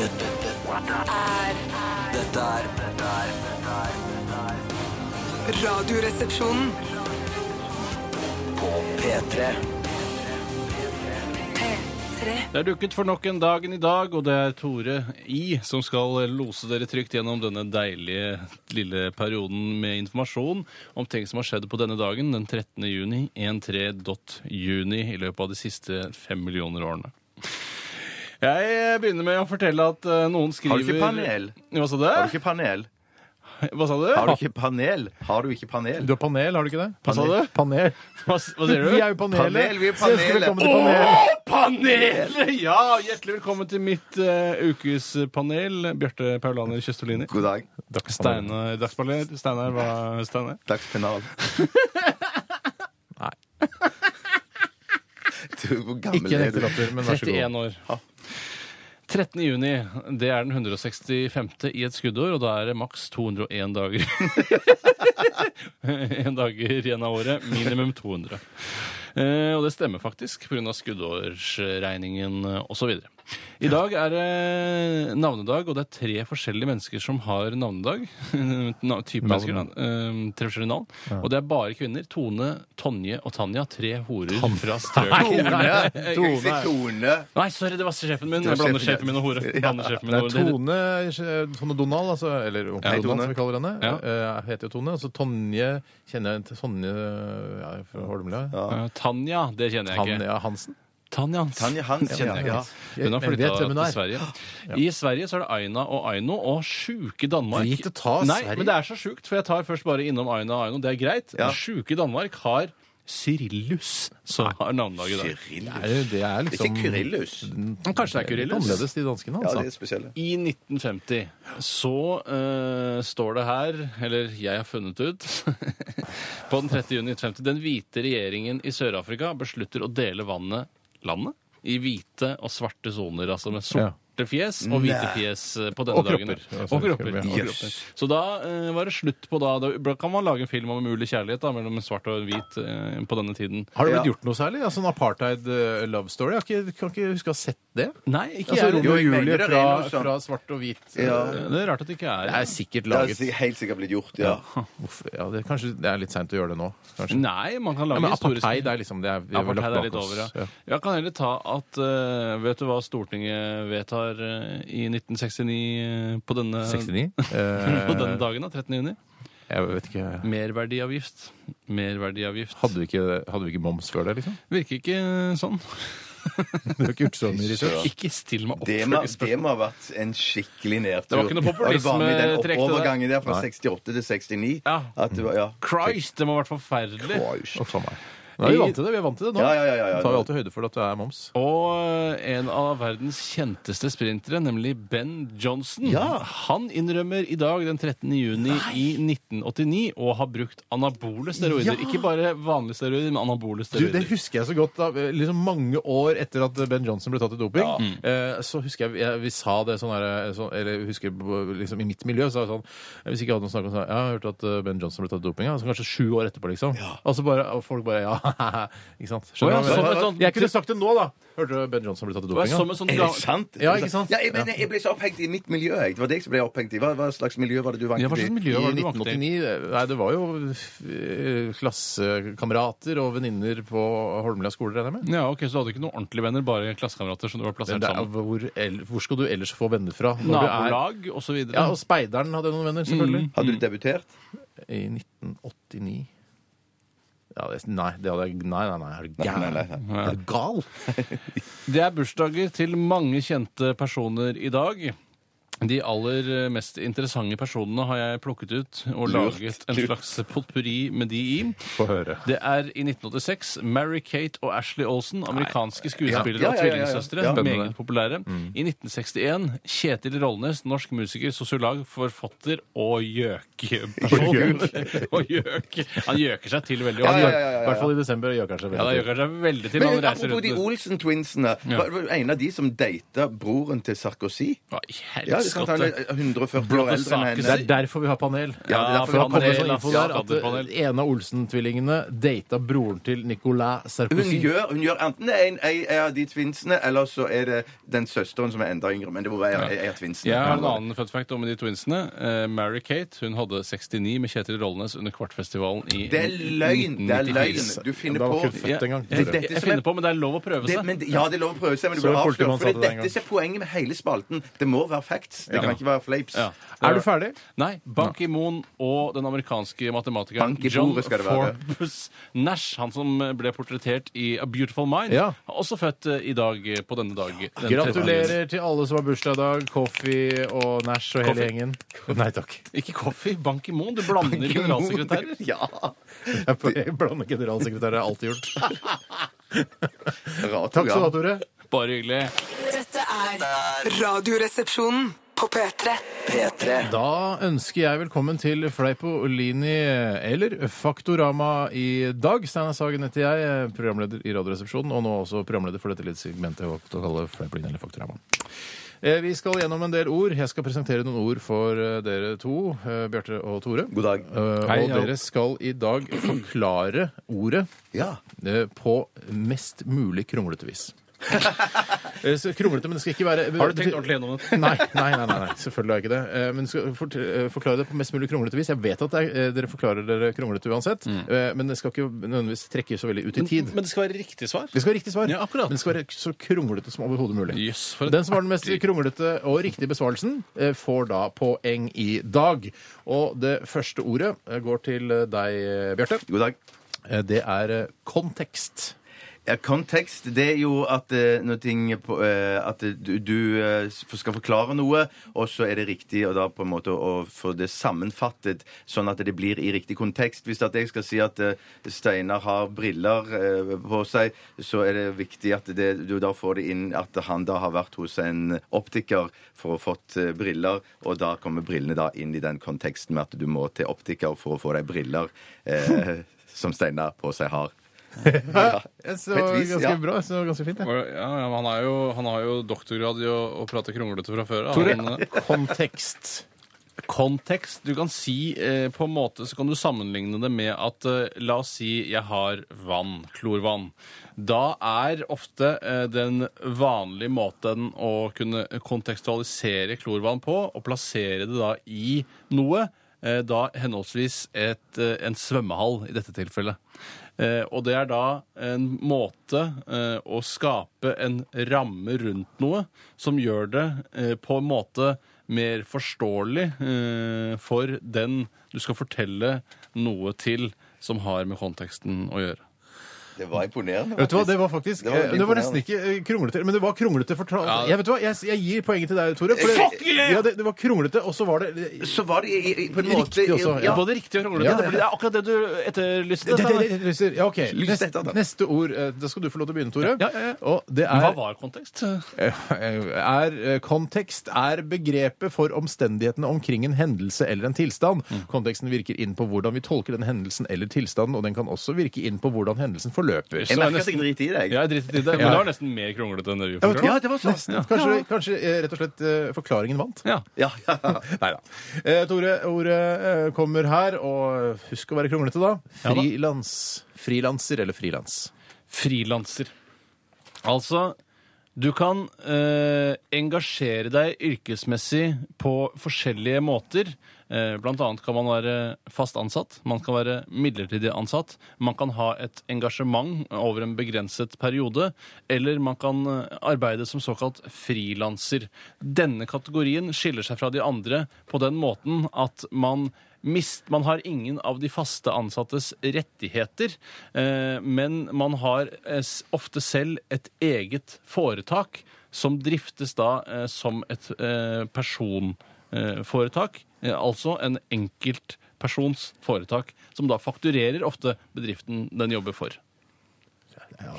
Speaker 2: Dette er Dette er
Speaker 6: Radioresepsjonen.
Speaker 2: På P3
Speaker 6: P3.
Speaker 4: Det er dukket for nok en dag enn i dag, og det er Tore I som skal lose dere trygt gjennom denne deilige lille perioden med informasjon om ting som har skjedd på denne dagen, den 13. juni, 13.juni, i løpet av de siste fem millioner årene. Jeg begynner med å fortelle at eh, noen skriver
Speaker 5: Har du ikke panel?
Speaker 4: Hva sa
Speaker 5: Har du
Speaker 4: du?
Speaker 5: ikke panel?
Speaker 4: Hva sa du?
Speaker 5: Har du ikke panel? Har du ikke panel?
Speaker 3: Du har panel, har du ikke det?
Speaker 4: Hva sa du?
Speaker 3: Panel.
Speaker 4: Hva, s- hva sier du?
Speaker 3: Vi er jo panelet.
Speaker 5: Panel, vi er
Speaker 3: Så ønsker
Speaker 5: panelet.
Speaker 3: Velkommen til panelet.
Speaker 4: Å, panelet! Ja, hjertelig velkommen til mitt eh, ukespanel. Bjarte Paulaner Kjøstolini.
Speaker 5: God dag.
Speaker 4: Steinar Dagspaneler. Steinar, hva Steinar?
Speaker 5: Dagspenal.
Speaker 3: Nei.
Speaker 5: (laughs) Du, hvor gammel
Speaker 3: Ikke en
Speaker 5: er du?
Speaker 3: ekte latter, men vær så god.
Speaker 4: 31 år. 13. juni, det er den 165. i et skuddår, og da er det maks 201 dager. (laughs) en dager igjen av året, minimum 200. Eh, og det stemmer faktisk, pga. skuddårsregningen osv. I dag er det navnedag, og det er tre forskjellige mennesker som har navnedag. (laughs) Na- type
Speaker 3: Navn.
Speaker 4: mennesker, da. Eh, tre forskjellige navn. Og det er bare kvinner. Tone, Tonje og Tanja. Tre horer fra strøk.
Speaker 5: Tone!
Speaker 3: Tone.
Speaker 5: Ikke si Tone.
Speaker 4: Nei, sorry, det var sjefen min.
Speaker 5: Det var
Speaker 4: Jeg blander
Speaker 5: sjefen,
Speaker 4: sjefen min og hore. Blander sjefen min
Speaker 3: Det
Speaker 4: og
Speaker 3: er
Speaker 4: hore. Det-
Speaker 3: Tone, Tone Donald, altså, eller onkel
Speaker 5: Ja,
Speaker 3: Donald,
Speaker 5: Tone.
Speaker 3: som vi kaller henne.
Speaker 4: Ja.
Speaker 3: eh, heter jo Tone. Og så Tonje kjenner jeg til Tonje ja, fra Holmlia.
Speaker 4: Eh, Tanja, det kjenner jeg ikke.
Speaker 3: Tanja Hansen.
Speaker 4: Tanja.
Speaker 5: Tanja Hans.
Speaker 4: kjenner jeg ikke.
Speaker 5: Ja.
Speaker 4: Hun
Speaker 3: Jeg
Speaker 4: har
Speaker 3: vet
Speaker 4: flytta
Speaker 3: hvem hun
Speaker 4: til
Speaker 3: er.
Speaker 4: Sverige. I Sverige så er det Aina og Aino og sjuke Danmark.
Speaker 3: Drit og ta
Speaker 4: Nei,
Speaker 3: Sverige.
Speaker 4: men det er så sjukt, for jeg tar først bare innom Aina og Aino. Det er greit.
Speaker 5: Ja.
Speaker 4: Sjuke Danmark har Cyrillus som har navnedag i
Speaker 3: Det
Speaker 4: dag.
Speaker 3: er, jo- det er
Speaker 5: Det er
Speaker 3: liksom
Speaker 5: Ikke Kyrillus.
Speaker 4: Kanskje det er
Speaker 3: Litt
Speaker 4: Kyrillus?
Speaker 3: annerledes, de danskene.
Speaker 5: Ja,
Speaker 3: Altså.
Speaker 5: det er spesielle.
Speaker 4: I 1950 så eh, står det her, eller jeg har funnet ut (laughs) På den 30. juni 1950 Den hvite regjeringen i Sør-Afrika beslutter å dele vannet landet i hvite og svarte soner, altså med sorte fjes og hvite
Speaker 5: Nei.
Speaker 4: fjes eh, på denne
Speaker 3: Og
Speaker 4: dagen.
Speaker 3: kropper. Ja, så
Speaker 4: Og
Speaker 3: det skal
Speaker 4: kropper.
Speaker 3: vi-
Speaker 4: Og
Speaker 5: Yes.
Speaker 4: kropper. Så da eh, var det slutt på da, da kan man lage en film om mulig kjærlighet da, mellom en svart og en hvit eh, på denne tiden.
Speaker 3: Har det blitt
Speaker 5: Ja.
Speaker 3: gjort noe særlig? Altså, en apartheid eh, love story? Jeg har ikke, kan ikke huske å ha sett det.
Speaker 4: Nei, ikke
Speaker 3: Altså,
Speaker 4: jeg.
Speaker 3: Romeo og
Speaker 5: jeg mener
Speaker 3: Julie
Speaker 5: det er
Speaker 3: fra,
Speaker 5: noe sånt.
Speaker 3: fra svart og hvit.
Speaker 5: Ja.
Speaker 3: eh,
Speaker 4: Det er rart at det ikke
Speaker 3: Det
Speaker 4: er
Speaker 3: er sikkert
Speaker 5: Det har
Speaker 3: laget
Speaker 5: si- helt sikkert blitt gjort, ja.
Speaker 3: Uff, ja, det, Kanskje det er litt seint å gjøre det nå. Kanskje.
Speaker 5: Mm.
Speaker 4: Nei, man kan
Speaker 3: Ja,
Speaker 4: lage
Speaker 3: men
Speaker 4: historiske
Speaker 3: apartheid er liksom det er, vi har vel
Speaker 4: Apartheid
Speaker 3: lagt
Speaker 4: er litt
Speaker 3: bak
Speaker 4: over, ja.
Speaker 3: oss. Ja.
Speaker 4: Jeg kan heller ta at eh, Vet du hva Stortinget vedtar eh, i 1969 eh, på denne,
Speaker 3: 69?
Speaker 4: (laughs) på
Speaker 3: Eh,
Speaker 4: denne dagen, da, 13. juni?
Speaker 3: jeg vet ikke
Speaker 4: Merverdiavgift. Merverdiavgift.
Speaker 3: hadde vi, ikke, hadde vi ikke moms før det,
Speaker 5: (laughs)
Speaker 3: liksom?
Speaker 4: Virker ikke sånn. (laughs)
Speaker 3: Du har ikke gjort så mye research.
Speaker 4: Ikke still meg
Speaker 5: (laughs) Det må, det
Speaker 4: oppfølgingsspørsmål.
Speaker 5: må ha vært en skikkelig nedtur.
Speaker 4: Det var ikke noe populisme-
Speaker 5: Og det var med
Speaker 4: trekk til det.
Speaker 5: den overgangen der fra
Speaker 3: Nei.
Speaker 5: 68 til 69.
Speaker 4: Ja.
Speaker 5: At det var, ja.
Speaker 4: Christ, det må ha vært forferdelig.
Speaker 5: Christ.
Speaker 3: Uff a meg. Nå er vi vant til det. Vi er vant til det nå.
Speaker 5: Ja, ja, ja, ja, ja.
Speaker 3: Da tar vi alltid høyde for at det er moms.
Speaker 4: Og eh, en av verdens kjenteste sprintere, nemlig Ben Johnson,
Speaker 5: Ja.
Speaker 4: han innrømmer i dag den 13. juni i 1989 å ha brukt anabole steroider. Ikke bare vanlige steroider, men anabole
Speaker 3: Du, Det
Speaker 4: steroider.
Speaker 3: husker jeg så godt. da, liksom Mange år etter at Ben Johnson ble tatt i doping,
Speaker 4: Mm.
Speaker 3: eh, så husker jeg, jeg vi sa det sånn her eh, sånn, Eller jeg husker på- liksom i mitt miljø så er det sånn Hvis ikke jeg hadde noen snakk om sånn Ja, jeg har hørt at eh, Ben Johnson ble tatt i doping, ja. så kanskje sju år etterpå, liksom. Og så bare, og folk bare Ja, (laughs) ikke sant?
Speaker 4: Å,
Speaker 3: Skjønner
Speaker 4: ja,
Speaker 3: du hva jeg
Speaker 4: sånn-
Speaker 3: mener?
Speaker 4: sånn-
Speaker 3: Jeg kunne sagt det nå, da. Hørte du Ben Johnson ble tatt i
Speaker 4: Det var
Speaker 3: doping?
Speaker 4: som
Speaker 3: Ja.
Speaker 4: en sånn
Speaker 5: Er det sant?
Speaker 3: Ja, ikke sant?
Speaker 5: Ja, jeg, mener, jeg ble så opphengt i mitt miljø. Jeg. Det var det som ble opphengt i. Hva, hva slags miljø var det du var
Speaker 4: Ja, hva slags
Speaker 5: aktiv i?
Speaker 4: miljø
Speaker 3: I
Speaker 4: var det du var aktiv i?
Speaker 3: 1989 Nei, det var jo eh, klassekamerater og venninner på Holmlia skole, regner jeg med.
Speaker 4: Ja, ok, Så du hadde ikke noen ordentlige venner, bare klassekamerater som du var plassert
Speaker 3: Det er,
Speaker 4: sammen med?
Speaker 3: hvor, el- hvor skal du ellers få venner fra? når du er-
Speaker 4: Nabolag osv.?
Speaker 3: Ja,
Speaker 5: Mm.
Speaker 3: og speideren hadde noen venner, selvfølgelig.
Speaker 5: Hadde du debutert?
Speaker 3: I 1989. Ja, det, nei, det hadde jeg Nei, nei, nei, er du
Speaker 5: Nei, nei,
Speaker 3: gæren?
Speaker 5: nei,
Speaker 3: Er du gal?
Speaker 4: Det er bursdager til mange kjente personer i dag. De aller mest interessante personene har jeg plukket ut og
Speaker 5: Lurt,
Speaker 4: laget en
Speaker 5: lurt.
Speaker 4: slags potpurri med de i.
Speaker 3: Få høre.
Speaker 4: Det er i 1986 Mary-Kate og Ashley Olsen, amerikanske skuespillere
Speaker 5: Ja, ja, ja, ja,
Speaker 4: og
Speaker 5: ja.
Speaker 4: tvillingsøstre.
Speaker 5: Ja. Spennende. Mm.
Speaker 4: Meget populære. I 1961 Kjetil Rollnes, norsk musiker, sosiolog, forfatter og gjøkeperson. (laughs) og gjøk. Han gjøker seg til veldig.
Speaker 5: Ja,
Speaker 4: ofte.
Speaker 5: ja,
Speaker 3: I
Speaker 5: ja, ja,
Speaker 3: hvert
Speaker 5: ja.
Speaker 3: fall i desember gjør kanskje
Speaker 4: Ja, da
Speaker 3: veldig
Speaker 4: gjøker han seg veldig til. Han
Speaker 5: Men
Speaker 4: reiser
Speaker 5: apropos
Speaker 4: rundt
Speaker 5: de
Speaker 4: med
Speaker 5: Olsen-twinsene.
Speaker 4: Ja.
Speaker 5: Var var du en av de som data broren til Sarkozy?
Speaker 4: Hva i
Speaker 5: Ja, faktisk antakelig 140 år eldre enn
Speaker 4: Blått og
Speaker 3: Det
Speaker 5: henne.
Speaker 3: er derfor vi har panel.
Speaker 5: Ja, det er derfor vi har
Speaker 3: for det har kommet
Speaker 5: panel.
Speaker 3: sånn info
Speaker 4: Ja,
Speaker 3: der at
Speaker 4: fadderpanel.
Speaker 3: eh, ene av Olsen-tvillingene data broren til Nicolas
Speaker 5: Hun
Speaker 3: Sarkozy.
Speaker 5: gjør, hun gjør enten en, en, en av de twinsene, eller så er det den søsteren som er enda yngre. Men det må være en- en av twinsene.
Speaker 4: Jeg har en annen fun fact om de twinsene. Eh, Mary-Kate hun hadde 69 med Kjetil Rollnes under Kvartfestivalen i
Speaker 5: Det er løgn! Det er
Speaker 4: 1996.
Speaker 5: løgn! Du finner
Speaker 3: Da var
Speaker 5: på
Speaker 3: ikke hun født engang.
Speaker 4: Jeg,
Speaker 5: Det er dette
Speaker 4: jeg
Speaker 5: som er-
Speaker 4: finner på, men det er lov å prøve
Speaker 5: det,
Speaker 4: seg.
Speaker 5: men, Ja, det er lov å prøve seg, men
Speaker 3: altså.
Speaker 5: du
Speaker 3: Så
Speaker 5: blir
Speaker 3: var det
Speaker 5: avslørt.
Speaker 3: politimannen
Speaker 5: For
Speaker 3: sa det
Speaker 5: det,
Speaker 3: den
Speaker 5: dette er poenget med hele spalten. Det må være facts. Det kan ikke være flapes.
Speaker 4: Ja.
Speaker 3: Er du ferdig?
Speaker 4: Nei. Ban Ki-moon og den amerikanske matematikeren
Speaker 5: Bank i
Speaker 4: John
Speaker 5: bordet skal det være.
Speaker 4: Forbes Nash, han som ble portrettert i A Beautiful Mind,
Speaker 3: Ja.
Speaker 4: er også født eh, i dag eh, på denne dag. den 13.
Speaker 3: Gratulerer til alle som har bursdag i dag. Coffee og Nash og hele
Speaker 4: Coffee.
Speaker 3: gjengen. Nei takk.
Speaker 4: Ikke Coffee, Ban Ki-moon. Du blander generalsekretærer.
Speaker 3: (laughs)
Speaker 5: Ja.
Speaker 3: Jeg jeg blander generalsekretær, det har jeg alltid gjort.
Speaker 5: Rart
Speaker 3: Takk skal du ha,
Speaker 5: program.
Speaker 3: Tore.
Speaker 4: Bare hyggelig.
Speaker 6: Dette er Radioresepsjonen på P3.
Speaker 2: P3.
Speaker 3: Da ønsker jeg velkommen til Fleipolini eller Faktorama i dag. Steinar Sagen heter jeg, programleder i Radioresepsjonen, og nå også programleder for dette litt segmentet jeg valgte å kalle Fleipolini eller Faktorama. Eh, Vi skal gjennom en del ord. Jeg skal presentere noen ord for eh, dere to, eh, Bjarte og Tore.
Speaker 5: God dag.
Speaker 3: Eh,
Speaker 4: Hei,
Speaker 3: og
Speaker 4: ja.
Speaker 3: dere skal i dag forklare ordet
Speaker 5: Ja.
Speaker 3: eh, på mest mulig kronglete vis. Eh, så Kronglete, men det skal ikke være
Speaker 4: Har du tenkt ordentlig gjennom det?
Speaker 3: Nei, nei, nei, nei, nei. selvfølgelig har jeg ikke det. Eh, Men skal fort- eh, forklare det på mest mulig kronglete vis. Jeg vet at det er, eh, dere forklarer dere kronglete uansett, eh, men det skal ikke nødvendigvis trekke så veldig ut i tid.
Speaker 4: Mm. Men det skal være riktig svar.
Speaker 3: Det skal være riktig svar,
Speaker 4: Ja, akkurat.
Speaker 3: men det skal være så kronglete som overhodet mulig.
Speaker 4: Jøss, for et
Speaker 3: Den som har den mest
Speaker 4: artig-
Speaker 3: kronglete og riktige besvarelsen, eh, får da poeng i dag. Og det første ordet eh, går til eh, deg, eh, Bjarte.
Speaker 5: God dag.
Speaker 3: Eh, Det er eh, kontekst.
Speaker 5: Ja, kontekst, det er jo at eh, når ting er på, eh, At du, du eh, s- skal forklare noe, og så er det riktig og da på en måte å få det sammenfattet, sånn at det blir i riktig kontekst. Hvis at jeg skal si at eh, Steinar har briller eh, på seg, så er det viktig at det, du da får det inn at han da har vært hos en optiker for å ha fått eh, briller, og da kommer brillene da inn i den konteksten med at du må til optiker for å få deg briller eh, som Steinar på seg har. Ja.
Speaker 3: Så
Speaker 5: På et vis,
Speaker 3: ganske
Speaker 5: ja.
Speaker 3: bra. Så ganske fint, det.
Speaker 4: Ja, ja, men han, er jo, han har jo doktorgrad i å, å prate kronglete fra før.
Speaker 3: Tore,
Speaker 4: Han, eh,
Speaker 3: kontekst.
Speaker 4: kontekst. Du kan si eh, på en måte så kan du sammenligne det med at eh, la oss si jeg har vann, klorvann. Da er ofte eh, den vanlige måten å kunne kontekstualisere klorvann på, og plassere det da i noe, eh, da henholdsvis et, eh, en svømmehall i dette tilfellet. Eh, og det er da en måte eh, å skape en ramme rundt noe som gjør det eh, på en måte mer forståelig eh, for den du skal fortelle noe til som har med konteksten å gjøre.
Speaker 5: Det var imponerende.
Speaker 3: Vet du hva, Det var faktisk
Speaker 5: Det var veldig
Speaker 3: eh, Det var nesten ikke eh, kronglete, men det var kronglete fortalt.
Speaker 4: Ja.
Speaker 3: Jeg, vet du hva, jeg, jeg gir poenget til deg, Tore. For
Speaker 4: Fuck
Speaker 3: det,
Speaker 4: yeah!
Speaker 3: ja, det, det var kronglete, og så var det
Speaker 5: Så var det i, i, på en måte
Speaker 3: Riktig også, ja.
Speaker 5: ja.
Speaker 4: Både riktig og kronglete.
Speaker 3: Ja, ja, ja.
Speaker 4: Det blir- Det er akkurat det du etterlyste.
Speaker 3: det,
Speaker 4: Steinar.
Speaker 3: det, det, det, ja, ok.
Speaker 5: Lyst
Speaker 3: Neste,
Speaker 5: etter, da.
Speaker 3: neste ord eh, Da skal du få lov til å begynne, Tore.
Speaker 4: Ja, ja, ja.
Speaker 3: Og det
Speaker 4: Men Hva
Speaker 3: er,
Speaker 4: var kontekst?
Speaker 3: (laughs) er eh, Kontekst er begrepet for omstendighetene omkring en hendelse eller en tilstand. Konteksten virker inn på hvordan vi tolker den hendelsen eller tilstanden, og den kan også virke inn på hvordan hendelsen forløper.
Speaker 5: Jeg merker at jeg driter i deg.
Speaker 4: Ja, jeg driter i det, men
Speaker 3: Ja.
Speaker 4: det var nesten mer kronglete enn det vi
Speaker 3: Ja, vet du
Speaker 4: forklarte.
Speaker 3: hva?
Speaker 5: Ja, det var sånn.
Speaker 3: Nesten. Kanskje, kanskje eh, rett og slett eh, forklaringen vant.
Speaker 4: Ja.
Speaker 5: Ja, ja.
Speaker 3: Nei da. Eh, Tore, ordet eh, kommer her, og husk å være kronglete, da.
Speaker 4: Ja da.
Speaker 3: Frilans. Frilanser eller frilans.
Speaker 4: frilanser. Altså, du kan eh, engasjere deg yrkesmessig på forskjellige måter. Eh, blant annet kan man være fast ansatt, man kan være midlertidig ansatt, man kan ha et engasjement over en begrenset periode, eller man kan eh, arbeide som såkalt frilanser. Denne kategorien skiller seg fra de andre på den måten at man mist, man har ingen av de faste ansattes rettigheter, eh, men man har eh, s- ofte selv et eget foretak som driftes da eh, som et eh, personforetak, eh, altså en enkeltpersons foretak, som da fakturerer ofte bedriften den jobber for.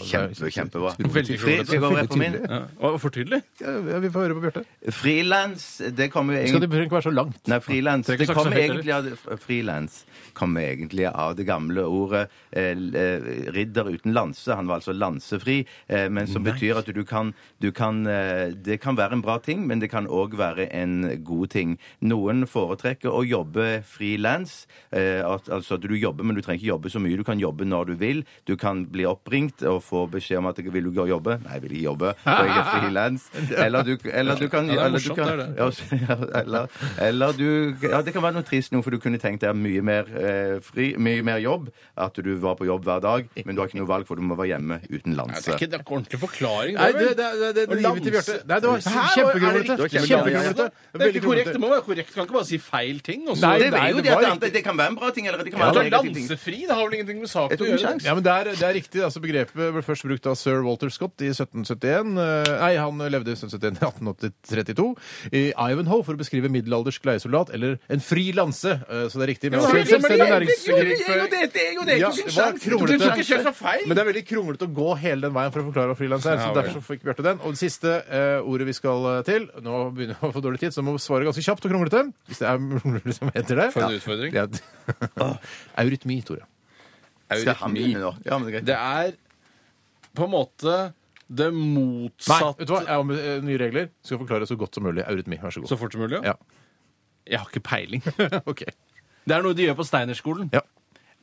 Speaker 5: Kjempe, kjempebra.
Speaker 4: Veldig
Speaker 5: Fri,
Speaker 4: flott.
Speaker 5: skal jeg gå rett på min?
Speaker 4: Ja. Å, For tydelig?
Speaker 3: Ja, vi får høre på Bjarte.
Speaker 5: Frilans, det kommer jo
Speaker 3: Skal
Speaker 5: egentlig
Speaker 3: det trenger ikke være så langt?
Speaker 5: Nei, frilans.
Speaker 4: Trenger
Speaker 5: Det
Speaker 4: ikke
Speaker 5: kommer
Speaker 4: saksa høyt,
Speaker 5: egentlig av frilans kommer egentlig av det gamle ordet eh, l- eh, ridder uten lanse. Han var altså lansefri, eh, men som betyr at du kan, du kan eh, Det kan være en bra ting, men det kan òg være en god ting. Noen foretrekker å jobbe frilans, eh, at- altså at du jobber, men du trenger ikke jobbe så mye. Du kan jobbe når du vil. Du kan bli oppringt og få beskjed om at 'Vil du gå og jobbe?' 'Nei, jeg vil ikke jobbe, for jeg er
Speaker 4: (laughs)
Speaker 5: frilans'. Eller, du- eller du kan
Speaker 4: Ja, det er
Speaker 5: eller du
Speaker 4: morsomt,
Speaker 5: kan-
Speaker 4: det er det.
Speaker 5: ja, (laughs) så- ja, eller, eller du Ja, det kan være noe trist nå, for du kunne tenkt deg mye mer eh, fri, mye mer jobb. At du var på jobb hver dag, men du har ikke noe valg, for du må være hjemme uten
Speaker 4: Det er
Speaker 5: lanse.
Speaker 4: ikke det er ikke ordentlig forklaring.
Speaker 3: Nei, det,
Speaker 4: vel?
Speaker 3: det, det, det,
Speaker 4: Og
Speaker 3: livet til
Speaker 4: lanse-
Speaker 3: Bjarte Nei, det var
Speaker 4: Hæ?
Speaker 3: kjempegrovete.
Speaker 4: Er det riktig?
Speaker 3: Kjempegrovete.
Speaker 4: Det
Speaker 3: Veldig
Speaker 4: er ikke korrekt.
Speaker 3: grovete.
Speaker 4: Det må være korrekt. Du kan ikke bare si feil ting. Også.
Speaker 3: Nei,
Speaker 5: Det, vil jo
Speaker 3: det
Speaker 5: det, at
Speaker 3: var
Speaker 5: det,
Speaker 3: riktig.
Speaker 5: andre- det kan være en bra ting, eller det kan
Speaker 4: Ja,
Speaker 5: være
Speaker 4: det er
Speaker 5: en negativ ting.
Speaker 4: lansefri. Det har vel ingenting med
Speaker 5: Jeg
Speaker 4: saken å
Speaker 5: tok en
Speaker 4: gjøre.
Speaker 5: sjanse.
Speaker 3: Ja, men det er, det er riktig. altså Begrepet ble først brukt av sir Walter Scott i 1771. eh, Nei, han levde i 1771 1832 i Ivanhoe for å beskrive middelaldersk leiesoldat eller en fri lanse. eh, Så det er riktig. Men,
Speaker 4: men-
Speaker 3: altså, en selvstendig
Speaker 4: men- men-
Speaker 3: næringskrigføring- Ja, det var kronglete.
Speaker 4: Du tok ikke selv så feil.
Speaker 3: Men det er veldig kronglete å gå hele den veien for å forklare hva frilans er. Så
Speaker 4: Ja, vel.
Speaker 3: derfor så fikk Bjarte den. Og det siste eh, ordet vi skal eh, til Nå begynner vi å få dårlig tid, så må vi svare ganske kjapt og kronglete. Hvis det er (laughs) kronglete som heter det.
Speaker 4: For en utfordring.
Speaker 3: Ja. (laughs) Eurytmi, Tore.
Speaker 5: Skal han begynne nå? Ja, men det er greit.
Speaker 4: Det er på en måte det
Speaker 3: Nei,
Speaker 4: motsatte
Speaker 3: vet du hva? Jeg har med, eh, nye regler. Skal forklare så godt som mulig. Eurytmi, vær så god.
Speaker 4: Så fort som mulig?
Speaker 3: Ja.
Speaker 4: Jeg har ikke (laughs) peiling.
Speaker 3: (laughs) ok.
Speaker 4: Det er noe de gjør på Steinerskolen.
Speaker 3: Ja.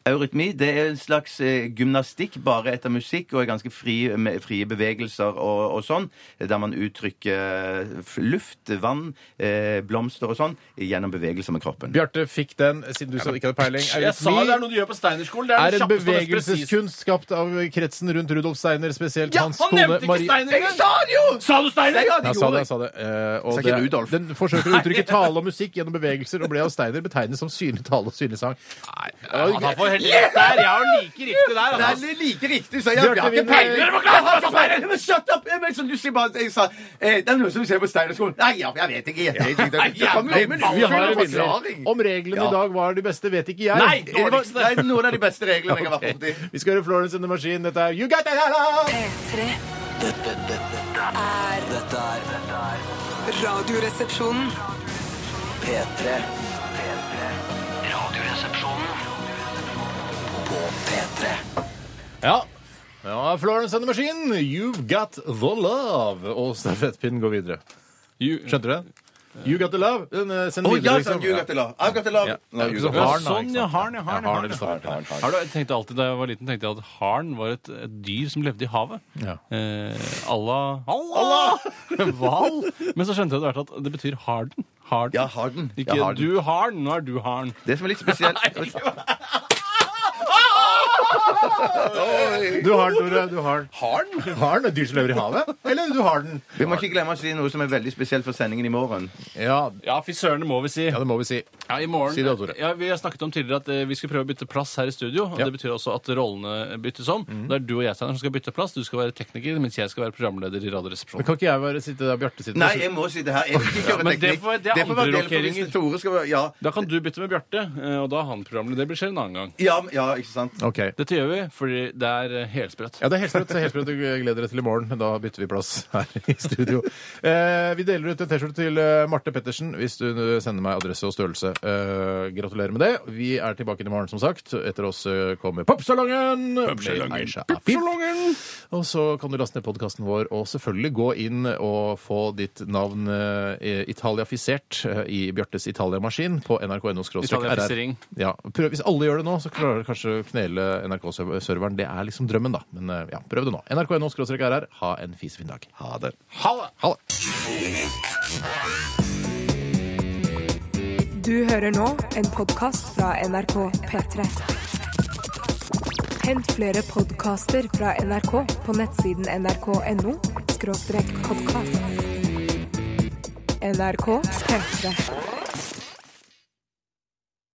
Speaker 5: Eurytmi det er en slags eh, gymnastikk bare etter musikk og er ganske fri, med frie bevegelser og, og sånn, der man uttrykker f- luft, vann, eh, blomster og sånn gjennom bevegelser med kroppen.
Speaker 3: Bjarte fikk den, siden du sa ikke hadde peiling.
Speaker 4: Jeg sa det er
Speaker 3: Eurytmi
Speaker 4: noe de gjør på Steinerskolen. Det er,
Speaker 3: er
Speaker 4: den
Speaker 3: en
Speaker 4: kjappeste og mest presise.
Speaker 3: bevegelseskunst skapt av kretsen rundt Rudolf Steiner, spesielt
Speaker 4: Ja,
Speaker 3: hans
Speaker 4: han
Speaker 3: kone
Speaker 4: nevnte ikke
Speaker 3: Marie
Speaker 4: Steiner engang! Sa han jo! Sa du Steiner?
Speaker 3: Jeg sa det, jeg sa det. Eh,
Speaker 5: Sa
Speaker 3: og
Speaker 5: ikke
Speaker 3: det,
Speaker 5: Rudolf.
Speaker 3: den forsøker å uttrykke tale og musikk gjennom bevegelser og ble av Steiner betegnet som synlig tale og synlig sang.
Speaker 4: Nei, han har fått helt rett der. Jeg har like riktig der.
Speaker 5: Nei,
Speaker 4: Altså.
Speaker 5: det er like riktig, så jeg
Speaker 3: Bjarte,
Speaker 5: jeg har
Speaker 3: vi
Speaker 5: ikke
Speaker 3: må-
Speaker 5: peiling.
Speaker 4: Dere må klare å holde på Steiner!
Speaker 5: Men shut up! Jeg, men, som du sier bare, jeg sa, eh, det er noe som ser på Steinerskolen. Nei, ja, jeg vet ikke. Jeg, vet ikke. Det- det kommer jo med en
Speaker 3: Vi har
Speaker 5: utfyllende
Speaker 3: en vinner.
Speaker 5: forklaring.
Speaker 3: Om reglene
Speaker 5: Ja.
Speaker 3: i dag var de beste, vet ikke jeg.
Speaker 4: Nei,
Speaker 5: Det var- Nei, noen av de beste reglene jeg har vært borti.
Speaker 3: Vi skal høre Florence and the Machine. Dette er You Got That Out!
Speaker 6: P3
Speaker 2: Dette, dette, dette
Speaker 6: er
Speaker 2: er- dette er dette er
Speaker 6: Radioresepsjonen.
Speaker 2: P3. P3. Radioresepsjonen på P3.
Speaker 3: Ja. Ja, Florence and the Machine, You've Got The Love. Og stafettpinnen går videre.
Speaker 4: You-
Speaker 3: Skjønte du det? You Got The Love. Den, eh, send
Speaker 5: Å
Speaker 3: videre,
Speaker 5: ja,
Speaker 3: liksom.
Speaker 5: sånn, you got the love. I've got the love. No, you
Speaker 3: så
Speaker 5: got the
Speaker 3: har Harn,
Speaker 5: love.
Speaker 3: da,
Speaker 4: Sånn,
Speaker 3: ikke
Speaker 4: ja.
Speaker 3: sant?
Speaker 4: Harn, ja. Harn,
Speaker 3: Ja,
Speaker 4: ja,
Speaker 3: harn
Speaker 4: harn,
Speaker 3: eller
Speaker 4: ja.
Speaker 3: harn, harn,
Speaker 4: Har du, jeg tenkte alltid Da jeg var liten, tenkte jeg at harn var et, et dyr som levde i havet.
Speaker 3: Ja.
Speaker 4: Eh, Allah Allah! (laughs) Hval. Men så skjønte jeg etter hvert at det betyr harden. Harden.
Speaker 5: Ja, har den.
Speaker 4: Ikke
Speaker 5: Jeg har den.
Speaker 4: du har den, nå er du harn.
Speaker 5: Det som er litt spesielt
Speaker 3: Du har den, Tore. Du har den.
Speaker 4: Har den?
Speaker 3: Har den et dyr som lever i havet? Eller du har den?
Speaker 5: Vi må ikke glemme å si noe som er veldig spesielt for sendingen i morgen.
Speaker 3: Ja,
Speaker 4: Ja, fy søren, det må vi si.
Speaker 3: ja, det må vi si.
Speaker 4: Ja, i morgen.
Speaker 3: Si det, Tore.
Speaker 4: Ja, vi har snakket om tidligere at eh, vi skal prøve å bytte plass her i studio. og
Speaker 3: Ja.
Speaker 4: Det betyr også at rollene byttes om. Det er du og jeg Steiner, som skal bytte plass. Du skal være tekniker, mens jeg skal være programleder i
Speaker 3: Men
Speaker 4: Radioresepsjonen.
Speaker 3: kan ikke jeg bare sitte der Bjarte sitter?
Speaker 5: Nei, jeg må si det her. Jeg vil ikke kjøre
Speaker 4: men det
Speaker 5: teknikk.
Speaker 4: får- det er
Speaker 5: får
Speaker 4: andre
Speaker 5: være delen for hvis
Speaker 4: rokeringer.
Speaker 5: Tore skal være Ja,
Speaker 4: Da kan du bytte med Bjarte, eh, og da er han programleder. Det blir skjer en annen gang.
Speaker 5: ja, ja ikke sant?
Speaker 3: Ok.
Speaker 4: Dette gjør vi fordi det er eh, helsprøtt.
Speaker 3: Ja, det er helt sprøtt. Helt sprøtt. Jeg gleder deg til i morgen. men Da bytter vi plass her i studio. Eh, vi deler ut en T-skjorte til eh, Marte Pettersen hvis du eh, sender meg adresse og størrelse. Eh, gratulerer med det. Vi er tilbake inn i morgen, som sagt. Etter oss eh, kommer Popsalongen! med Aisha Afif. Og så kan du laste ned podkasten vår, og selvfølgelig gå inn og få ditt navn eh, italiafisert eh, i Bjartes Italiamaskin på nrk.no.
Speaker 4: Italiafisering.
Speaker 3: Ja, prøv, hvis alle gjør det nå, så klarer du kanskje å knele NRK-serveren. Det er liksom drømmen, da. Men eh, ja, prøv det nå. nrk.no rr. Ha en fisefin dag. Ha det. Ha det! Ha det.
Speaker 1: Du hører nå en podkast fra NRK P3. Hent flere podkaster fra NRK på nettsiden nrk.no podkast. NRK P3.